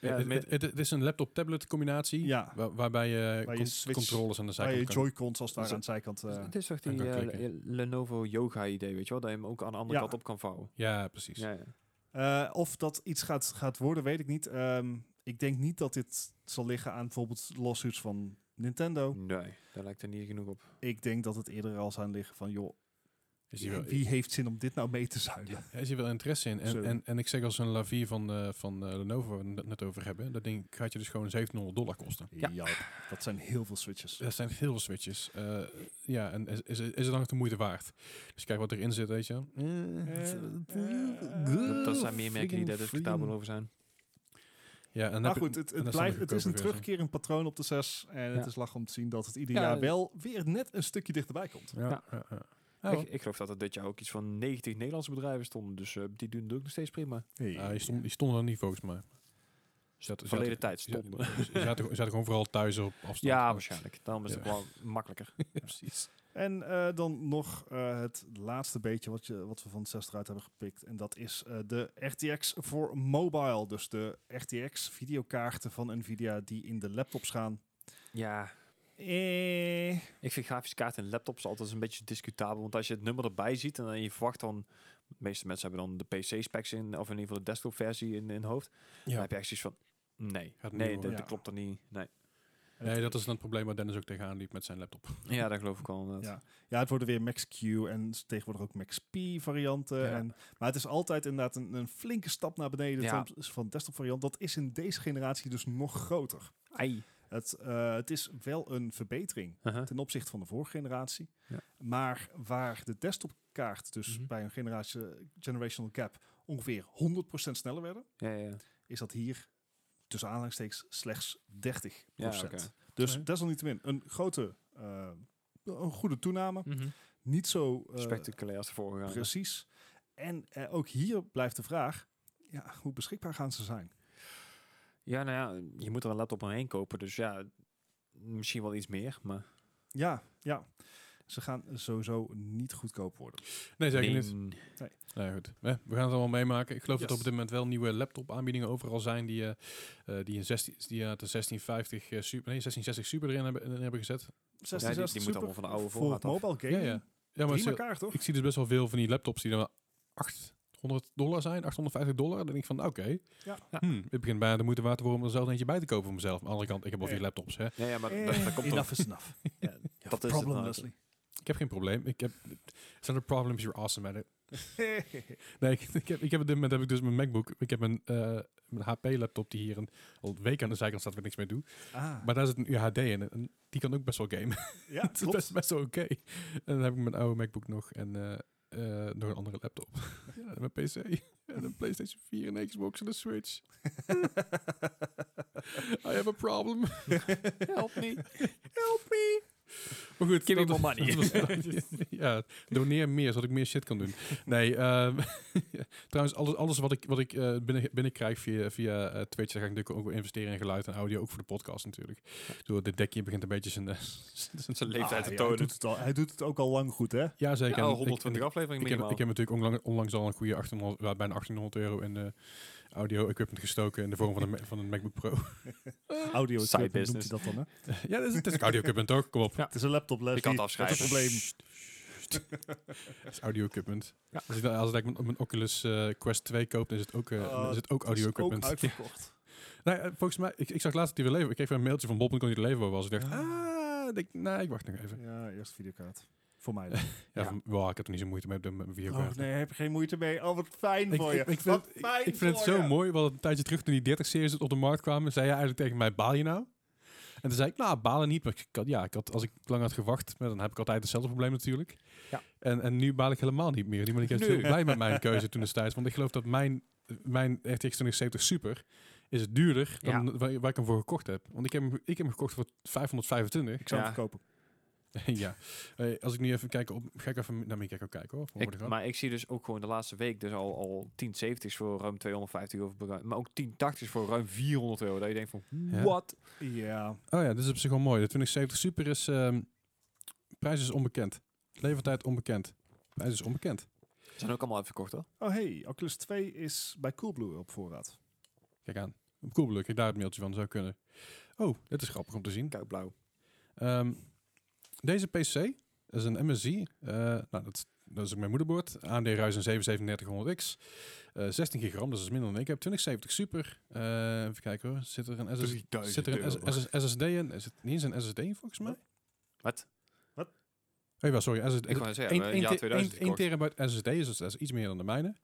[SPEAKER 2] Ja,
[SPEAKER 1] het,
[SPEAKER 2] met-
[SPEAKER 1] het- het- het is een laptop-tablet combinatie.
[SPEAKER 3] Ja,
[SPEAKER 1] waar- waarbij je,
[SPEAKER 3] Waar je
[SPEAKER 1] con-
[SPEAKER 3] switch-
[SPEAKER 1] controllers aan de
[SPEAKER 3] waar Eh, je
[SPEAKER 1] zijkant kan-
[SPEAKER 3] Joy-Cons als het ware
[SPEAKER 2] Zo-
[SPEAKER 3] aan de zijkant. eh,
[SPEAKER 2] het is toch
[SPEAKER 1] dan
[SPEAKER 2] die
[SPEAKER 1] kan
[SPEAKER 2] eh,
[SPEAKER 1] klikken.
[SPEAKER 2] Lenovo yoga idee, weet je wel? Dat je hem ook aan de andere
[SPEAKER 3] Ja.
[SPEAKER 2] kant op kan vouwen. Dus
[SPEAKER 1] Ja, precies.
[SPEAKER 2] Ja, ja.
[SPEAKER 3] eh, of dat iets gaat, gaat worden, weet ik niet. Ehm, ik denk niet dat dit zal liggen aan bijvoorbeeld lawsuits van Nintendo.
[SPEAKER 2] Oh. Nee, daar lijkt er niet genoeg op.
[SPEAKER 3] Ik denk dat het eerder al aan liggen van, joh,
[SPEAKER 1] Is die wel,
[SPEAKER 3] wie heeft zin om dit nou mee te zuilen?
[SPEAKER 1] er is hier wel interesse in. En,
[SPEAKER 3] Zo.
[SPEAKER 1] en, en ik zeg als een lavier van, eh, van eh, Lenovo, waar we het net over hebben, dat ding gaat je dus gewoon 700 dollar kosten.
[SPEAKER 2] Ja.
[SPEAKER 3] Ja. dat zijn heel veel switches.
[SPEAKER 1] Er zijn heel veel switches. Eh, ja, en is, is, is het dan nog de moeite waard? Dus kijk wat erin zit, weet je.
[SPEAKER 2] Eh,
[SPEAKER 1] Eh,
[SPEAKER 2] Dat, dat zijn meer merken die daar discutabel over zijn.
[SPEAKER 1] Ja, en dan
[SPEAKER 3] Maar
[SPEAKER 1] heb je-
[SPEAKER 3] goed, het,
[SPEAKER 1] en
[SPEAKER 3] het,
[SPEAKER 1] dat is dan
[SPEAKER 3] blijft,
[SPEAKER 1] de
[SPEAKER 3] het is een
[SPEAKER 1] goedkope versie.
[SPEAKER 3] terugkerend patroon op de 6. En
[SPEAKER 2] Ja.
[SPEAKER 3] het is lach om te zien dat het ieder
[SPEAKER 2] Ja,
[SPEAKER 3] jaar
[SPEAKER 2] eh,
[SPEAKER 3] wel weer net een stukje dichterbij komt.
[SPEAKER 1] Ja,
[SPEAKER 2] Ja.
[SPEAKER 1] ja, ja. Ja, hoor.
[SPEAKER 2] Ik, ik geloof dat er dit jaar ook iets van 90 Nederlandse bedrijven stonden. Dus eh, die doen het ook nog steeds prima.
[SPEAKER 1] Ja, die, stond, die stonden er niet volgens mij. Ze zaten-
[SPEAKER 2] Verleden
[SPEAKER 1] zaten-
[SPEAKER 2] tijd
[SPEAKER 1] ze zaten-
[SPEAKER 2] stonden.
[SPEAKER 1] Ze zaten, ze zaten gewoon vooral thuis op afstand.
[SPEAKER 2] Ja, waarschijnlijk. Daarom is
[SPEAKER 1] Ja.
[SPEAKER 2] het wel makkelijker.
[SPEAKER 1] Precies.
[SPEAKER 3] En eh, dan nog eh, het laatste beetje wat, je, wat we van de 6 eruit hebben gepikt. En dat is eh, de RTX voor mobile. Dus de RTX videokaarten van Nvidia die in de laptops gaan.
[SPEAKER 2] Ja,
[SPEAKER 3] Eh,
[SPEAKER 2] ik vind grafische kaarten en laptops altijd een beetje discutabel. Want als je het nummer erbij ziet en dan je verwacht dan... De meeste mensen hebben dan de PC-specs in, of in ieder geval de desktop versie in, in hoofd. Dan
[SPEAKER 1] Ja.
[SPEAKER 2] heb je echt zoiets van, nee,
[SPEAKER 1] Gaat niet
[SPEAKER 2] nee,
[SPEAKER 1] worden.
[SPEAKER 2] dat, dat
[SPEAKER 3] Ja.
[SPEAKER 2] klopt dan niet. Nee.
[SPEAKER 1] Nee, dat is dan het probleem waar Dennis ook tegenaan liep met zijn laptop.
[SPEAKER 2] Ja, dat geloof ik wel. inderdaad.
[SPEAKER 3] Ja. Ja, het worden weer Max-Q en s- tegenwoordig ook Max-P-varianten.
[SPEAKER 1] Ja.
[SPEAKER 3] En, maar het is altijd inderdaad een, een flinke stap naar beneden
[SPEAKER 2] Ja.
[SPEAKER 3] ten opzichte van desktop-variant. Dat is in deze generatie dus nog groter.
[SPEAKER 2] Ai.
[SPEAKER 3] Het, eh, het is wel een verbetering
[SPEAKER 2] Uh-huh.
[SPEAKER 3] ten opzichte van de vorige generatie.
[SPEAKER 2] Ja.
[SPEAKER 3] Maar waar de desktopkaart dus
[SPEAKER 2] Mhm.
[SPEAKER 3] bij een generatie, eh, generational gap ongeveer 100% sneller werden,
[SPEAKER 2] Ja, ja, ja.
[SPEAKER 3] is dat hier tussen aanhalingstekens slechts 30%.
[SPEAKER 2] Ja, oké.
[SPEAKER 3] Dus
[SPEAKER 1] Oké.
[SPEAKER 3] desalniettemin een grote, eh, een goede toename.
[SPEAKER 2] Mhm.
[SPEAKER 3] Niet zo Oh. eh,
[SPEAKER 2] Spectaculair als de vorige. jaren.
[SPEAKER 3] precies. En eh, ook hier blijft de vraag, ja, hoe beschikbaar gaan ze zijn?
[SPEAKER 2] Ja, nou ja, je moet er een laptop omheen kopen, dus ja, misschien wel iets meer, maar...
[SPEAKER 3] Ja, ja. Ze gaan sowieso niet goedkoop worden.
[SPEAKER 1] Nee, zeker niet.
[SPEAKER 2] Nee.
[SPEAKER 1] Nou ja, goed. Hè, We gaan het allemaal meemaken. Ik geloof dat
[SPEAKER 3] Yes.
[SPEAKER 1] er op dit moment wel nieuwe laptop-aanbiedingen overal zijn die, eh, eh, die, een 16, die uit de 1650 eh, super, nee, 1660 Super erin hebben, erin hebben gezet.
[SPEAKER 3] 16,
[SPEAKER 2] die moet allemaal van de oude voorraad
[SPEAKER 3] Voor
[SPEAKER 2] af.
[SPEAKER 3] mobile gaming,
[SPEAKER 1] Ja, ja. Ja, maar
[SPEAKER 3] prima
[SPEAKER 1] ze-
[SPEAKER 3] kaart, toch?
[SPEAKER 1] ik zie dus best wel veel van die laptops die dan wel 800 dollar zijn, 850 dollar. Dan denk ik van, oké,
[SPEAKER 3] Ja.
[SPEAKER 1] hmm, het begint bijna de moeite waard te worden om er zelf eentje bij te kopen voor mezelf. Aan de andere kant, ik heb al vier
[SPEAKER 3] Ja.
[SPEAKER 1] laptops. Hè.
[SPEAKER 2] Ja, ja, maar
[SPEAKER 3] Eh,
[SPEAKER 2] dat, dat komt toch...
[SPEAKER 3] enough is enough.
[SPEAKER 2] Ja, dat is
[SPEAKER 3] Problem,
[SPEAKER 2] het nou.
[SPEAKER 3] Leslie.
[SPEAKER 1] Ik heb geen probleem. Ik heb, zijn er problems, you're awesome at it. Nee, ik, ik heb, ik heb op dit moment heb ik dus mijn MacBook. Ik heb mijn, eh, mijn HP-laptop die hier een, al een week aan de zijkant staat waar ik niks mee doe.
[SPEAKER 3] ah,
[SPEAKER 1] Maar daar zit een UHD in en die kan ook best wel gamen.
[SPEAKER 3] ja,
[SPEAKER 1] Het is
[SPEAKER 3] klopt.
[SPEAKER 1] best, best wel oké. En dan heb ik mijn oude MacBook nog en eh, eh, nog een andere laptop. ja, en mijn PC en een PlayStation 4 en een Xbox en een Switch. I have a problem.
[SPEAKER 2] Help me.
[SPEAKER 1] Maar goed,
[SPEAKER 2] Give me
[SPEAKER 1] dat-
[SPEAKER 2] more money.
[SPEAKER 1] dat was- ja, doneer meer, zodat ik meer shit kan doen. Nee, ehm, trouwens, alles, alles wat ik, wat ik eh, binnen, binnenkrijg via, via eh, Twitch, daar ga ik natuurlijk ook wel investeren in geluid en audio, ook voor de podcast natuurlijk. Door dit dekje begint een beetje zijn... eh, zijn-
[SPEAKER 2] Zijn
[SPEAKER 3] Ah,
[SPEAKER 2] leeftijd
[SPEAKER 3] ja,
[SPEAKER 2] te
[SPEAKER 3] hij,
[SPEAKER 2] tonen.
[SPEAKER 3] doet het al, hij doet het ook al lang goed, hè?
[SPEAKER 1] ja, zeker.
[SPEAKER 2] Ja,
[SPEAKER 1] En
[SPEAKER 2] al
[SPEAKER 1] ik-
[SPEAKER 2] 120
[SPEAKER 1] en
[SPEAKER 2] afleveringen
[SPEAKER 1] ik, heb,
[SPEAKER 2] minimaal.
[SPEAKER 1] ik heb natuurlijk onlang- onlangs al een goede 1800, wel, bijna 1800 euro in eh, audio-equipment gestoken in de vorm van een, Ma- van een MacBook Pro.
[SPEAKER 3] Audio
[SPEAKER 2] Side
[SPEAKER 3] equipment noemt
[SPEAKER 2] business.
[SPEAKER 3] hij dat dan, hè?
[SPEAKER 1] ja, dat is, het is ook audio-equipment toch? Kom op.
[SPEAKER 3] Het is een laptop, Leslie.
[SPEAKER 2] Je kan het
[SPEAKER 3] Dat is
[SPEAKER 2] afschrijven.
[SPEAKER 3] het probleem.
[SPEAKER 1] Dat is audio-equipment.
[SPEAKER 2] Ja.
[SPEAKER 1] Als ik dan, als ik mijn, mijn Oculus eh, Quest 2 koop, dan is het ook, eh,
[SPEAKER 3] Oh,
[SPEAKER 1] dan is het ook
[SPEAKER 3] Het is
[SPEAKER 1] audio-equipment.
[SPEAKER 3] Ook uitverkocht.
[SPEAKER 1] Nee, eh, volgens mij, ik, ik zag laatst dat hij weer leven. Ik kreeg weer een mailtje van Bob en kon hij leven was. Ik dacht,
[SPEAKER 3] Ah.
[SPEAKER 1] ah, ik denk, nee, ik wacht nog even.
[SPEAKER 3] Ja, eerst videokaart. Voor mij.
[SPEAKER 1] Ja,
[SPEAKER 2] Ja.
[SPEAKER 1] Van, wow, ik heb er niet zo moeite mee op de- met mijn videokaart.
[SPEAKER 3] Oh, nee, heb je geen moeite mee. Oh, wat fijn
[SPEAKER 1] Ik,
[SPEAKER 3] voor je.
[SPEAKER 1] ik, ik vind,
[SPEAKER 3] Wat
[SPEAKER 1] het- ik,
[SPEAKER 3] fijn
[SPEAKER 1] ik vind het
[SPEAKER 3] voor
[SPEAKER 1] zo
[SPEAKER 3] je.
[SPEAKER 1] mooi, want een tijdje terug toen die 30 series op de markt kwamen, zei hij eigenlijk tegen mij, baal je nou? En toen zei ik, nou, balen niet. Maar ik had, ja, ik had, als ik lang had gewacht, maar dan heb ik altijd hetzelfde probleem natuurlijk.
[SPEAKER 2] Ja.
[SPEAKER 1] En, en nu baal ik helemaal niet meer. Nu ben ik echt
[SPEAKER 2] Nu.
[SPEAKER 1] heel blij met mijn keuze toen destijds. Want ik geloof dat mijn, mijn RTX 2070 Super is duurder dan waar, waar ik hem voor gekocht heb. Want ik heb hem, ik heb hem gekocht voor 525.
[SPEAKER 3] Ik zou hem
[SPEAKER 2] Ja.
[SPEAKER 3] verkopen.
[SPEAKER 1] ja. Eh, als ik nu even kijk op... Ga ik even nou, naar mijn kijker kijken hoor. voor
[SPEAKER 2] Ik-
[SPEAKER 1] de grap.
[SPEAKER 2] maar ik zie dus ook gewoon de laatste week dus al, al 1070's voor ruim 250 euro. verbruikt, Maar ook 1080's voor ruim 400 euro. Dat je denkt van,
[SPEAKER 1] Ja.
[SPEAKER 2] wat?
[SPEAKER 3] Ja.
[SPEAKER 1] Oh ja, dit is op zich wel mooi. De 2070 Super is... ehm, prijs is onbekend. Levertijd onbekend. Prijs is onbekend.
[SPEAKER 2] Zijn ook allemaal uitverkocht hoor.
[SPEAKER 3] Oh, hey, Oculus 2 is bij Coolblue op voorraad.
[SPEAKER 1] Kijk aan. Cool, bedoel ik krijg daar het mailtje van. Zou kunnen. Oh, dit is grappig om te zien.
[SPEAKER 2] Kijk blauw.
[SPEAKER 1] Ehm, deze PC is een MSI. eh, nou, dat, is- dat is ook mijn moederbord. AMD Ryzen 7 3700X. eh 16 gigram, dat is minder dan ik heb. 2070 Super. Eh, even kijken hoor. Zit er een, SS Dus zit er een SS SSD in? Is het niet eens een SSD in volgens mij?
[SPEAKER 2] Wat?
[SPEAKER 1] Oh ja, sorry. SSD,
[SPEAKER 2] Ik wou net zeggen, we hebben een jaar 2000
[SPEAKER 1] 1
[SPEAKER 2] gekocht.
[SPEAKER 1] terabyte SSD, is, dus dat is iets meer dan de mijne.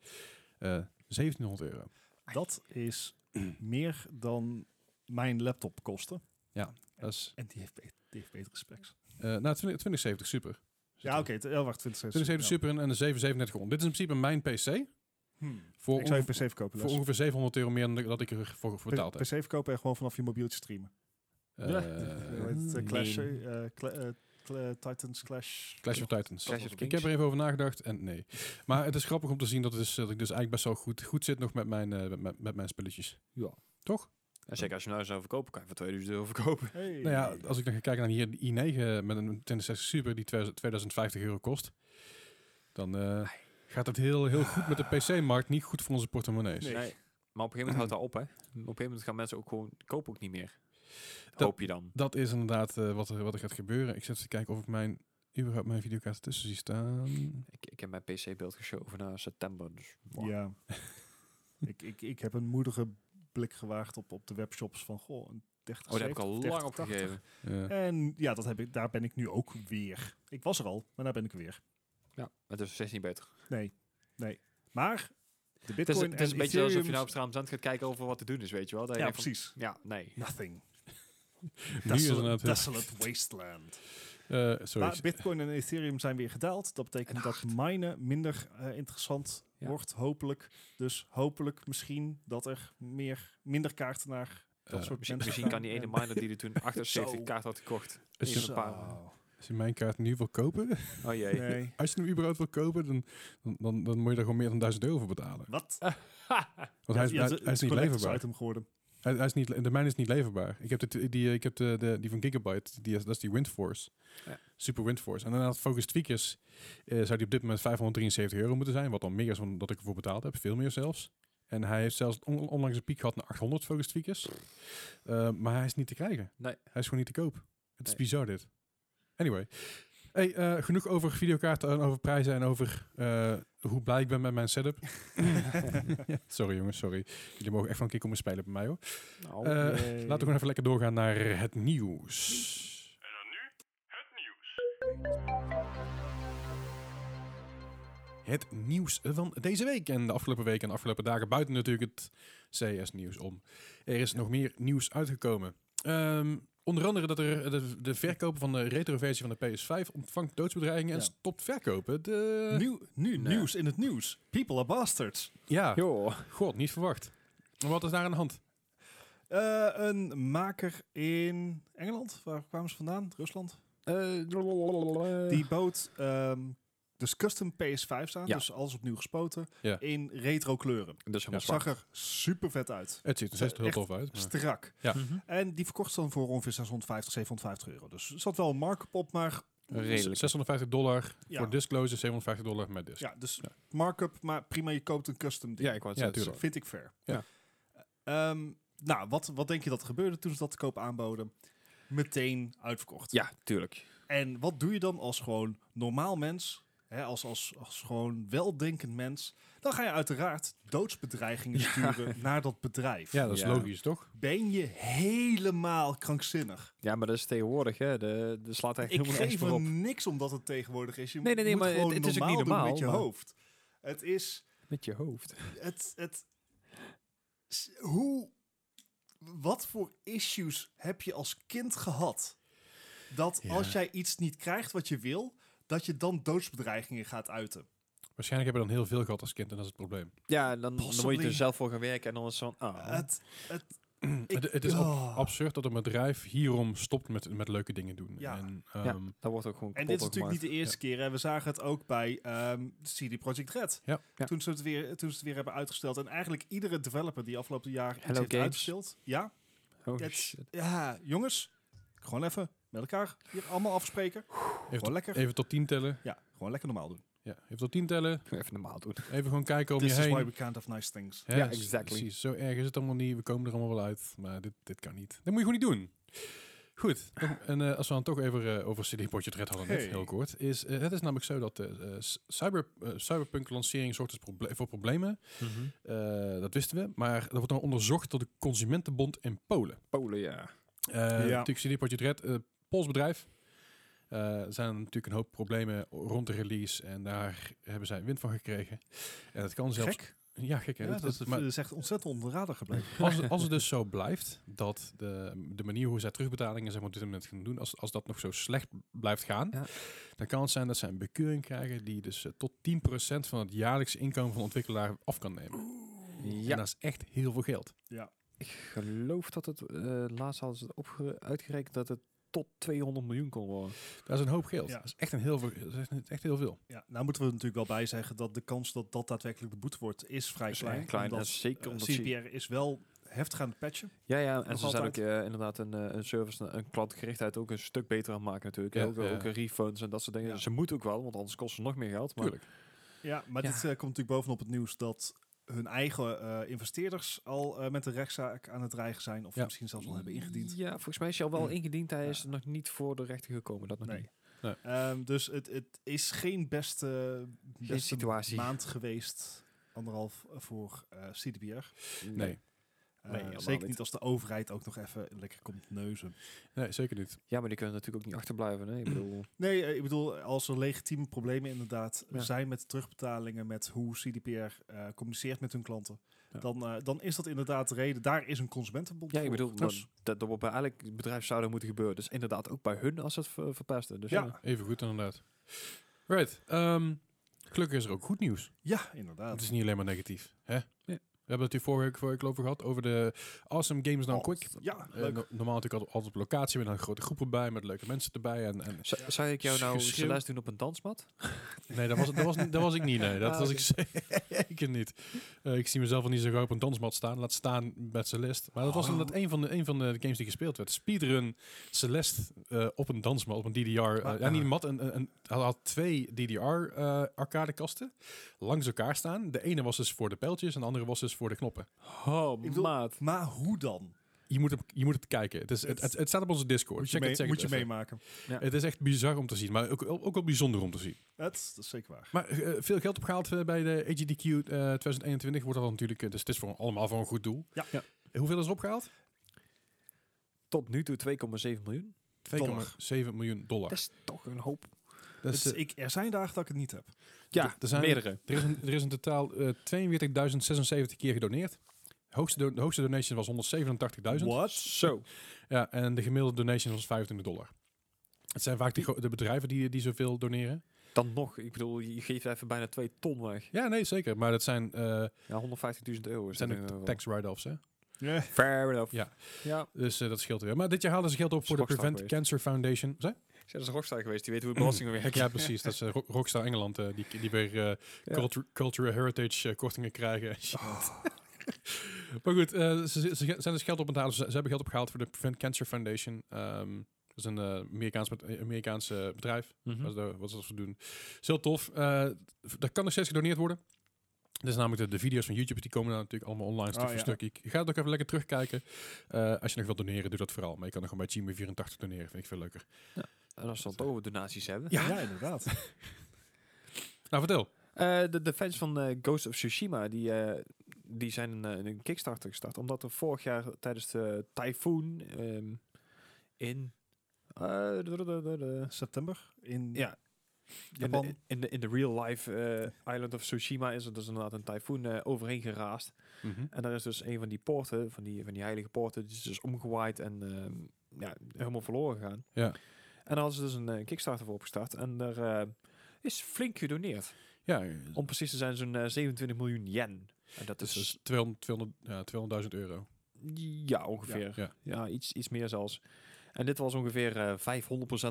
[SPEAKER 1] Eh 1700 euro.
[SPEAKER 3] Dat is meer dan mijn laptop kostte.
[SPEAKER 1] Dat is
[SPEAKER 3] En die heeft, be- die heeft betere specs.
[SPEAKER 1] eh nou, 20, 2070 Super.
[SPEAKER 3] Ja, oké. t- ja, wacht, 20
[SPEAKER 1] 2070 Super en- en de 73700. Dit is in principe mijn PC. Voor,
[SPEAKER 3] Hmm. Ik zou je
[SPEAKER 1] ongeveer-
[SPEAKER 3] PC verkopen,
[SPEAKER 1] voor
[SPEAKER 3] Les.
[SPEAKER 1] ongeveer 700 euro meer dan ik- dat ik ervoor voor betaald heb.
[SPEAKER 3] PC verkopen en gewoon vanaf je mobieltje streamen.
[SPEAKER 1] Eh,
[SPEAKER 3] ja. Hoe heet het? Eh, Clash,
[SPEAKER 2] nee.
[SPEAKER 3] eh, eh, Cla- eh, Cla- Titans Clash.
[SPEAKER 1] Clash of Titans.
[SPEAKER 2] Clash of
[SPEAKER 1] Ik
[SPEAKER 2] Kings.
[SPEAKER 1] heb er even over nagedacht en nee. Maar het is grappig om te zien dat, het is, dat ik dus eigenlijk best wel goed, goed zit nog met mijn, eh, met- met, met mijn spulletjes.
[SPEAKER 2] En zeker als je nou zou verkopen, kan je voor 2000 euro verkopen.
[SPEAKER 3] Hey.
[SPEAKER 1] Nou ja, als ik dan ga kijken naar hier de i9 met een 2060 Super die 2000 2050 euro kost, dan eh, gaat het heel, heel goed met de PC-markt, niet goed voor onze portemonnees.
[SPEAKER 3] Ah. Nee.
[SPEAKER 2] Maar op een gegeven moment houdt dat op hè. Op een gegeven moment gaan mensen ook gewoon, kopen ook niet meer.
[SPEAKER 1] Dat-
[SPEAKER 2] Hoop je dan.
[SPEAKER 1] Dat is inderdaad eh, wat, er, wat er gaat gebeuren. Ik zit te kijken of ik mijn, überhaupt mijn videokaart ertussen zie staan.
[SPEAKER 2] Ik, ik heb mijn PC-beeld geschoven naar september. Dus wow.
[SPEAKER 3] Ja. ik, ik, ik heb een moedige blik gewaagd op, op de webshops van, goh, een 30
[SPEAKER 2] Oh, daar heb ik al
[SPEAKER 3] 70,
[SPEAKER 2] lang
[SPEAKER 3] 30, 80.
[SPEAKER 2] opgegeven.
[SPEAKER 1] Ja.
[SPEAKER 3] En ja, dat heb ik, daar ben ik nu ook weer. Ik was er al, maar daar ben ik weer.
[SPEAKER 2] Ja, het is 16 beter.
[SPEAKER 3] Nee, nee. Maar de
[SPEAKER 2] Het is,
[SPEAKER 3] Bitcoin
[SPEAKER 2] het is
[SPEAKER 3] en
[SPEAKER 2] een beetje alsof je
[SPEAKER 3] Ethereum's-
[SPEAKER 2] nou op straat om zand gaat kijken over wat te doen is, weet je wel. Dat je
[SPEAKER 3] Ja,
[SPEAKER 2] denkt van,
[SPEAKER 3] precies.
[SPEAKER 2] ja, nee.
[SPEAKER 3] Nothing.
[SPEAKER 1] nu is het
[SPEAKER 3] Desolate,
[SPEAKER 1] inderdaad heel-
[SPEAKER 3] desolate wasteland.
[SPEAKER 1] eh, sorry.
[SPEAKER 3] Maar Bitcoin en Ethereum zijn weer gedaald. Dat betekent dat minen minder eh, interessant
[SPEAKER 2] Ja.
[SPEAKER 3] wordt, hopelijk. Dus hopelijk misschien dat er meer, minder kaarten naar dat
[SPEAKER 1] Eh,
[SPEAKER 2] Misschien,
[SPEAKER 3] soort mensen
[SPEAKER 2] misschien kan
[SPEAKER 3] gaan.
[SPEAKER 2] die ene
[SPEAKER 3] En-
[SPEAKER 2] miner die er toen 78
[SPEAKER 3] Zo.
[SPEAKER 2] kaart had gekocht.
[SPEAKER 1] Als je,
[SPEAKER 3] eh,
[SPEAKER 2] Is- een paar.
[SPEAKER 3] Zo.
[SPEAKER 1] als je mijn kaart nu wil kopen,
[SPEAKER 2] Oh jee.
[SPEAKER 3] Nee.
[SPEAKER 1] als je hem überhaupt wil kopen, dan, dan, dan, dan moet je daar gewoon meer dan 1000 euro voor betalen.
[SPEAKER 3] Wat? Ah,
[SPEAKER 1] Want hij, is,
[SPEAKER 3] Ja,
[SPEAKER 1] hij-
[SPEAKER 3] het-
[SPEAKER 1] hij is
[SPEAKER 3] het
[SPEAKER 1] niet
[SPEAKER 3] collectors
[SPEAKER 1] leverbaar.
[SPEAKER 3] item geworden.
[SPEAKER 1] Hij, hij is niet, le- de mijn is niet leverbaar. Ik heb, de, die, ik heb de, de, die van Gigabyte, die, is- dat is die Windforce.
[SPEAKER 2] Ja.
[SPEAKER 1] Super Windforce. En inderdaad, Focus Tweakers eh, zou die op dit moment 573 euro moeten zijn. Wat dan meer is dan dat ik ervoor betaald heb. Veel meer zelfs. En hij heeft zelfs on- onlangs een piek gehad naar 800 Focus Tweakers. Eh, maar hij is niet te krijgen.
[SPEAKER 2] Nee.
[SPEAKER 1] Hij is gewoon niet te koop. Het is
[SPEAKER 2] Nee.
[SPEAKER 1] bizar dit. Anyway. Hey, eh, genoeg over videokaarten en over prijzen en over eh, hoe blij ik ben met mijn setup. sorry jongens, sorry. Jullie mogen echt van een keer komen spelen bij mij hoor.
[SPEAKER 3] Oh.
[SPEAKER 2] Nou,
[SPEAKER 1] Eh,
[SPEAKER 2] jee.
[SPEAKER 1] Laten we gewoon even lekker doorgaan naar het nieuws. Het nieuws van deze week en de afgelopen week en de afgelopen dagen buiten natuurlijk het CS-nieuws om. Er is nog meer nieuws uitgekomen. Ehm, onder andere dat er de, de verkoper van de retroversie van de PS5 ontvangt doodsbedreigingen en
[SPEAKER 3] Ja.
[SPEAKER 1] stopt verkopen. De...
[SPEAKER 3] Eh, Nieuw, nu,
[SPEAKER 2] Nee.
[SPEAKER 3] Nieuws in het nieuws. People are bastards.
[SPEAKER 1] Ja,
[SPEAKER 2] Joh.
[SPEAKER 1] god, niet verwacht. Maar Wat is daar aan de hand?
[SPEAKER 3] Eh, een maker in Engeland. Waar kwamen ze vandaan? Rusland.
[SPEAKER 2] Eh,
[SPEAKER 1] Eh.
[SPEAKER 3] Die bood ehm, dus custom PS5's aan.
[SPEAKER 2] Ja.
[SPEAKER 3] Dus alles opnieuw gespoten.
[SPEAKER 1] Ja.
[SPEAKER 3] In retro kleuren.
[SPEAKER 2] Dat is helemaal
[SPEAKER 1] Ja,
[SPEAKER 3] Zag
[SPEAKER 2] zwart.
[SPEAKER 3] er super vet uit.
[SPEAKER 1] Het ziet er steeds
[SPEAKER 3] Echt
[SPEAKER 1] heel tof uit. maar-
[SPEAKER 3] Strak.
[SPEAKER 1] Ja.
[SPEAKER 2] Mhm.
[SPEAKER 3] En die verkocht ze dan voor ongeveer 650, 750 euro. Dus er zat wel een markup op, maar...
[SPEAKER 2] Redelijk.
[SPEAKER 1] 650 dollar
[SPEAKER 3] Ja,
[SPEAKER 1] voor disclose, 750 dollar met disc.
[SPEAKER 3] ja dus markup, maar prima, je koopt een custom ding.
[SPEAKER 2] Ja, ik wou het
[SPEAKER 1] Ja,
[SPEAKER 2] zeggen.
[SPEAKER 1] tuurlijk.
[SPEAKER 3] Vind ik fair.
[SPEAKER 1] Ja.
[SPEAKER 3] Ehm, nou, wat, wat denk je dat er gebeurde toen ze dat te koop aanboden? Meteen uitverkocht.
[SPEAKER 2] Ja, tuurlijk.
[SPEAKER 3] En wat doe je dan als gewoon normaal mens, hè, als, als, als gewoon weldenkend mens? Dan ga je uiteraard doodsbedreigingen
[SPEAKER 2] Ja.
[SPEAKER 3] sturen naar dat bedrijf.
[SPEAKER 1] Ja, dat is
[SPEAKER 2] Ja.
[SPEAKER 1] logisch, toch?
[SPEAKER 3] Ben je helemaal krankzinnig?
[SPEAKER 2] Ja, maar dat is tegenwoordig, hè. De, de slaat echt
[SPEAKER 3] Ik
[SPEAKER 2] helemaal nergens
[SPEAKER 3] geef
[SPEAKER 2] meer
[SPEAKER 3] er
[SPEAKER 2] op.
[SPEAKER 3] niks omdat het tegenwoordig is. Je
[SPEAKER 2] Nee, nee, nee,
[SPEAKER 3] moet
[SPEAKER 2] maar het-
[SPEAKER 3] gewoon
[SPEAKER 2] het is ook
[SPEAKER 3] normaal
[SPEAKER 2] niet
[SPEAKER 3] doen met je
[SPEAKER 2] normaal, maar-
[SPEAKER 3] hoofd. Het is,
[SPEAKER 2] Met je hoofd.
[SPEAKER 3] het, het, s- hoe, wat voor issues heb je als kind gehad? Dat
[SPEAKER 1] Ja.
[SPEAKER 3] als jij iets niet krijgt wat je wil, dat je dan doodsbedreigingen gaat uiten.
[SPEAKER 1] Waarschijnlijk hebben we dan heel veel gehad als kind en dat is het probleem.
[SPEAKER 2] Ja, en dan, dan moet je
[SPEAKER 3] Possibly.
[SPEAKER 2] er zelf voor gaan werken en dan is het zo'n... ah,
[SPEAKER 3] Het, het, ik-
[SPEAKER 1] het, het is ab-
[SPEAKER 3] oh.
[SPEAKER 1] absurd dat een bedrijf hierom stopt met, met leuke dingen doen.
[SPEAKER 3] Ja.
[SPEAKER 1] En,
[SPEAKER 2] ja,
[SPEAKER 1] ehm,
[SPEAKER 2] dat wordt ook gewoon
[SPEAKER 3] En
[SPEAKER 2] kapot
[SPEAKER 3] dit is
[SPEAKER 2] door
[SPEAKER 3] natuurlijk niet de eerste keer. Hè? We zagen het ook bij ehm, CD Project Red.
[SPEAKER 1] Ja.
[SPEAKER 2] Ja.
[SPEAKER 3] Toen, ze het weer, toen ze het weer hebben uitgesteld. En eigenlijk iedere developer die afgelopen jaar iets
[SPEAKER 2] Hello
[SPEAKER 3] heeft
[SPEAKER 2] Games.
[SPEAKER 3] uitgesteld. Ja,
[SPEAKER 2] gemaakt. Oh,
[SPEAKER 3] het-
[SPEAKER 2] shit.
[SPEAKER 3] ja, jongens. Gewoon even met elkaar hier allemaal afspreken.
[SPEAKER 1] even, tot,
[SPEAKER 3] Gewoon lekker.
[SPEAKER 1] even tot tien tellen.
[SPEAKER 3] Ja, gewoon lekker normaal doen.
[SPEAKER 1] Ja, even tot tien tellen.
[SPEAKER 2] Even normaal doen.
[SPEAKER 1] Even gewoon kijken om
[SPEAKER 3] This
[SPEAKER 1] je
[SPEAKER 3] is
[SPEAKER 1] heen.
[SPEAKER 3] why we can't have nice things.
[SPEAKER 1] Hè,
[SPEAKER 2] Ja,
[SPEAKER 1] dus-
[SPEAKER 2] exactly.
[SPEAKER 1] Precies, zo erg is het allemaal niet. We komen er allemaal wel uit. Maar dit, dit kan niet. Dat moet je gewoon niet doen. Goed, nog- en eh, als we dan toch even eh, over CD Projekt Red hadden, net
[SPEAKER 3] Hey.
[SPEAKER 1] heel kort. Is, eh, het is namelijk zo dat de cyber, eh, Cyberpunk-lancering zorgt dus proble- voor problemen.
[SPEAKER 2] Mhm.
[SPEAKER 1] Eh, dat wisten we. Maar dat wordt dan onderzocht door de Consumentenbond in Polen.
[SPEAKER 2] Polen, ja.
[SPEAKER 1] Eh Natuurlijk CD Projekt Red, eh Pools bedrijf. Eh, Er zijn natuurlijk een hoop problemen rond de release. En daar hebben zij wind van gekregen. En dat kan zelfs...
[SPEAKER 3] Gek.
[SPEAKER 1] Ja, gek. Hè?
[SPEAKER 3] Ja,
[SPEAKER 1] Dat-
[SPEAKER 3] dat,
[SPEAKER 1] dat-
[SPEAKER 3] is-
[SPEAKER 1] maar-
[SPEAKER 3] dat is echt ontzettend onder de radar gebleven.
[SPEAKER 1] als, het- als het dus zo blijft, dat de, de manier hoe zij terugbetalingen zeg maar, op dit moment gaan doen, als, als dat nog zo slecht blijft gaan,
[SPEAKER 2] Ja.
[SPEAKER 1] dan kan het zijn dat zij een bekeuring krijgen die dus eh, tot 10% van het jaarlijkse inkomen van de ontwikkelaar af kan nemen. En
[SPEAKER 2] Ja,
[SPEAKER 1] dat is echt heel veel geld.
[SPEAKER 2] Nou, ik geloof dat het... eh, laatst hadden ze het opge- uitgerekend dat het tot 200 miljoen kon worden.
[SPEAKER 1] Dat is een hoop geld.
[SPEAKER 3] Ja.
[SPEAKER 1] Dat is echt, een heel veel, dat is echt- echt heel veel.
[SPEAKER 3] Ja, nou moeten we er natuurlijk wel bij zeggen dat de kans dat dat daadwerkelijk de boete wordt, is vrij
[SPEAKER 2] Is
[SPEAKER 3] klein.
[SPEAKER 2] erg klein,
[SPEAKER 3] omdat,
[SPEAKER 2] en zeker
[SPEAKER 3] eh,
[SPEAKER 2] omdat ze-
[SPEAKER 3] CPR is wel heftig aan het patchen.
[SPEAKER 2] Ja, ja. En
[SPEAKER 3] Nog
[SPEAKER 2] ze zijn ook
[SPEAKER 3] altijd.
[SPEAKER 2] eh, inderdaad een, eh, een service, een klantgerichtheid ook een stuk beter aan het maken natuurlijk.
[SPEAKER 1] Ja,
[SPEAKER 2] ook, eh,
[SPEAKER 1] ja.
[SPEAKER 2] ook eh, refunds en dat soort dingen.
[SPEAKER 3] Ja.
[SPEAKER 2] Ze moeten ook wel, want anders kost het nog meer geld. Maar
[SPEAKER 1] Tuurlijk.
[SPEAKER 3] Ja, maar
[SPEAKER 2] Ja.
[SPEAKER 3] dit eh, komt natuurlijk bovenop het nieuws dat hun eigen eh, investeerders al eh, met een rechtszaak aan het dreigen zijn. Of
[SPEAKER 1] Ja.
[SPEAKER 3] misschien zelfs al hebben ingediend.
[SPEAKER 2] Ja, volgens mij is hij al wel
[SPEAKER 1] Mm.
[SPEAKER 2] ingediend. Hij
[SPEAKER 3] Ja.
[SPEAKER 2] is nog niet voor de rechter gekomen. Dat nog
[SPEAKER 3] Nee.
[SPEAKER 2] niet.
[SPEAKER 3] Ehm, dus het, het is geen beste, beste
[SPEAKER 2] situatie.
[SPEAKER 3] maand geweest, anderhalf, eh, voor eh CDBR.
[SPEAKER 1] Nee.
[SPEAKER 3] Eh,
[SPEAKER 2] Nee, helemaal
[SPEAKER 3] zeker
[SPEAKER 2] niet.
[SPEAKER 3] niet als de overheid ook nog even lekker komt neuzen.
[SPEAKER 1] Nee, zeker niet.
[SPEAKER 2] Ja, maar die kunnen natuurlijk ook niet achterblijven. Hè? Ik bedoel,
[SPEAKER 3] Nee, eh, ik bedoel, als er legitieme problemen inderdaad
[SPEAKER 2] Ja.
[SPEAKER 3] zijn met terugbetalingen, met hoe CDPR eh, communiceert met hun klanten,
[SPEAKER 1] Ja.
[SPEAKER 3] dan, eh, dan is dat inderdaad de reden. Daar is een consumentenbond
[SPEAKER 2] ja, ik
[SPEAKER 3] voor.
[SPEAKER 2] bedoel,
[SPEAKER 3] Dus-
[SPEAKER 2] dat, dat wordt bij elk bedrijf zou dat moeten gebeuren. Dus inderdaad ook bij hun als ze het ver- verpesten. Dus ja.
[SPEAKER 3] ja,
[SPEAKER 1] Even goed inderdaad. Right. ehm, gelukkig is er ook goed nieuws.
[SPEAKER 3] ja,
[SPEAKER 1] Het
[SPEAKER 3] inderdaad.
[SPEAKER 1] is niet alleen maar negatief. Hè? We hebben het hier vorige week, vorige week over gehad over de Awesome Games Now Quick.
[SPEAKER 3] Ja,
[SPEAKER 1] Eh,
[SPEAKER 3] Oh, leuk.
[SPEAKER 1] no- normaal natuurlijk altijd, altijd op locatie met een grote groep erbij, met leuke mensen erbij. En, en
[SPEAKER 2] Z- Zou ik jou nou
[SPEAKER 1] Geschreeuw.
[SPEAKER 2] les doen op een dansmat?
[SPEAKER 1] nee, dat was, dat, was, niet- dat was ik niet. Nee, dat
[SPEAKER 2] Ah,
[SPEAKER 1] was ik zeker niet. Eh, ik zie mezelf al niet zo gauw op een dansmat staan. Laat staan met Celeste. Maar dat was
[SPEAKER 3] Oh.
[SPEAKER 1] inderdaad een van, de, een van de games die gespeeld werd. Speedrun Celeste eh, op een dansmat, op een DDR. eh,
[SPEAKER 3] Maar-
[SPEAKER 1] ja, niet een mat. Een, een, een- hij had twee DDR-arcadekasten eh, langs elkaar staan. De ene was dus voor de pijltjes en de andere was dus voor de knoppen.
[SPEAKER 2] Oh,
[SPEAKER 3] bedoel,
[SPEAKER 2] maat.
[SPEAKER 3] Maar hoe dan?
[SPEAKER 1] Je moet, hem, je moet het kijken. Het, is, het,
[SPEAKER 3] Het-
[SPEAKER 1] het, het staat op onze Discord.
[SPEAKER 3] Moet je,
[SPEAKER 1] Check
[SPEAKER 3] mee-
[SPEAKER 1] het, check
[SPEAKER 3] moet je
[SPEAKER 1] het even.
[SPEAKER 3] meemaken.
[SPEAKER 1] Het is echt bizar om te zien, maar ook, ook wel bijzonder om te zien.
[SPEAKER 3] Dat, dat is zeker waar.
[SPEAKER 1] Maar eh, veel geld opgehaald eh, bij de AGDQ eh, 2021 wordt dat natuurlijk, eh, dus het is voor, allemaal voor een goed doel.
[SPEAKER 3] Ja.
[SPEAKER 2] Ja.
[SPEAKER 1] Eh, Hoeveel is er opgehaald?
[SPEAKER 2] Tot nu toe 2,7 miljoen.
[SPEAKER 1] 2,7 miljoen dollar.
[SPEAKER 2] Dat is toch een hoop.
[SPEAKER 1] Dat is,
[SPEAKER 3] Het is-
[SPEAKER 1] eh,
[SPEAKER 3] ik, er zijn dagen dat ik het niet heb.
[SPEAKER 2] Ja,
[SPEAKER 1] er zijn-
[SPEAKER 2] meerdere.
[SPEAKER 1] er, is een, er is in totaal eh, 42.076 keer gedoneerd. De hoogste, do- de hoogste donation was 187.000.
[SPEAKER 3] What?
[SPEAKER 2] Zo.
[SPEAKER 1] Ja, en de gemiddelde donation was 25 dollar. Het zijn vaak de, gro- de bedrijven die, die zoveel doneren.
[SPEAKER 2] Dan nog, ik bedoel, je geeft even bijna 2 ton weg.
[SPEAKER 1] Ja, nee, zeker. Maar dat zijn, eh,
[SPEAKER 2] Ja, 150.000 euro.
[SPEAKER 1] het
[SPEAKER 2] Is
[SPEAKER 1] zijn
[SPEAKER 2] dat
[SPEAKER 1] ook
[SPEAKER 2] nu wel.
[SPEAKER 1] tax write-offs, hè?
[SPEAKER 3] Ja.
[SPEAKER 2] Fair enough.
[SPEAKER 1] Ja.
[SPEAKER 2] ja.
[SPEAKER 1] Dus eh, dat scheelt weer. Maar dit jaar haalden ze geld op voor de
[SPEAKER 2] Rockstar
[SPEAKER 1] Prevent
[SPEAKER 2] geweest.
[SPEAKER 1] Cancer Foundation. Zij?
[SPEAKER 2] Zij, Dat is een rockstar geweest, die weet hoe het belastingen werkt.
[SPEAKER 1] Ja, precies. Dat is eh, Ro- Rockstar Engeland, eh, die, die weer eh, cultu- Cultural Heritage eh, kortingen krijgen. maar goed, eh, ze, ze- ze zijn dus geld op aan het halen. Ze, ze hebben geld opgehaald voor de Prevent Cancer Foundation. Ehm, dat is een eh, Amerikaans, bet- eh, Amerikaans eh, bedrijf.
[SPEAKER 2] Mhm.
[SPEAKER 1] Wat, ze- wat ze dat doen. Het is heel tof. Eh dat kan nog steeds gedoneerd worden. Dat is namelijk de, de video's van YouTube. Die komen daar natuurlijk allemaal online stuk
[SPEAKER 3] Ah,
[SPEAKER 1] voor
[SPEAKER 3] ja.
[SPEAKER 1] stuk. Ik ga het ook even lekker terugkijken. Eh, als je nog wilt doneren, doe dat vooral. Maar je kan nog gewoon bij Gmail 84 doneren. Vind ik veel leuker.
[SPEAKER 2] En als ze dan toch over donaties hebben.
[SPEAKER 3] Ja. inderdaad.
[SPEAKER 1] Nou, vertel.
[SPEAKER 2] Eh, de, de fans van eh, Ghost of Tsushima, die, eh, die zijn een, eh, een Kickstarter gestart. Omdat er vorig jaar tijdens de tyfoon ehm, in... eh, de- de- de- de- de-
[SPEAKER 3] September in
[SPEAKER 2] Ja, in
[SPEAKER 3] Japan.
[SPEAKER 2] de, in, de, in de real life eh, island of Tsushima is er dus inderdaad een tyfoon eh, overheen geraast. En daar is dus een van die poorten, van die, van die heilige poorten, die is dus omgewaaid en ehm, ja, helemaal verloren gegaan.
[SPEAKER 1] Ja.
[SPEAKER 2] En daar hadden ze dus een eh, Kickstarter voor opgestart. En daar eh, is flink gedoneerd.
[SPEAKER 1] Ja,
[SPEAKER 2] Om precies te zijn, zo'n eh, 27 miljoen yen. En dat
[SPEAKER 1] dus,
[SPEAKER 2] is
[SPEAKER 1] dus
[SPEAKER 2] dus,
[SPEAKER 1] 200 200 ja, 200.000 euro.
[SPEAKER 2] ja, ongeveer. Ja,
[SPEAKER 1] Ja.
[SPEAKER 2] iets, iets meer zelfs. En dit was ongeveer eh 500%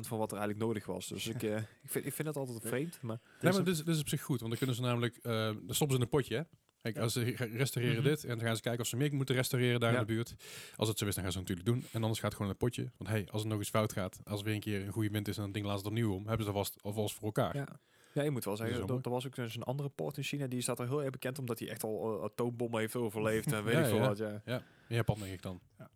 [SPEAKER 2] van wat er eigenlijk nodig was. Dus ik, eh, ik, vind, ik vind dat altijd vreemd. Maar
[SPEAKER 1] Nee, maar dit is, dit is op zich goed. Want dan kunnen ze namelijk... eh dan stoppen ze in een potje, hè? Kijk,
[SPEAKER 3] Ja.
[SPEAKER 1] als ze re- restaureren
[SPEAKER 2] Mhm.
[SPEAKER 1] dit en dan gaan ze kijken of ze meer moeten restaureren daar
[SPEAKER 2] Ja.
[SPEAKER 1] in de buurt. Als het zo is, dan gaan ze het natuurlijk doen. En anders gaat het gewoon in een potje. Want hey, als er nog iets fout gaat, als er weer een keer een goede wind is en dat ding laat het opnieuw om, hebben ze alvast, alvast voor elkaar.
[SPEAKER 2] Ja. Ja, je moet wel
[SPEAKER 1] is
[SPEAKER 2] zeggen,
[SPEAKER 1] wel
[SPEAKER 2] er er was ook dus een andere poort in China, die staat er heel erg bekend omdat hij echt al eh, atoombommen heeft overleefd en weet
[SPEAKER 1] Ja,
[SPEAKER 2] ik veel
[SPEAKER 1] ja.
[SPEAKER 2] wat. Ja.
[SPEAKER 1] In Japan, denk ik dan.
[SPEAKER 3] Ja.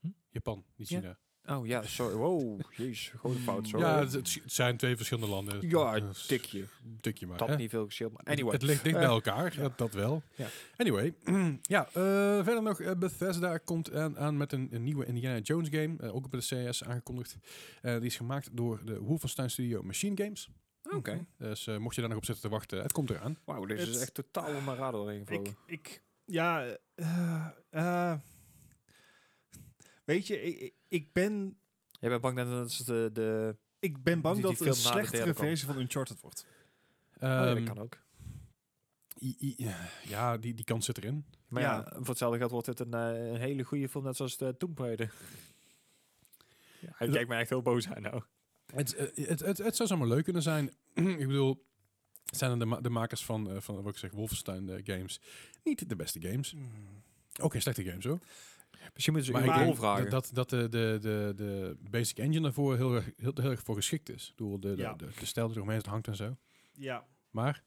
[SPEAKER 2] Hm?
[SPEAKER 1] Japan, niet
[SPEAKER 2] Ja.
[SPEAKER 1] China.
[SPEAKER 2] Oh ja, sorry. Wow, jezus, grote fout.
[SPEAKER 1] Ja,
[SPEAKER 2] Sorry.
[SPEAKER 1] het, het sch- het zijn twee verschillende landen.
[SPEAKER 2] Ja,
[SPEAKER 1] Eh, s-
[SPEAKER 2] tikje.
[SPEAKER 1] tikje maar.
[SPEAKER 2] Dat
[SPEAKER 1] hè.
[SPEAKER 2] had niet veel gescheeld, maar
[SPEAKER 1] Het-
[SPEAKER 2] anyway.
[SPEAKER 1] Het ligt dicht
[SPEAKER 2] Eh,
[SPEAKER 1] bij elkaar, dat, dat wel.
[SPEAKER 2] Ja.
[SPEAKER 1] Anyway, ja, eh, verder nog, eh, Bethesda komt aan, aan met een, een nieuwe Indiana Jones game, eh, ook op de CES aangekondigd. Eh, die is gemaakt door de Wolfenstein Studio Machine Games.
[SPEAKER 2] Oké.
[SPEAKER 1] Dus eh, mocht je daar nog op zitten te wachten, het komt eraan.
[SPEAKER 2] Wauw, dit is
[SPEAKER 3] Het-
[SPEAKER 2] echt totaal om mijn radar heen
[SPEAKER 3] Ik,
[SPEAKER 2] gevlogen.
[SPEAKER 3] ik, ja, eh, eh, weet je, ik, ik ben,
[SPEAKER 2] Jij bent bang dat het is de... de
[SPEAKER 3] ik ben bang
[SPEAKER 2] Die-
[SPEAKER 3] dat
[SPEAKER 2] die
[SPEAKER 3] het een
[SPEAKER 2] film na de derde
[SPEAKER 3] slechtere
[SPEAKER 2] kwam.
[SPEAKER 3] versie van Uncharted wordt.
[SPEAKER 2] oh ja,
[SPEAKER 1] Ehm,
[SPEAKER 2] dat kan ook.
[SPEAKER 1] i- i- ja, die, die kans zit erin.
[SPEAKER 2] Maar ja,
[SPEAKER 3] ja.
[SPEAKER 2] voor hetzelfde geld wordt dit een, eh, een hele goede film, net zoals de Tomb Raider. Ja, hij
[SPEAKER 1] Dat-
[SPEAKER 2] kijkt mij echt heel boos aan nou.
[SPEAKER 1] Het, eh, het, het, het zou zomaar leuk kunnen zijn. ik bedoel, het zijn de, ma- de makers van, eh, van wat ik zeg, Wolfenstein eh, games niet de beste games.
[SPEAKER 2] Hmm.
[SPEAKER 1] Ook geen slechte games hoor.
[SPEAKER 2] Misschien moeten ze
[SPEAKER 1] Maar
[SPEAKER 2] een
[SPEAKER 1] ik
[SPEAKER 2] rol
[SPEAKER 1] denk
[SPEAKER 2] vragen.
[SPEAKER 1] dat, dat de, de, de, de basic engine daarvoor heel erg, heel, heel erg voor geschikt is. Ik bedoel, de, de,
[SPEAKER 3] Ja.
[SPEAKER 1] de, de stijl die eromheen hangt en zo.
[SPEAKER 3] Ja,
[SPEAKER 1] Maar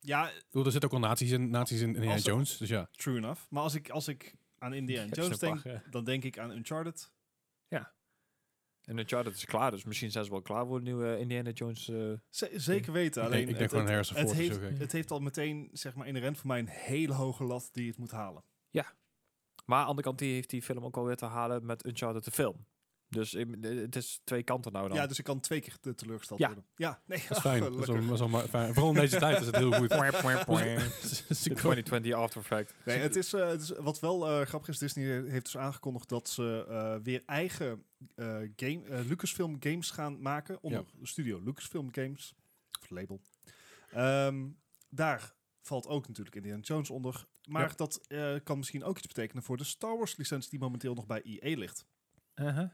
[SPEAKER 3] ja,
[SPEAKER 1] ik bedoel, er zitten ook al nazi's in, nazi's in Indiana
[SPEAKER 3] Als er-
[SPEAKER 1] Jones. Dus ja,
[SPEAKER 3] true enough. Maar als ik, als ik aan Indiana
[SPEAKER 2] Ja,
[SPEAKER 3] Jones
[SPEAKER 2] snap
[SPEAKER 3] denk,
[SPEAKER 2] maar, ja.
[SPEAKER 3] dan denk ik aan Uncharted.
[SPEAKER 2] En Uncharted is klaar, dus misschien zijn ze wel klaar voor de nieuwe Indiana Jones. eh,
[SPEAKER 3] Z- zeker weten,
[SPEAKER 1] ik
[SPEAKER 3] alleen
[SPEAKER 1] denk, ik denk
[SPEAKER 3] het,
[SPEAKER 1] gewoon
[SPEAKER 3] het,
[SPEAKER 1] Harrison
[SPEAKER 3] het
[SPEAKER 1] Ford. is
[SPEAKER 3] heeft,
[SPEAKER 1] ook, eh,
[SPEAKER 3] het heeft al meteen, zeg maar, inherent voor mij een hele hoge lat die het moet halen.
[SPEAKER 2] Maar aan de andere kant die heeft die film ook alweer te halen met Uncharted de film. Dus ik- het is twee kanten nou dan.
[SPEAKER 3] Ja, dus ik kan twee keer te- teleurgesteld
[SPEAKER 2] Ja.
[SPEAKER 3] worden. Ja, nee,
[SPEAKER 1] Dat is fijn. Dat is
[SPEAKER 3] gelukkig.
[SPEAKER 1] wel- dat is wel maar fijn. Vooral in deze tijd is het heel goed.
[SPEAKER 2] Poing, poing, poing.
[SPEAKER 1] Dus
[SPEAKER 2] De
[SPEAKER 1] ik hoop-
[SPEAKER 2] 2020 After Effect.
[SPEAKER 3] Nee, het is, eh, het is, wat wel eh, grappig is, Disney heeft dus aangekondigd dat ze eh, weer eigen eh, game, eh, Lucasfilm games gaan maken. Onder de studio Lucasfilm Games, of label. Ehm, daar valt ook natuurlijk Indiana Jones onder. Maar
[SPEAKER 2] Ja.
[SPEAKER 3] dat eh, kan misschien ook iets betekenen voor de Star Wars licentie die momenteel nog bij EA ligt.
[SPEAKER 2] Uh-huh.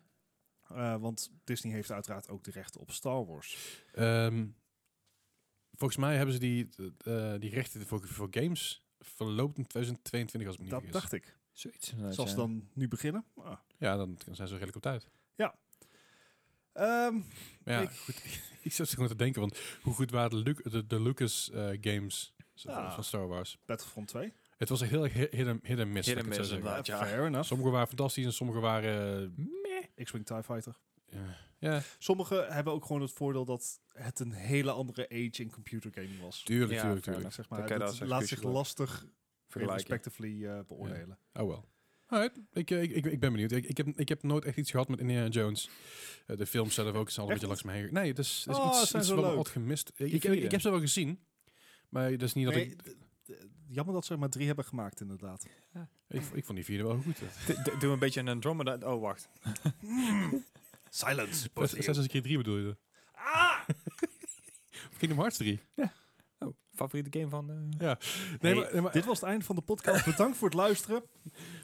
[SPEAKER 3] Eh, want Disney heeft uiteraard ook de rechten op Star Wars.
[SPEAKER 1] Ehm, volgens mij hebben ze die, eh, die rechten voor, voor games verloopt in 2022 als ik me niet
[SPEAKER 3] Dat
[SPEAKER 1] vergis.
[SPEAKER 3] dacht ik.
[SPEAKER 2] Zoiets. eh,
[SPEAKER 3] Zal ze dan nu beginnen? Ah.
[SPEAKER 1] Ja, dan zijn ze redelijk op tijd.
[SPEAKER 3] Ehm,
[SPEAKER 1] Maar ja,
[SPEAKER 3] Ik-
[SPEAKER 1] goed, ik zat gewoon te denken, want hoe goed waren de, Lu- de, de Lucas eh, games van-
[SPEAKER 3] Ja.
[SPEAKER 1] van Star Wars?
[SPEAKER 3] Battlefront 2.
[SPEAKER 1] Het was een heel erg hit- hit and- hit and miss. laat ik
[SPEAKER 2] Hit and
[SPEAKER 1] het
[SPEAKER 2] miss,
[SPEAKER 1] zo zeggen.
[SPEAKER 2] inderdaad. ja.
[SPEAKER 3] Fair enough.
[SPEAKER 1] Sommige waren fantastisch en sommige waren...
[SPEAKER 3] X-Wing TIE Fighter.
[SPEAKER 1] eh, ja,
[SPEAKER 3] Sommige hebben ook gewoon het voordeel dat het een hele andere age in computer gaming was.
[SPEAKER 1] tuurlijk,
[SPEAKER 2] Ja,
[SPEAKER 1] tuurlijk,
[SPEAKER 2] fair
[SPEAKER 1] tuurlijk.
[SPEAKER 3] Zeg maar,
[SPEAKER 2] Dan kan je
[SPEAKER 3] dat
[SPEAKER 2] daar als
[SPEAKER 3] laat
[SPEAKER 2] excuus
[SPEAKER 3] zich
[SPEAKER 2] gebruiken.
[SPEAKER 3] lastig
[SPEAKER 2] Vergelijken.
[SPEAKER 3] respectively eh, beoordelen.
[SPEAKER 1] Oh wel. Alright, ik, eh, ik, ik, ik ben benieuwd. Ik, ik, heb, ik heb nooit echt iets gehad met Indiana Jones. Eh, de films zelf ook, is al een
[SPEAKER 3] Echt
[SPEAKER 1] beetje langs me heen. ge- Nee, het is, het is
[SPEAKER 3] Oh, ze
[SPEAKER 1] iets,
[SPEAKER 3] zijn
[SPEAKER 1] iets
[SPEAKER 3] zo
[SPEAKER 1] wat ik
[SPEAKER 3] leuk.
[SPEAKER 1] had gemist. Ik, ik,
[SPEAKER 2] vier.
[SPEAKER 1] ik heb ze wel gezien, maar dat is niet dat
[SPEAKER 3] Nee,
[SPEAKER 1] ik,
[SPEAKER 3] d- d- Jammer dat ze er maar drie hebben gemaakt, inderdaad.
[SPEAKER 1] ik... Ik vond die vierde wel goed.
[SPEAKER 2] D- d- Doe een beetje een Andromeda. Oh, wacht.
[SPEAKER 3] Silence.
[SPEAKER 1] Zes als keer drie bedoel je? Ah! Kingdom Hearts 3.
[SPEAKER 2] Oh, favoriete game van... eh,
[SPEAKER 1] Nee,
[SPEAKER 3] Nee,
[SPEAKER 1] maar, nee, maar,
[SPEAKER 3] Dit was het einde van de podcast. Bedankt voor het luisteren.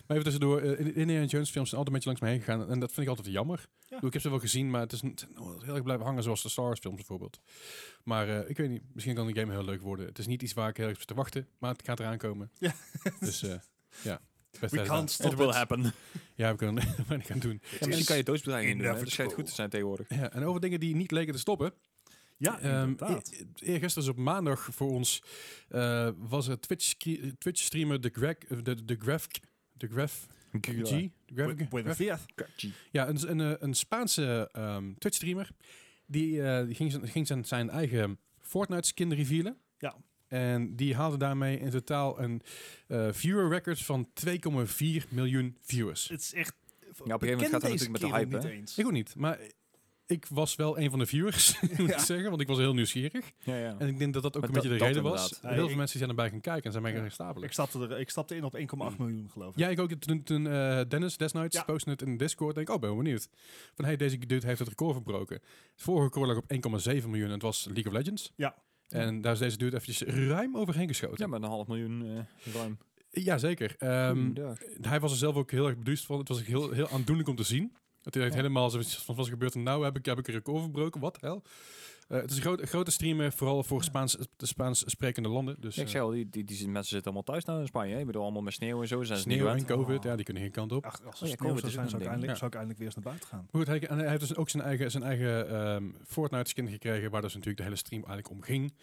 [SPEAKER 1] maar even tussendoor. eh, in- Indiana Jones films zijn altijd een beetje langs me heen gegaan. En dat vind ik altijd jammer. Ik bedoel, Ik heb ze wel gezien, maar het is niet het is heel erg blijven hangen zoals de Star Wars films bijvoorbeeld. Maar eh, ik weet niet, misschien kan de game heel leuk worden. Het is niet iets waar ik heel erg op zit te wachten, maar het gaat eraan komen.
[SPEAKER 3] Ja.
[SPEAKER 1] Dus eh, ja. Best
[SPEAKER 3] We can't stop
[SPEAKER 2] it will
[SPEAKER 3] it.
[SPEAKER 2] happen.
[SPEAKER 1] Ja, we kunnen er weinig aan doen.
[SPEAKER 2] Ja, misschien kan je doodsbedreigingen doen. hè. Dat schijnt
[SPEAKER 3] inevitable.
[SPEAKER 2] goed te zijn tegenwoordig.
[SPEAKER 1] Ja, en over dingen die niet leken te stoppen.
[SPEAKER 3] Ja,
[SPEAKER 1] Ehm,
[SPEAKER 3] inderdaad.
[SPEAKER 1] e- e- Eergisteren dus op maandag voor ons eh, was het Twitch, ski- Twitch streamer de Greg, eh, de, de Graf, de Graf, G, de Graf-
[SPEAKER 3] Bu- Buenos
[SPEAKER 1] Graf-
[SPEAKER 3] dias.
[SPEAKER 1] ja, een, een, eh, een Spaanse ehm, Twitch streamer die, eh, die ging, zijn- ging zijn, zijn eigen Fortnite skin revealen.
[SPEAKER 3] Ja.
[SPEAKER 1] En die haalde daarmee in totaal een eh, viewer record van 2,4 miljoen viewers.
[SPEAKER 3] Het is echt... Ja, op
[SPEAKER 2] gegeven moment gaat dat natuurlijk met de hype,
[SPEAKER 3] Niet
[SPEAKER 2] hè?
[SPEAKER 3] eens.
[SPEAKER 1] Ik ook niet, maar ik was wel een van de viewers, moet ik
[SPEAKER 3] Ja.
[SPEAKER 1] zeggen, want ik was heel nieuwsgierig.
[SPEAKER 2] Ja, ja.
[SPEAKER 1] En ik denk dat dat ook
[SPEAKER 2] Maar
[SPEAKER 1] een
[SPEAKER 2] dat-
[SPEAKER 1] beetje de
[SPEAKER 2] dat
[SPEAKER 1] reden was.
[SPEAKER 2] inderdaad.
[SPEAKER 3] Ja,
[SPEAKER 1] Heel
[SPEAKER 3] ik-
[SPEAKER 1] veel mensen zijn erbij gaan kijken en zijn mij
[SPEAKER 3] Ja.
[SPEAKER 1] gaan stapelen.
[SPEAKER 3] Ik stapte, er, ik stapte in op 1,8 miljoen, geloof ik.
[SPEAKER 1] Ja, ik ook. Toen, toen eh, Dennis desnights
[SPEAKER 3] Ja.
[SPEAKER 1] postte het in Discord, denk ik, oh, ben wel benieuwd. Van, hey, deze dude heeft het record verbroken. Het vorige record lag op 1,7 miljoen en het was League of Legends.
[SPEAKER 3] Ja.
[SPEAKER 1] En daar is deze dude eventjes ruim overheen
[SPEAKER 2] Ja,
[SPEAKER 1] geschoten.
[SPEAKER 2] met een half miljoen eh, ruim.
[SPEAKER 1] Ja, zeker. Ehm,
[SPEAKER 2] Goedendag.
[SPEAKER 1] hij was er zelf ook heel erg beduust van. Het was ook heel, heel aandoenlijk om te zien. Dat hij heeft
[SPEAKER 2] Ja.
[SPEAKER 1] helemaal zoiets van, wat is er gebeurd? En Nou heb ik, heb ik een record verbroken, wat hel? Eh, het is een grote- grote streamer, vooral voor Spaans, de Spaans sprekende landen. Dus,
[SPEAKER 2] Ja, ik
[SPEAKER 1] eh,
[SPEAKER 2] zei al, die, die, die mensen zitten allemaal thuis nou in Spanje. hè. Ik bedoel, allemaal met sneeuw en zo. Zijn ze niet
[SPEAKER 1] Sneeuw en
[SPEAKER 2] gewend.
[SPEAKER 1] COVID,
[SPEAKER 3] Oh.
[SPEAKER 1] ja, die kunnen geen kant op.
[SPEAKER 3] Ach, als
[SPEAKER 2] Oh
[SPEAKER 3] er
[SPEAKER 2] ja,
[SPEAKER 3] sneeuw
[SPEAKER 2] COVID
[SPEAKER 3] zou
[SPEAKER 2] is
[SPEAKER 3] zijn,
[SPEAKER 2] ook
[SPEAKER 3] zou ik,
[SPEAKER 2] een ding.
[SPEAKER 3] eindelijk,
[SPEAKER 1] Ja.
[SPEAKER 3] zou ik eindelijk weer eens naar buiten gaan.
[SPEAKER 1] Maar goed, hij, en hij heeft dus ook zijn eigen, zijn eigen ehm, Fortnite-skin gekregen, waar dus natuurlijk de hele stream eigenlijk om ging.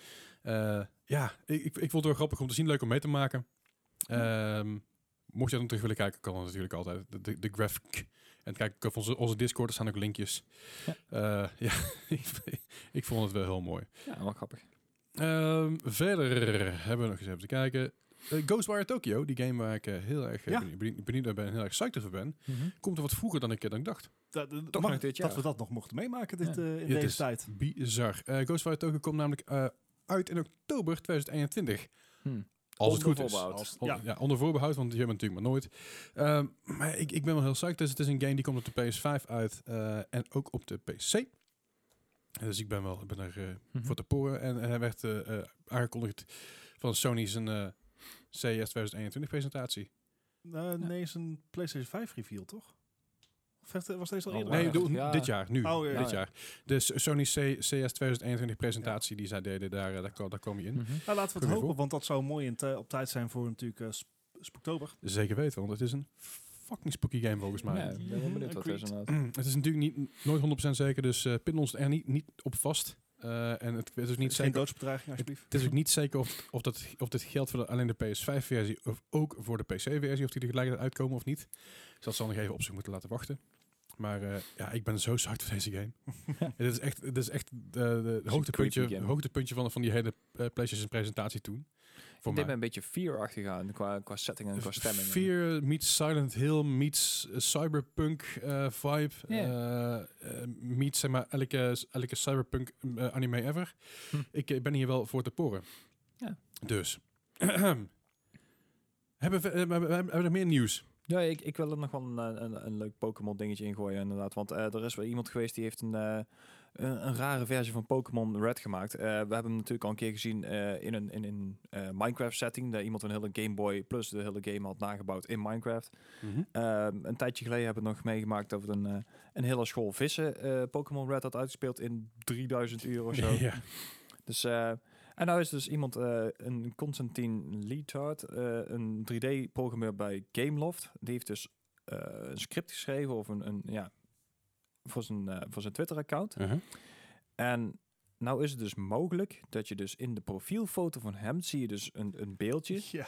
[SPEAKER 1] Eh, ja, ik, ik, ik vond het wel grappig om te zien, leuk om mee te maken. Ehm, mocht je dat nog terug willen kijken, kan dat natuurlijk altijd. De, de, de graphic. En kijk ook op onze, onze Discord, er staan ook linkjes.
[SPEAKER 2] Ja.
[SPEAKER 1] Ja, ja ik, ik vond het wel heel mooi.
[SPEAKER 2] Ja, wel grappig.
[SPEAKER 1] Ehm, verder hebben we nog eens even te kijken. Eh, Ghostwire Tokyo, die game waar ik eh, heel erg eh,
[SPEAKER 3] Ja.
[SPEAKER 1] benieu- benieu- benieuwd naar ben en heel erg psyched over ben, komt er wat vroeger dan ik, eh, dan ik dacht.
[SPEAKER 3] Dat, dat-
[SPEAKER 2] Toch
[SPEAKER 3] mag-
[SPEAKER 2] nog dit
[SPEAKER 3] dat
[SPEAKER 2] jaar.
[SPEAKER 3] we dat nog mochten meemaken dit,
[SPEAKER 2] Ja.
[SPEAKER 3] eh, in
[SPEAKER 1] Ja, het
[SPEAKER 3] deze
[SPEAKER 1] is-
[SPEAKER 3] tijd.
[SPEAKER 1] Bizar. Eh Ghostwire Tokyo komt namelijk eh, uit in oktober 2021.
[SPEAKER 2] Hm.
[SPEAKER 1] Als het goed
[SPEAKER 2] Onder
[SPEAKER 1] is.
[SPEAKER 2] voorbehoud.
[SPEAKER 3] Hmm. Als-
[SPEAKER 1] On-
[SPEAKER 3] ja.
[SPEAKER 1] ja. onder voorbehoud, want je hebt het natuurlijk maar nooit. Ehm, maar ik, ik ben wel heel psyched. Dus het is een game die komt op de PS5 uit eh, en ook op de PC. En Dus ik ben wel ik ben er eh,
[SPEAKER 2] Mhm.
[SPEAKER 1] voor te poren. En, en hij werd eh, eh, aangekondigd van Sony zijn eh, CES 2021 presentatie.
[SPEAKER 3] Eh, nee, is een PlayStation 5 reveal, toch? Of heeft- was deze al
[SPEAKER 2] Oh,
[SPEAKER 3] eerder?
[SPEAKER 1] Nee,
[SPEAKER 2] echt?
[SPEAKER 1] ik bedoel,
[SPEAKER 2] Ja.
[SPEAKER 1] dit jaar, nu.
[SPEAKER 3] Oh, ja,
[SPEAKER 1] dit
[SPEAKER 2] ja.
[SPEAKER 1] jaar. Dus Sony C- CES 2021 presentatie die zij deden, daar, eh, daar, kwam- daar kwam je in.
[SPEAKER 3] Nou, laten we het
[SPEAKER 1] Kom je
[SPEAKER 3] hopen,
[SPEAKER 1] voor?
[SPEAKER 3] want dat zou mooi in tij- op tijd zijn voor natuurlijk eh, sp- Spooktober.
[SPEAKER 1] Zeker weten, want het is een fucking spooky game volgens mij.
[SPEAKER 2] Ja, ik ben wel benieuwd wat het is
[SPEAKER 3] Agreed.
[SPEAKER 2] inderdaad.
[SPEAKER 1] Het is natuurlijk niet, nooit 100% zeker, dus eh pin ons er niet, niet op vast. Eh, en het, het is niet
[SPEAKER 3] Geen
[SPEAKER 1] zeker,
[SPEAKER 3] doodsbedreiging, alsjeblieft.
[SPEAKER 1] het is ook niet zeker of, of, dat, of dit geldt voor de- alleen de PS5-versie of ook voor de PC-versie, of die er tegelijkertijd uitkomen of niet. Dus dat zal nog even op zich moeten laten wachten. Maar eh, ja, ik ben zo zacht voor deze game. Het is echt, het is echt de, de,
[SPEAKER 2] een
[SPEAKER 1] hoogtepuntje,
[SPEAKER 2] creepy game.
[SPEAKER 1] hoogtepuntje van, van die hele eh, PlayStation-presentatie toen. Voor
[SPEAKER 2] dit
[SPEAKER 1] mij. Dus
[SPEAKER 2] ben een beetje fear-achtig aan qua, qua setting en qua stemming.
[SPEAKER 1] Fear meets Silent Hill meets eh, cyberpunk eh, vibe.
[SPEAKER 2] Ja.
[SPEAKER 1] eh, eh, meets zeg maar elke, elke cyberpunk eh, anime ever.
[SPEAKER 2] Hm.
[SPEAKER 1] Ik eh, ben hier wel voor te poren.
[SPEAKER 2] Ja.
[SPEAKER 1] Dus. hebben, we, eh, hebben, we- hebben we nog meer nieuws?
[SPEAKER 2] Ja, ik, ik wil er nog wel een, eh, een, een leuk Pokémon dingetje in gooien inderdaad. Want eh, er is wel iemand geweest die heeft een, eh, een, een rare versie van Pokémon Red gemaakt. Eh, we hebben hem natuurlijk al een keer gezien eh, in een, in een eh, Minecraft setting. Daar iemand een hele Game Boy plus de hele game had nagebouwd in Minecraft. Ehm, een tijdje geleden hebben we nog meegemaakt dat we een, eh, een hele school vissen eh, Pokémon Red had uitgespeeld in 3000 uur of zo.
[SPEAKER 1] ja.
[SPEAKER 2] Dus, eh, en nou is dus iemand, eh, een Constantine Lietard, eh, een 3D-programmeur bij Gameloft. Die heeft dus eh, een script geschreven of een, een ja, voor zijn, eh, voor zijn Twitter-account.
[SPEAKER 1] Mhm.
[SPEAKER 2] En nou is het dus mogelijk dat je dus in de profielfoto van hem zie je dus een, een beeldje.
[SPEAKER 3] Ja.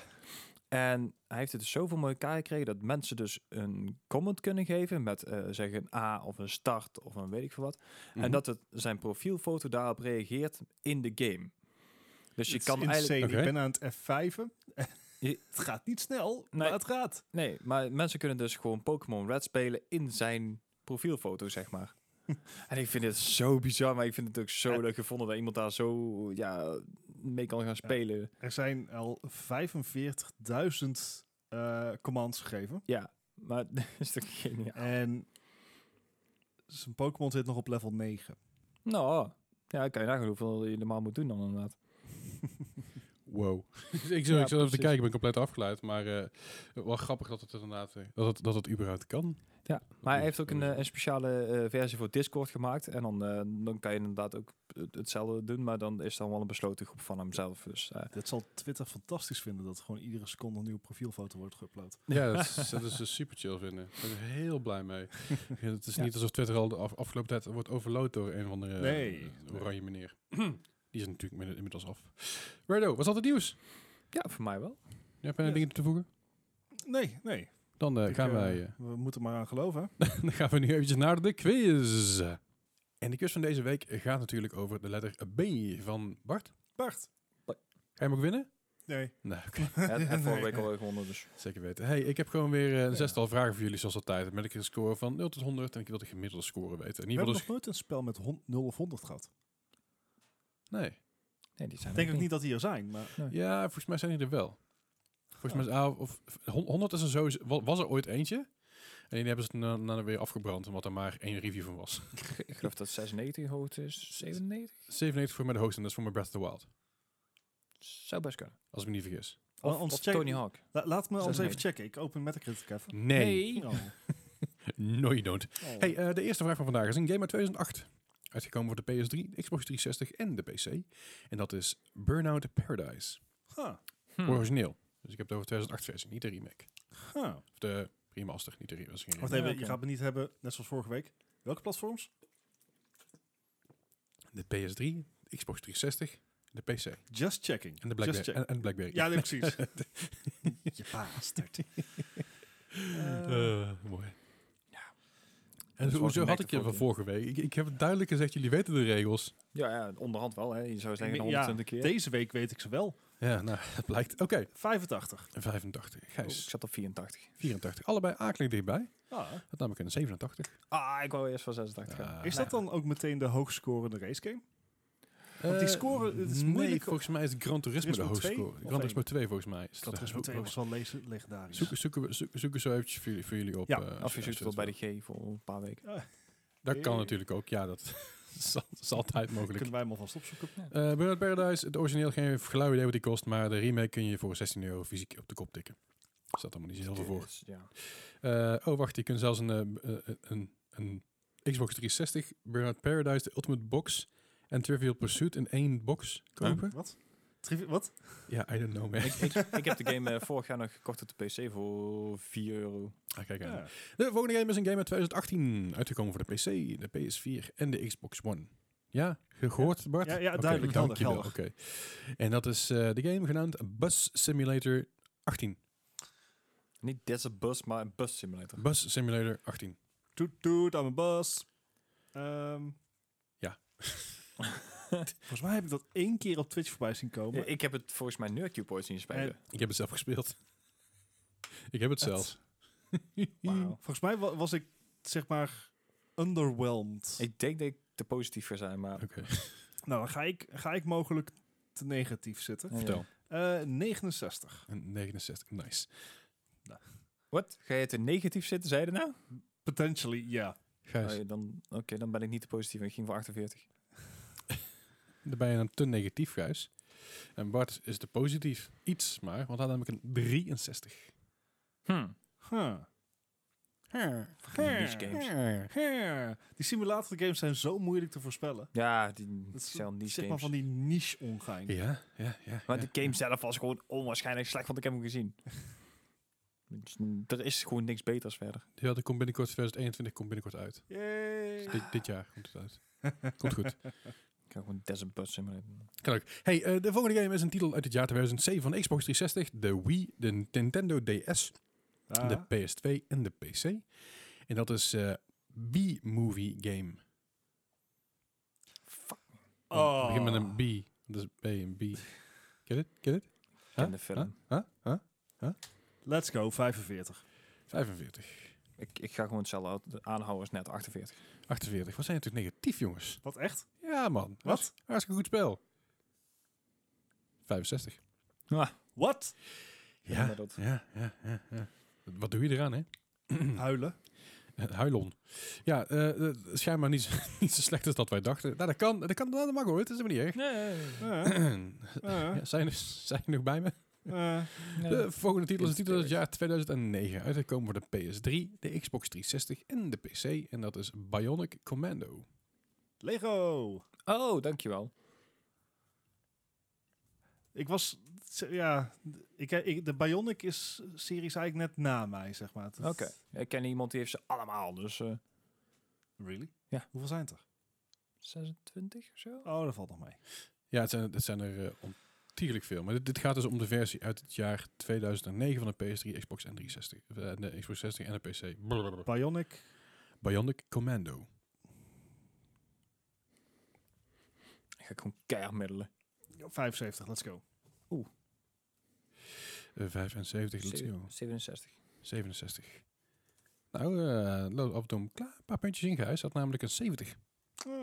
[SPEAKER 2] En hij heeft het dus zoveel voor elkaar gekregen dat mensen dus een comment kunnen geven met eh, zeggen een A of een start of een weet ik veel wat.
[SPEAKER 1] Mhm.
[SPEAKER 2] En dat het, zijn profielfoto daarop reageert in de game. Dus je
[SPEAKER 3] Het is
[SPEAKER 2] kan eigenlijk...
[SPEAKER 3] insane.
[SPEAKER 1] Oké.
[SPEAKER 3] Ik ben aan het F5'en.
[SPEAKER 2] Je-
[SPEAKER 3] het gaat niet snel, maar
[SPEAKER 2] Nee.
[SPEAKER 3] het gaat.
[SPEAKER 2] Nee, maar mensen kunnen dus gewoon Pokémon Red spelen in zijn profielfoto, zeg maar. en ik vind het zo bizar, maar ik vind het ook zo
[SPEAKER 3] Ja.
[SPEAKER 2] leuk gevonden dat iemand daar zo ja, mee kan gaan spelen.
[SPEAKER 3] Er zijn al 45.000 eh, commands gegeven.
[SPEAKER 2] Ja, maar dat is toch geniaal.
[SPEAKER 3] En zijn Pokémon zit nog op level 9.
[SPEAKER 2] Nou, ja, kan je nagaan hoeveel je normaal moet doen dan inderdaad.
[SPEAKER 1] Wow. ik zat ik zat
[SPEAKER 2] Ja,
[SPEAKER 1] even te
[SPEAKER 2] precies.
[SPEAKER 1] kijken, ik ben compleet afgeleid. Maar eh, wel grappig dat het er inderdaad, eh, dat het, dat het überhaupt kan. Dus-
[SPEAKER 2] Ja, maar hij
[SPEAKER 1] is-
[SPEAKER 2] heeft ook
[SPEAKER 1] dat
[SPEAKER 2] een,
[SPEAKER 1] is-
[SPEAKER 2] eh, een speciale eh, versie voor Discord gemaakt. En dan, eh, dan kan je inderdaad ook het- hetzelfde doen, maar dan is het dan wel een besloten groep van hemzelf. Dus eh,
[SPEAKER 3] Dat zal Twitter fantastisch vinden dat gewoon iedere seconde een nieuwe profielfoto wordt geüpload.
[SPEAKER 1] Ja, dat is, dat is dus super chill vinden. Daar ben ik heel blij mee. Ja, het is
[SPEAKER 2] Ja.
[SPEAKER 1] niet alsof Twitter al de af- afgelopen tijd wordt overload door een of andere
[SPEAKER 3] Nee.
[SPEAKER 1] eh, oranje meneer. Die is natuurlijk inmiddels- inmiddels af. Righto, was dat het nieuws?
[SPEAKER 2] ja, voor mij wel.
[SPEAKER 1] Jij hebt een
[SPEAKER 3] Ja.
[SPEAKER 1] ding toe te voegen?
[SPEAKER 3] Nee, nee.
[SPEAKER 1] Dan eh,
[SPEAKER 3] Ik,
[SPEAKER 1] gaan
[SPEAKER 3] eh,
[SPEAKER 1] wij... eh,
[SPEAKER 3] we moeten maar aan geloven. hè?
[SPEAKER 1] dan gaan we nu eventjes naar de quiz. En de quiz van deze week gaat natuurlijk over de letter B van Bart.
[SPEAKER 3] Bart.
[SPEAKER 1] Ga je hem ook winnen?
[SPEAKER 3] Nee.
[SPEAKER 1] Nee, oké.
[SPEAKER 2] Ja, en vorige
[SPEAKER 3] Nee.
[SPEAKER 2] week al gewonnen, dus
[SPEAKER 1] Zeker weten. Hey, ik heb gewoon weer eh, een
[SPEAKER 3] Ja.
[SPEAKER 1] zestal vragen voor jullie zoals altijd. Met een score van 0 tot 100 en ik wil de gemiddelde score weten. En
[SPEAKER 3] We
[SPEAKER 1] in ieder
[SPEAKER 3] hebben
[SPEAKER 1] geval
[SPEAKER 3] nog nooit een spel met hon- 0 of 100 gehad.
[SPEAKER 1] dus... Nee.
[SPEAKER 2] nee, die zijn
[SPEAKER 3] Ik denk
[SPEAKER 2] er
[SPEAKER 3] ook niet dat die er zijn, maar...
[SPEAKER 1] Ja, volgens mij zijn die er wel. Volgens
[SPEAKER 2] Oh.
[SPEAKER 1] mij is ah, of, hon- 100 is er sowieso, wa- was er ooit eentje. En die hebben ze na- na weer afgebrand, omdat er maar één review van was.
[SPEAKER 2] Ik geloof dat 96 hoogte is, 97?
[SPEAKER 1] 97 voor mij de hoogste en dat is voor mijn Breath of the Wild.
[SPEAKER 2] Zou best kunnen.
[SPEAKER 1] Als ik me niet vergis.
[SPEAKER 3] Maar
[SPEAKER 2] Of,
[SPEAKER 3] ons
[SPEAKER 2] of
[SPEAKER 3] check-
[SPEAKER 2] Tony Hawk.
[SPEAKER 3] La- laat me
[SPEAKER 2] Zes
[SPEAKER 3] ons
[SPEAKER 2] en
[SPEAKER 3] even
[SPEAKER 2] negen.
[SPEAKER 3] checken. Ik open Metacritic even.
[SPEAKER 1] Nee.
[SPEAKER 2] Nee.
[SPEAKER 3] Oh.
[SPEAKER 1] No, you don't.
[SPEAKER 3] Oh.
[SPEAKER 1] Hey, eh, de eerste vraag van vandaag is een game uit 2008. Uitgekomen voor de PS3, de Xbox 360 en de PC. En dat is Burnout Paradise.
[SPEAKER 3] Huh.
[SPEAKER 2] Hmm.
[SPEAKER 1] Origineel. Dus ik heb het over 2008 versie, niet de remake.
[SPEAKER 3] Huh.
[SPEAKER 1] Of de remaster, niet de remake. dat is geen
[SPEAKER 3] Wacht
[SPEAKER 1] remake.
[SPEAKER 3] even,
[SPEAKER 2] Ja,
[SPEAKER 3] je
[SPEAKER 2] oké.
[SPEAKER 3] gaat me niet hebben, net zoals vorige week. Welke platforms?
[SPEAKER 1] De PS3, de Xbox 360, de PC.
[SPEAKER 3] Just checking.
[SPEAKER 1] En de
[SPEAKER 3] Just
[SPEAKER 1] Blackberry.
[SPEAKER 3] check.
[SPEAKER 1] En, en de Blackberry.
[SPEAKER 3] Ja, nee, precies. je baasterd. Eh,
[SPEAKER 1] mooi.
[SPEAKER 2] Dat
[SPEAKER 1] En
[SPEAKER 2] is
[SPEAKER 1] ho-
[SPEAKER 2] wel
[SPEAKER 1] hoezo had
[SPEAKER 2] gemerkt
[SPEAKER 1] ik je
[SPEAKER 2] ook,
[SPEAKER 1] van
[SPEAKER 2] ja.
[SPEAKER 1] vorige week? Ik, ik heb het duidelijk gezegd, jullie weten de regels.
[SPEAKER 2] Ja, ja, onderhand wel. Hè. Je zou zeggen
[SPEAKER 3] Ja,
[SPEAKER 2] 120 keer.
[SPEAKER 3] Deze week weet ik ze wel.
[SPEAKER 1] Ja, nou, dat blijkt. Oké,
[SPEAKER 3] 85.
[SPEAKER 1] 85.
[SPEAKER 2] Oh, ik
[SPEAKER 1] Gijs,
[SPEAKER 2] zat op 84.
[SPEAKER 1] Oh. 84. Allebei akelig dichtbij.
[SPEAKER 3] Ah,
[SPEAKER 1] Had namelijk een Eh, 87.
[SPEAKER 2] Ah, ik wou eerst van 86 gaan.
[SPEAKER 1] Ja.
[SPEAKER 3] is dat dan ook meteen de hoogscorende racegame? want die
[SPEAKER 1] Eh,
[SPEAKER 3] score, het is
[SPEAKER 1] nee,
[SPEAKER 3] moeilijk-
[SPEAKER 1] volgens mij is Gran Turismo de
[SPEAKER 3] Turismo
[SPEAKER 1] hoogste
[SPEAKER 3] 2
[SPEAKER 1] score.
[SPEAKER 3] of
[SPEAKER 1] Gran Turismo
[SPEAKER 3] één?
[SPEAKER 1] 2 volgens mij. is
[SPEAKER 3] Dat
[SPEAKER 1] de
[SPEAKER 3] is
[SPEAKER 1] ho-
[SPEAKER 3] meteen
[SPEAKER 1] ho-
[SPEAKER 3] was wel lezen- legendarisch.
[SPEAKER 1] Zoeken, zoeken, we- zoeken, zoeken zo eventjes voor jullie, voor jullie op.
[SPEAKER 3] Ja,
[SPEAKER 1] eh,
[SPEAKER 2] Of je
[SPEAKER 1] als
[SPEAKER 2] zoekt het wel
[SPEAKER 1] dat
[SPEAKER 2] bij de G voor een paar weken.
[SPEAKER 1] wil. Dat kan
[SPEAKER 3] Nee.
[SPEAKER 1] natuurlijk ook. Ja, dat is, al- is altijd mogelijk.
[SPEAKER 3] Kunnen wij hem alvast opzoeken?
[SPEAKER 1] Eh Burnout Paradise, het origineel geen flauw idee wat die kost, maar de remake kun je voor 16 euro fysiek op de kop tikken. Er staat allemaal niet zo heel veel voor.
[SPEAKER 2] Dus, ja.
[SPEAKER 1] Eh, oh, wacht, je kunt zelfs een, eh, eh, een, een Xbox 360, Burnout Paradise, de Ultimate Box en Trivial Pursuit in één box kopen.
[SPEAKER 3] Wat? Trivi- wat?
[SPEAKER 1] Ja, I don't know, man.
[SPEAKER 2] ik, ik, ik heb de game eh, vorig jaar nog gekocht op de PC voor 4 euro.
[SPEAKER 1] Ah, kijk aan.
[SPEAKER 3] Ja.
[SPEAKER 1] De volgende game is een game uit 2018, uitgekomen voor de PC, de PS4 en de Xbox One. Ja, ge- gehoord Bart?
[SPEAKER 3] Ja, ja,
[SPEAKER 1] Oké,
[SPEAKER 3] duidelijk, helder,
[SPEAKER 1] dankjewel.
[SPEAKER 3] helder.
[SPEAKER 1] Oké. En dat is eh, de game genaamd Bus Simulator 18.
[SPEAKER 2] Niet That's a Bus, maar een bus simulator.
[SPEAKER 1] Bus Simulator 18.
[SPEAKER 3] Toet toet aan mijn bus. Ehm,
[SPEAKER 1] Ja.
[SPEAKER 3] Volgens mij heb ik dat één keer op Twitch voorbij zien komen.
[SPEAKER 2] Ik heb het volgens mij Nerdcube ooit zien spelen.
[SPEAKER 1] Ik heb het zelf gespeeld. ik heb het zelfs.
[SPEAKER 3] Wauw. Volgens mij wa- was ik, zeg maar, underwhelmed.
[SPEAKER 2] Ik denk dat ik te positief voor zijn, maar...
[SPEAKER 1] Oké,
[SPEAKER 3] Nou, dan ga ik, ga ik mogelijk te negatief zitten.
[SPEAKER 1] vertel.
[SPEAKER 3] Eh, 69.
[SPEAKER 1] Een 69, nice.
[SPEAKER 2] Wat? Ga je te negatief zitten, zei je nou?
[SPEAKER 3] Potentially, ja.
[SPEAKER 1] Gijs,
[SPEAKER 2] Oh, dan, Oké, dan ben ik niet te positief. Ik ging voor 48.
[SPEAKER 1] dan ben je dan te negatief, Gijs. En Bart is te positief. Iets maar, want hij had namelijk een 63. Hmm.
[SPEAKER 3] Huh.
[SPEAKER 2] Niche games.
[SPEAKER 3] Huh. Die simulatorgames zijn zo moeilijk te voorspellen.
[SPEAKER 2] Ja, die
[SPEAKER 3] Dat is
[SPEAKER 2] zijn niche
[SPEAKER 3] zeg
[SPEAKER 2] games.
[SPEAKER 3] maar van die niche ongein.
[SPEAKER 1] Ja, ja, ja.
[SPEAKER 2] Maar
[SPEAKER 1] ja.
[SPEAKER 2] de game zelf was gewoon onwaarschijnlijk slecht, want ik heb hem gezien. Dus, mm, er is gewoon niks beters verder.
[SPEAKER 1] Ja, dat komt binnenkort, 2021 komt binnenkort uit.
[SPEAKER 3] Yay.
[SPEAKER 1] Dit, dit jaar komt het uit. Komt goed.
[SPEAKER 2] Ik kan gewoon Desert Bus simulaten.
[SPEAKER 1] Kan ook. Hey, eh, de volgende game is een titel uit het jaar 2007 van de Xbox 360, de Wii, de Nintendo DS,
[SPEAKER 3] Ah,
[SPEAKER 1] de PS2 en de PC. En dat is eh B-movie game.
[SPEAKER 2] Fuck, ik
[SPEAKER 1] Oh.
[SPEAKER 3] Oh.
[SPEAKER 1] Begin met een B. Dus B en B. Get it? Get it?
[SPEAKER 2] ken
[SPEAKER 1] Huh?
[SPEAKER 2] de film.
[SPEAKER 1] Huh? Huh? Huh?
[SPEAKER 3] Let's go, 45.
[SPEAKER 1] 45.
[SPEAKER 2] Ik, ik ga gewoon hetzelfde houden. De aanhouwer is net 48.
[SPEAKER 1] 48. Wat zijn natuurlijk negatief, jongens.
[SPEAKER 3] Wat, echt?
[SPEAKER 1] Ja, man.
[SPEAKER 3] Wat?
[SPEAKER 1] Hartstikke goed spel. 65.
[SPEAKER 3] Wat?
[SPEAKER 1] Ja,
[SPEAKER 2] maar dat-
[SPEAKER 1] ja, ja, ja, ja. Wat doe je eraan, hè?
[SPEAKER 3] Huilen.
[SPEAKER 1] Huilon. Ja, eh, eh, schijnbaar niet, zo- niet zo slecht als dat wij dachten. Nou, dat kan. Dat, kan, dat mag hoor. Het is helemaal niet erg.
[SPEAKER 2] Nee.
[SPEAKER 3] Eh, eh,
[SPEAKER 1] Ja, zijn, zijn je nog bij me?
[SPEAKER 3] eh.
[SPEAKER 1] De volgende titel is een
[SPEAKER 2] Is het
[SPEAKER 1] titel uit het
[SPEAKER 2] erg?
[SPEAKER 1] jaar 2009. Uitgekomen voor de PS3, de Xbox 360 en de PC. En dat is Bionic Commando.
[SPEAKER 3] Lego.
[SPEAKER 2] Oh, dankjewel.
[SPEAKER 3] Ik was, ja, ik, ik, de Bionic is series eigenlijk net na mij, zeg maar.
[SPEAKER 2] Oké. Ik ken iemand die heeft ze allemaal, dus... eh,
[SPEAKER 3] Really?
[SPEAKER 2] Ja.
[SPEAKER 3] Hoeveel zijn het er?
[SPEAKER 2] 26 of zo?
[SPEAKER 3] Oh, dat valt nog mee.
[SPEAKER 1] Ja, het zijn, het zijn er eh, ontiegelijk veel. Maar dit, dit gaat dus om de versie uit het jaar 2009 van de PS3, Xbox en 360. eh, de Xbox 60 en de PC. Blablabla.
[SPEAKER 3] Bionic.
[SPEAKER 1] Bionic Commando.
[SPEAKER 2] Ik ga gewoon keihard middelen.
[SPEAKER 3] 75, let's go.
[SPEAKER 1] Eh, 75, let's
[SPEAKER 2] Zeven-
[SPEAKER 1] go.
[SPEAKER 2] 67.
[SPEAKER 1] 67. Nou, eh loopt af en toe een kla- een paar puntjes in, Gijs. Had namelijk een 70. Eh,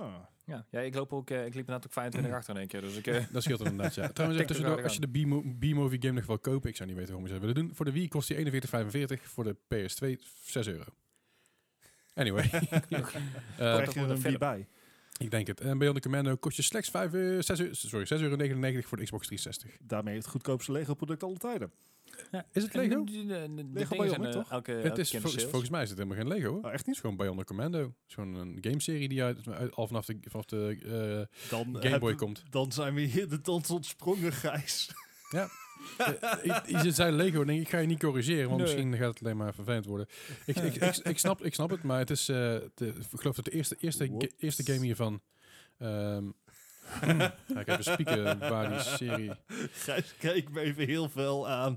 [SPEAKER 3] Ah.
[SPEAKER 2] Ja, ja ik, loop ook, eh, ik liep inderdaad ook 25 achter in één keer. Dus ik, eh,
[SPEAKER 1] Dat scheelt inderdaad, ja. Trouwens, even
[SPEAKER 2] Tikt er
[SPEAKER 1] tussendoor,
[SPEAKER 2] aardig
[SPEAKER 1] als je de B-mo- B-movie game nog wil kopen, ik zou niet weten waarom je zou willen doen. Voor de Wii kost die 41,45, voor de PS2 6 euro. Anyway. Eh,
[SPEAKER 3] Krijg je
[SPEAKER 2] wordt
[SPEAKER 3] er
[SPEAKER 2] een
[SPEAKER 3] een
[SPEAKER 2] film.
[SPEAKER 3] wie bij?
[SPEAKER 1] ik denk het. En Bionic Commando kost je slechts 5, eh, 6, eu- sorry, 6,99 euro voor de Xbox 360.
[SPEAKER 3] Daarmee het goedkoopste Lego-product alle tijden.
[SPEAKER 1] Is het Lego?
[SPEAKER 2] Lego
[SPEAKER 3] Bionic, toch?
[SPEAKER 2] eh, Elke,
[SPEAKER 1] Het is, vol- volgens mij is het helemaal geen Lego. hoor.
[SPEAKER 3] Oh, echt
[SPEAKER 1] Het is
[SPEAKER 3] niet?
[SPEAKER 1] gewoon Bionic Commando. Het is gewoon een gameserie die uit, uit- al vanaf de, vanaf de eh,
[SPEAKER 3] Dan,
[SPEAKER 1] Game
[SPEAKER 3] heb-
[SPEAKER 1] Boy komt.
[SPEAKER 3] dan zijn we hier de dans ontsprongen, Gijs.
[SPEAKER 1] Eh, ik- je zei Lego, denk ik, ik ga je niet corrigeren, want
[SPEAKER 2] Nee.
[SPEAKER 1] misschien gaat het alleen maar vervelend worden. Ik, ik, ik, ik, snap, ik snap het, maar het is, eh, de, ik geloof dat de eerste, eerste, ga-
[SPEAKER 3] Whoops.
[SPEAKER 1] eerste game hiervan... ehm, ja, ik heb even spieken waar die serie...
[SPEAKER 3] Gijs, kijk me even heel fel aan.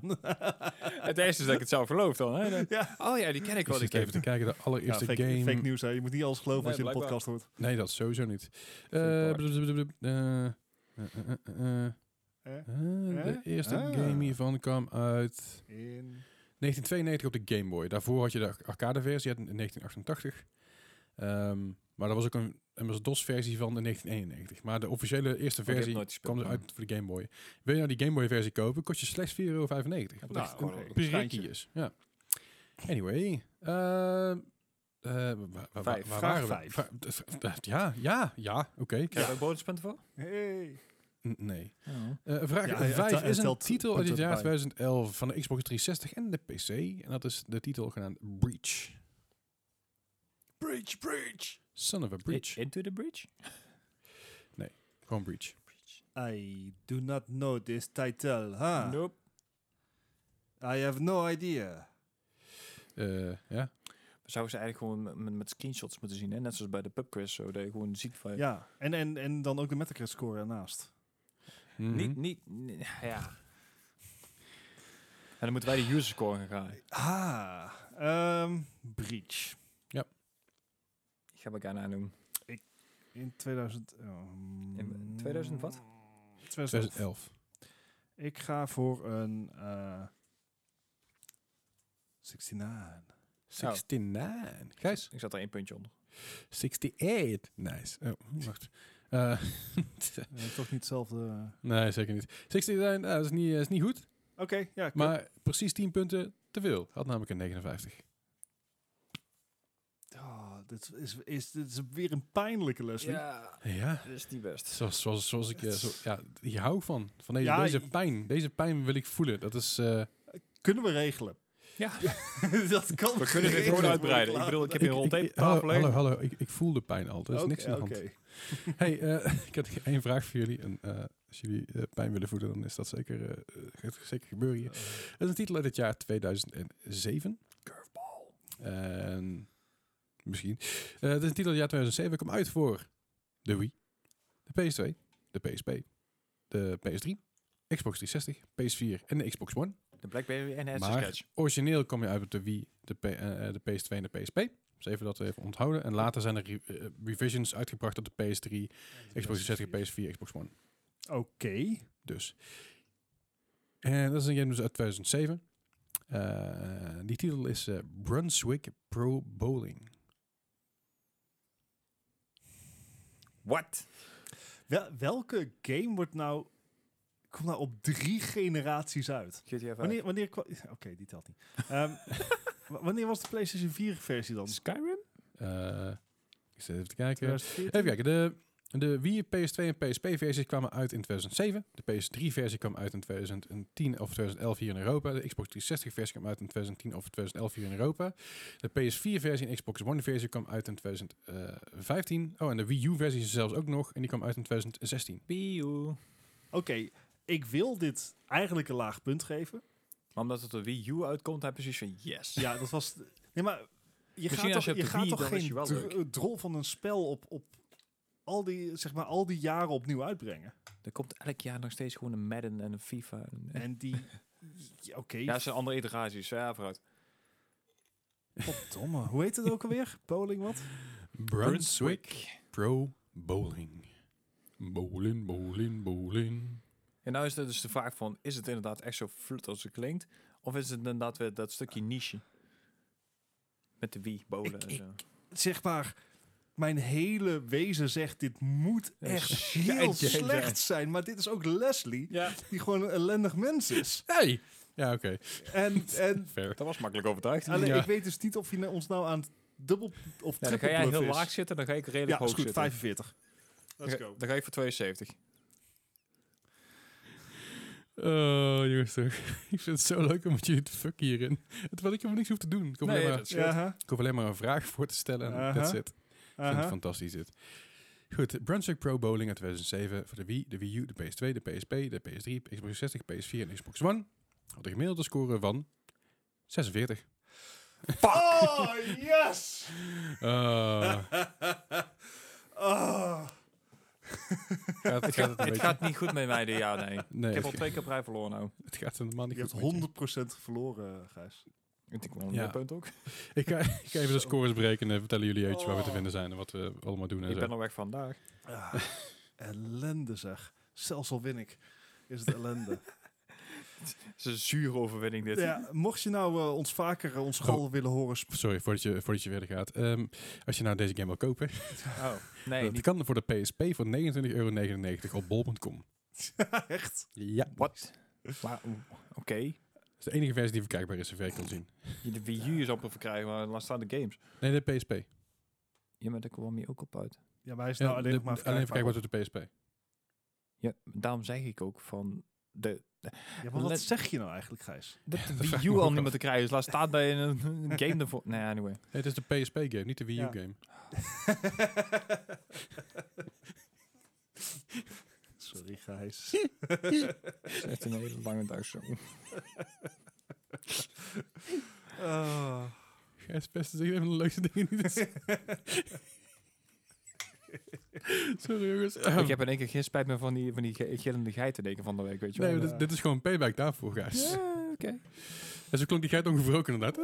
[SPEAKER 2] Het eerste is dat ik het zelf geloof dan. Hè? Dan-
[SPEAKER 3] Ja.
[SPEAKER 2] Oh ja, die ken
[SPEAKER 1] Dus
[SPEAKER 2] ik
[SPEAKER 1] Ik
[SPEAKER 2] wel. Die
[SPEAKER 1] zit even te
[SPEAKER 2] game.
[SPEAKER 1] kijken, de
[SPEAKER 3] Ja,
[SPEAKER 1] allereerste
[SPEAKER 3] fake,
[SPEAKER 1] game...
[SPEAKER 3] fake nieuws, hè. Je moet niet alles geloven
[SPEAKER 2] Nee,
[SPEAKER 3] als je in de
[SPEAKER 2] blijkbaar.
[SPEAKER 3] podcast hoort.
[SPEAKER 1] Nee, dat sowieso niet. Eh,
[SPEAKER 2] Park.
[SPEAKER 1] blub, blub, blub, eh, eh, eh, eh, eh,
[SPEAKER 3] Eh?
[SPEAKER 1] eh, De
[SPEAKER 3] Eh?
[SPEAKER 1] eerste
[SPEAKER 3] Ah.
[SPEAKER 1] game hiervan kwam uit
[SPEAKER 3] In...
[SPEAKER 1] 1992 op de Game Boy. Daarvoor had je de arcade-versie uit 1988. Ehm, maar dat was ook een MS-DOS-versie van in 1991. Maar de officiële eerste
[SPEAKER 2] Oh, die heb ik
[SPEAKER 1] versie
[SPEAKER 2] nooit gespeeld,
[SPEAKER 1] kwam dus
[SPEAKER 2] maar-
[SPEAKER 1] uit voor de Game Boy. Wil je nou die Game Boy-versie kopen, kost je slechts 4,95 euro. Wat
[SPEAKER 3] Nou,
[SPEAKER 1] echt
[SPEAKER 3] oké.
[SPEAKER 1] een prikkie
[SPEAKER 3] Schijntje.
[SPEAKER 1] is. Ja. Anyway. ehm, eh, wa- wa- wa-
[SPEAKER 2] Vijf.
[SPEAKER 1] waar
[SPEAKER 3] Vraag
[SPEAKER 1] waren we?
[SPEAKER 3] vijf.
[SPEAKER 1] Vra- d- v- d- ja, ja, ja, oké.
[SPEAKER 2] Krijg je ook bonuspunten voor?
[SPEAKER 3] Hey.
[SPEAKER 1] N- Nee.
[SPEAKER 2] Oh.
[SPEAKER 1] Eh, vraag
[SPEAKER 3] Ja, hij-
[SPEAKER 1] 5
[SPEAKER 3] hij
[SPEAKER 1] is een
[SPEAKER 3] telt
[SPEAKER 1] titel uit het
[SPEAKER 3] punten
[SPEAKER 1] jaar
[SPEAKER 3] erbij.
[SPEAKER 1] 2011 van de Xbox 360 en de PC. En dat is de titel genaamd Breach.
[SPEAKER 3] Breach, breach.
[SPEAKER 1] Son of a Breach.
[SPEAKER 2] I- Into the Bridge?
[SPEAKER 1] Gewoon Breach.
[SPEAKER 3] I do not know this title,
[SPEAKER 1] Ah.
[SPEAKER 3] huh?
[SPEAKER 2] Nope.
[SPEAKER 3] I have no idea.
[SPEAKER 1] Eh, ja.
[SPEAKER 2] Zouden ze eigenlijk gewoon met- met, met screenshots moeten zien. Hè? Net zoals bij de pubquiz. Zo, dat je gewoon ziet van...
[SPEAKER 3] Ja, en, en, en dan ook de Metacritic score ernaast.
[SPEAKER 1] Mhm.
[SPEAKER 2] Niet, niet, nee, ja. En dan moeten wij de user score gaan gaan.
[SPEAKER 3] Ah, ehm, Breach.
[SPEAKER 2] Ik ga elkaar nadoen.
[SPEAKER 3] In 2000... ehm,
[SPEAKER 2] In 2000 wat?
[SPEAKER 3] 2011.
[SPEAKER 1] 2011.
[SPEAKER 3] Ik ga voor een... eh 69.
[SPEAKER 1] 69. Gijs?
[SPEAKER 2] Ik zat er één puntje onder.
[SPEAKER 1] 68. Nice. Oh, wacht. Eh,
[SPEAKER 3] Eh, toch niet hetzelfde... Oké,
[SPEAKER 1] nee, zeker niet. 69 eh, dat is, niet, eh, is niet goed,
[SPEAKER 3] ja. klopt.
[SPEAKER 1] maar precies 10 punten te veel. Had namelijk een 59.
[SPEAKER 3] Oh, dit, is, is, dit is weer een pijnlijke Leslie.
[SPEAKER 2] Ja,
[SPEAKER 1] Ja,
[SPEAKER 2] dat is niet best.
[SPEAKER 1] zoals, zoals, zoals ik... eh, zo, ja, hier hou ik van. Van deze,
[SPEAKER 3] Ja,
[SPEAKER 1] deze
[SPEAKER 3] i-
[SPEAKER 1] pijn. Deze pijn wil ik voelen. Dat is... eh,
[SPEAKER 3] Kunnen we regelen?
[SPEAKER 2] Ja.
[SPEAKER 3] dat kan
[SPEAKER 2] We kunnen dit
[SPEAKER 3] geregeld
[SPEAKER 2] gewoon
[SPEAKER 3] worden,
[SPEAKER 2] uitbreiden. Ik
[SPEAKER 3] klaar.
[SPEAKER 2] bedoel, ik heb
[SPEAKER 1] ik-
[SPEAKER 2] hier rond
[SPEAKER 1] ik-
[SPEAKER 2] één
[SPEAKER 1] hallo,
[SPEAKER 2] tafel
[SPEAKER 1] hallo,
[SPEAKER 2] heen.
[SPEAKER 1] hallo. Ik, ik voel de pijn al. Er is
[SPEAKER 3] Oké,
[SPEAKER 1] niks aan de hand.
[SPEAKER 3] oké.
[SPEAKER 1] Hey, eh, ik had één vraag voor jullie. En, eh, als jullie eh, pijn willen voelen, dan is dat zeker, eh, eh, gaat zeker gebeuren
[SPEAKER 2] Eh.
[SPEAKER 1] hier. Het is een titel uit het jaar 2007. Curveball. En misschien. Eh, het is een titel uit het jaar 2007. Kom uit voor de Wii, de PS2, de PSP, de PS3, Xbox 360, PS4 en de Xbox One.
[SPEAKER 2] De Blackberry en het
[SPEAKER 1] Maar-
[SPEAKER 2] Sketch.
[SPEAKER 1] Origineel kwam je uit op de Wii, de, P- eh, eh, de PS2 en de PSP. Dus even dat even onthouden. En later zijn er re- eh, revisions uitgebracht op de PS3, Xbox 360, PS4, Xbox One.
[SPEAKER 3] Oké.
[SPEAKER 1] Dus. En dat is een game dus uit 2007. Eh, die titel is eh, Brunswick Pro Bowling.
[SPEAKER 2] What?
[SPEAKER 3] Wel- welke game wordt nou... Komt nou op drie generaties uit?
[SPEAKER 2] GTA 5.
[SPEAKER 3] Wanneer, wanneer kwa- Oké, die telt niet. Ehm, wa- wanneer was de PlayStation 4 versie dan?
[SPEAKER 2] Skyrim?
[SPEAKER 1] Eh, ik zit even te kijken.
[SPEAKER 3] 2014?
[SPEAKER 1] Even kijken. De, de Wii, PS2 en PSP-versies kwamen uit in 2007. De PS3-versie kwam uit in 2010 of 2011 hier in Europa. De Xbox 360-versie kwam uit in 2010 of 2011 hier in Europa. De PS4-versie en Xbox One-versie kwam uit in 2015. Oh, en de Wii U-versie is er zelfs ook nog. En die kwam uit in 2016.
[SPEAKER 2] Wii
[SPEAKER 3] Oké, ik wil dit eigenlijk een laag punt geven.
[SPEAKER 2] Maar omdat het op de Wii U uitkomt, heb je precies van yes.
[SPEAKER 3] Ja, dat was... Nee, maar je
[SPEAKER 2] als
[SPEAKER 3] gaat toch,
[SPEAKER 2] je
[SPEAKER 3] je
[SPEAKER 2] op de
[SPEAKER 3] gaat
[SPEAKER 2] Wii,
[SPEAKER 3] toch
[SPEAKER 2] dan is
[SPEAKER 3] geen
[SPEAKER 2] je wel
[SPEAKER 3] dr-
[SPEAKER 2] leuk.
[SPEAKER 3] eh, drol van een spel op, op al, die, zeg maar, al die jaren opnieuw uitbrengen?
[SPEAKER 2] Er komt elk jaar nog steeds gewoon een Madden en een FIFA. En,
[SPEAKER 3] En die... ja, Oké,
[SPEAKER 2] ja, het zijn andere iteraties. Ja, vooruit.
[SPEAKER 3] Goddomme. Hoe heet het ook alweer? Bowling wat?
[SPEAKER 1] Brunswick Pro Bowling. Bowling, bowling, bowling.
[SPEAKER 2] En nou is het dus de vraag van, is het inderdaad echt zo flut als het klinkt? Of is het inderdaad weer dat stukje niche? Met de Wii, bowlen
[SPEAKER 3] Ik-
[SPEAKER 2] en
[SPEAKER 3] ik-
[SPEAKER 2] zo.
[SPEAKER 3] Zeg maar, mijn hele wezen zegt dit moet
[SPEAKER 2] Ja,
[SPEAKER 3] echt
[SPEAKER 2] shit,
[SPEAKER 3] heel
[SPEAKER 2] ja, ja.
[SPEAKER 3] slecht zijn. Maar dit is ook Leslie,
[SPEAKER 2] Ja,
[SPEAKER 3] die gewoon een ellendig mens is.
[SPEAKER 1] Hey! Ja, oké.
[SPEAKER 3] En, en
[SPEAKER 1] Fair.
[SPEAKER 2] dat was makkelijk overtuigd.
[SPEAKER 3] alleen,
[SPEAKER 1] Ja.
[SPEAKER 3] ik weet dus niet of je nou- ons nou aan het dubbel of
[SPEAKER 2] Eh, dan ga
[SPEAKER 3] triple
[SPEAKER 2] jij
[SPEAKER 3] bluff
[SPEAKER 2] heel
[SPEAKER 3] is.
[SPEAKER 2] laag zitten, dan ga ik redelijk
[SPEAKER 3] Ja,
[SPEAKER 2] hoog
[SPEAKER 3] is goed,
[SPEAKER 2] zitten.
[SPEAKER 3] 45. Let's go.
[SPEAKER 2] Dan ga ik voor 72.
[SPEAKER 1] Oh, jongens toch. Ik vind het zo leuk om met jullie te fucken hierin. Terwijl ik helemaal niks hoef te doen. Ik hoef,
[SPEAKER 2] Nee,
[SPEAKER 1] alleen, maar,
[SPEAKER 2] dat
[SPEAKER 3] Ja,
[SPEAKER 2] scheelt.
[SPEAKER 3] hè?
[SPEAKER 1] ik hoef alleen maar een vraag voor te stellen en
[SPEAKER 3] Aha,
[SPEAKER 1] that's it. Ik vind het
[SPEAKER 3] Aha.
[SPEAKER 1] fantastisch dit. Goed, Brunswick Pro Bowling uit 2007 voor de Wii, de Wii U, de PS2, de PSP, de PS3, Xbox 60, PS4 en Xbox One. Had een gemiddelde score van 46.
[SPEAKER 3] Oh, yes!
[SPEAKER 1] Ah,
[SPEAKER 3] Oh.
[SPEAKER 1] gaat, gaat het, een
[SPEAKER 2] Het
[SPEAKER 1] beetje-
[SPEAKER 2] gaat niet goed met mij dit jaar, nee.
[SPEAKER 1] nee,
[SPEAKER 2] ik heb al
[SPEAKER 1] het,
[SPEAKER 2] twee keer op rij verloren nou.
[SPEAKER 1] het gaat helemaal niet
[SPEAKER 3] Je
[SPEAKER 1] goed
[SPEAKER 3] hebt
[SPEAKER 1] met je.
[SPEAKER 3] 100% verloren, Gijs.
[SPEAKER 2] Ik denk wel een
[SPEAKER 1] Ja.
[SPEAKER 2] punt ook.
[SPEAKER 1] Ik ga, ik ga even de
[SPEAKER 3] Zo.
[SPEAKER 1] scores breken en vertellen jullie eventjes waar we te
[SPEAKER 3] Oh.
[SPEAKER 1] vinden zijn en wat we allemaal doen en
[SPEAKER 2] Ik
[SPEAKER 1] zo.
[SPEAKER 2] ben al weg vandaag.
[SPEAKER 3] Ah, ellende zeg. Zelfs al win ik, is het ellende.
[SPEAKER 2] Het is een zure overwinning dit. Oh.
[SPEAKER 3] ja, mocht je nou eh, ons vaker eh, ons gal willen horen sp-
[SPEAKER 1] Sorry, voordat je, voordat je verder gaat. Ehm, als je nou deze game wil kopen,
[SPEAKER 2] Oh, nee,
[SPEAKER 1] dat
[SPEAKER 2] niet.
[SPEAKER 1] kan voor de PSP voor 29,99 euro op bol.com.
[SPEAKER 3] Echt?
[SPEAKER 1] Ja.
[SPEAKER 2] Wat? Maar, oeh, Oké.
[SPEAKER 1] Dat is de enige versie die verkrijgbaar is, zover ik kan zien.
[SPEAKER 2] Je De Wii U is amper verkrijgen, maar laat staan de games.
[SPEAKER 1] Nee, de PSP.
[SPEAKER 2] Ja, maar daar kwam je ook op uit.
[SPEAKER 3] Ja, maar hij is
[SPEAKER 1] Ja,
[SPEAKER 3] nou alleen
[SPEAKER 1] de-
[SPEAKER 3] nog maar
[SPEAKER 1] de- alleen
[SPEAKER 3] verkrijgbaar.
[SPEAKER 1] verkrijgbaar op de PSP.
[SPEAKER 2] Ja, daarom zeg ik ook van... De,
[SPEAKER 3] Ja, maar wat
[SPEAKER 2] Let-
[SPEAKER 3] zeg je nou eigenlijk, Gijs?
[SPEAKER 2] dat de
[SPEAKER 1] vraag
[SPEAKER 2] Wii
[SPEAKER 1] ik me
[SPEAKER 2] U al
[SPEAKER 1] ook
[SPEAKER 2] niet
[SPEAKER 1] af.
[SPEAKER 2] meer te krijgen is. Laat staan bij een, een game ervoor. Nee, anyway.
[SPEAKER 1] Nee, het is de PSP-game, niet de Wii
[SPEAKER 3] Ja.
[SPEAKER 1] U-game.
[SPEAKER 3] Sorry, Gijs.
[SPEAKER 2] Het is echt een hele lange dag zo.
[SPEAKER 3] Ah.
[SPEAKER 1] Gijs Pest is echt een van de leukste dingen die er zijn. Sorry jongens. Ehm,
[SPEAKER 2] Ik heb in één keer geen spijt meer van die, van die ge- gillende geiten denken van de week, weet je wel. eh.
[SPEAKER 1] Nee, dit, dit is gewoon payback daarvoor, guys.
[SPEAKER 2] Ja, oké.
[SPEAKER 1] En zo klonk die geit ongebroken inderdaad.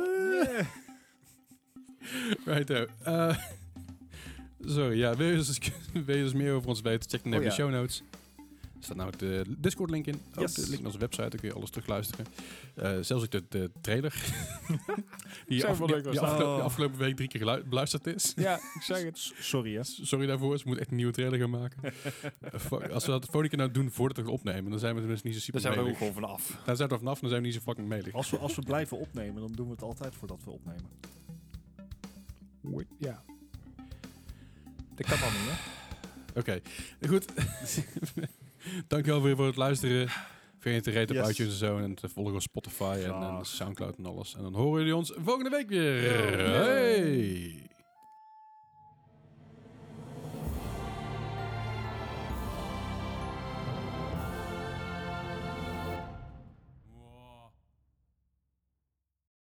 [SPEAKER 1] Righto. Eh, Sorry, ja, wil je, dus, wil je dus meer over ons weten? Check dan even
[SPEAKER 2] Oh,
[SPEAKER 1] de show notes. Er staat nou de Discord-link in. Ook
[SPEAKER 2] Yes.
[SPEAKER 1] de link naar onze website, dan kun je alles terugluisteren. Eh, zelfs ook de, de trailer. die,
[SPEAKER 2] Zo
[SPEAKER 1] af-
[SPEAKER 2] van
[SPEAKER 1] die-
[SPEAKER 2] leuk was
[SPEAKER 1] die
[SPEAKER 2] dat.
[SPEAKER 1] afgelopen,
[SPEAKER 3] Oh.
[SPEAKER 1] die afgelopen week drie keer gelu- beluisterd is.
[SPEAKER 2] Ja, ik zeg het.
[SPEAKER 3] S- Sorry, hè.
[SPEAKER 1] S- Sorry daarvoor, ze moet echt een nieuwe trailer gaan maken. Eh, fuck, als we dat vorige keer nou doen voordat we het opnemen, dan zijn we tenminste niet zo super
[SPEAKER 2] Daar zijn we ook
[SPEAKER 1] melig.
[SPEAKER 2] gewoon vanaf.
[SPEAKER 1] Dan zijn we er vanaf, dan zijn we niet zo fucking melig.
[SPEAKER 3] Als we, als we blijven opnemen, dan doen we het altijd voordat we opnemen.
[SPEAKER 2] Ja. Dat kan wel niet, hè?
[SPEAKER 1] Oké, goed. Dankjewel weer voor het luisteren. Vergeet niet te raten op
[SPEAKER 3] Yes.
[SPEAKER 1] iTunes en zo. En te volgen op Spotify en, en
[SPEAKER 3] Graag.
[SPEAKER 1] Soundcloud en alles. En dan horen jullie ons volgende week weer.
[SPEAKER 2] Yo.
[SPEAKER 1] Hey.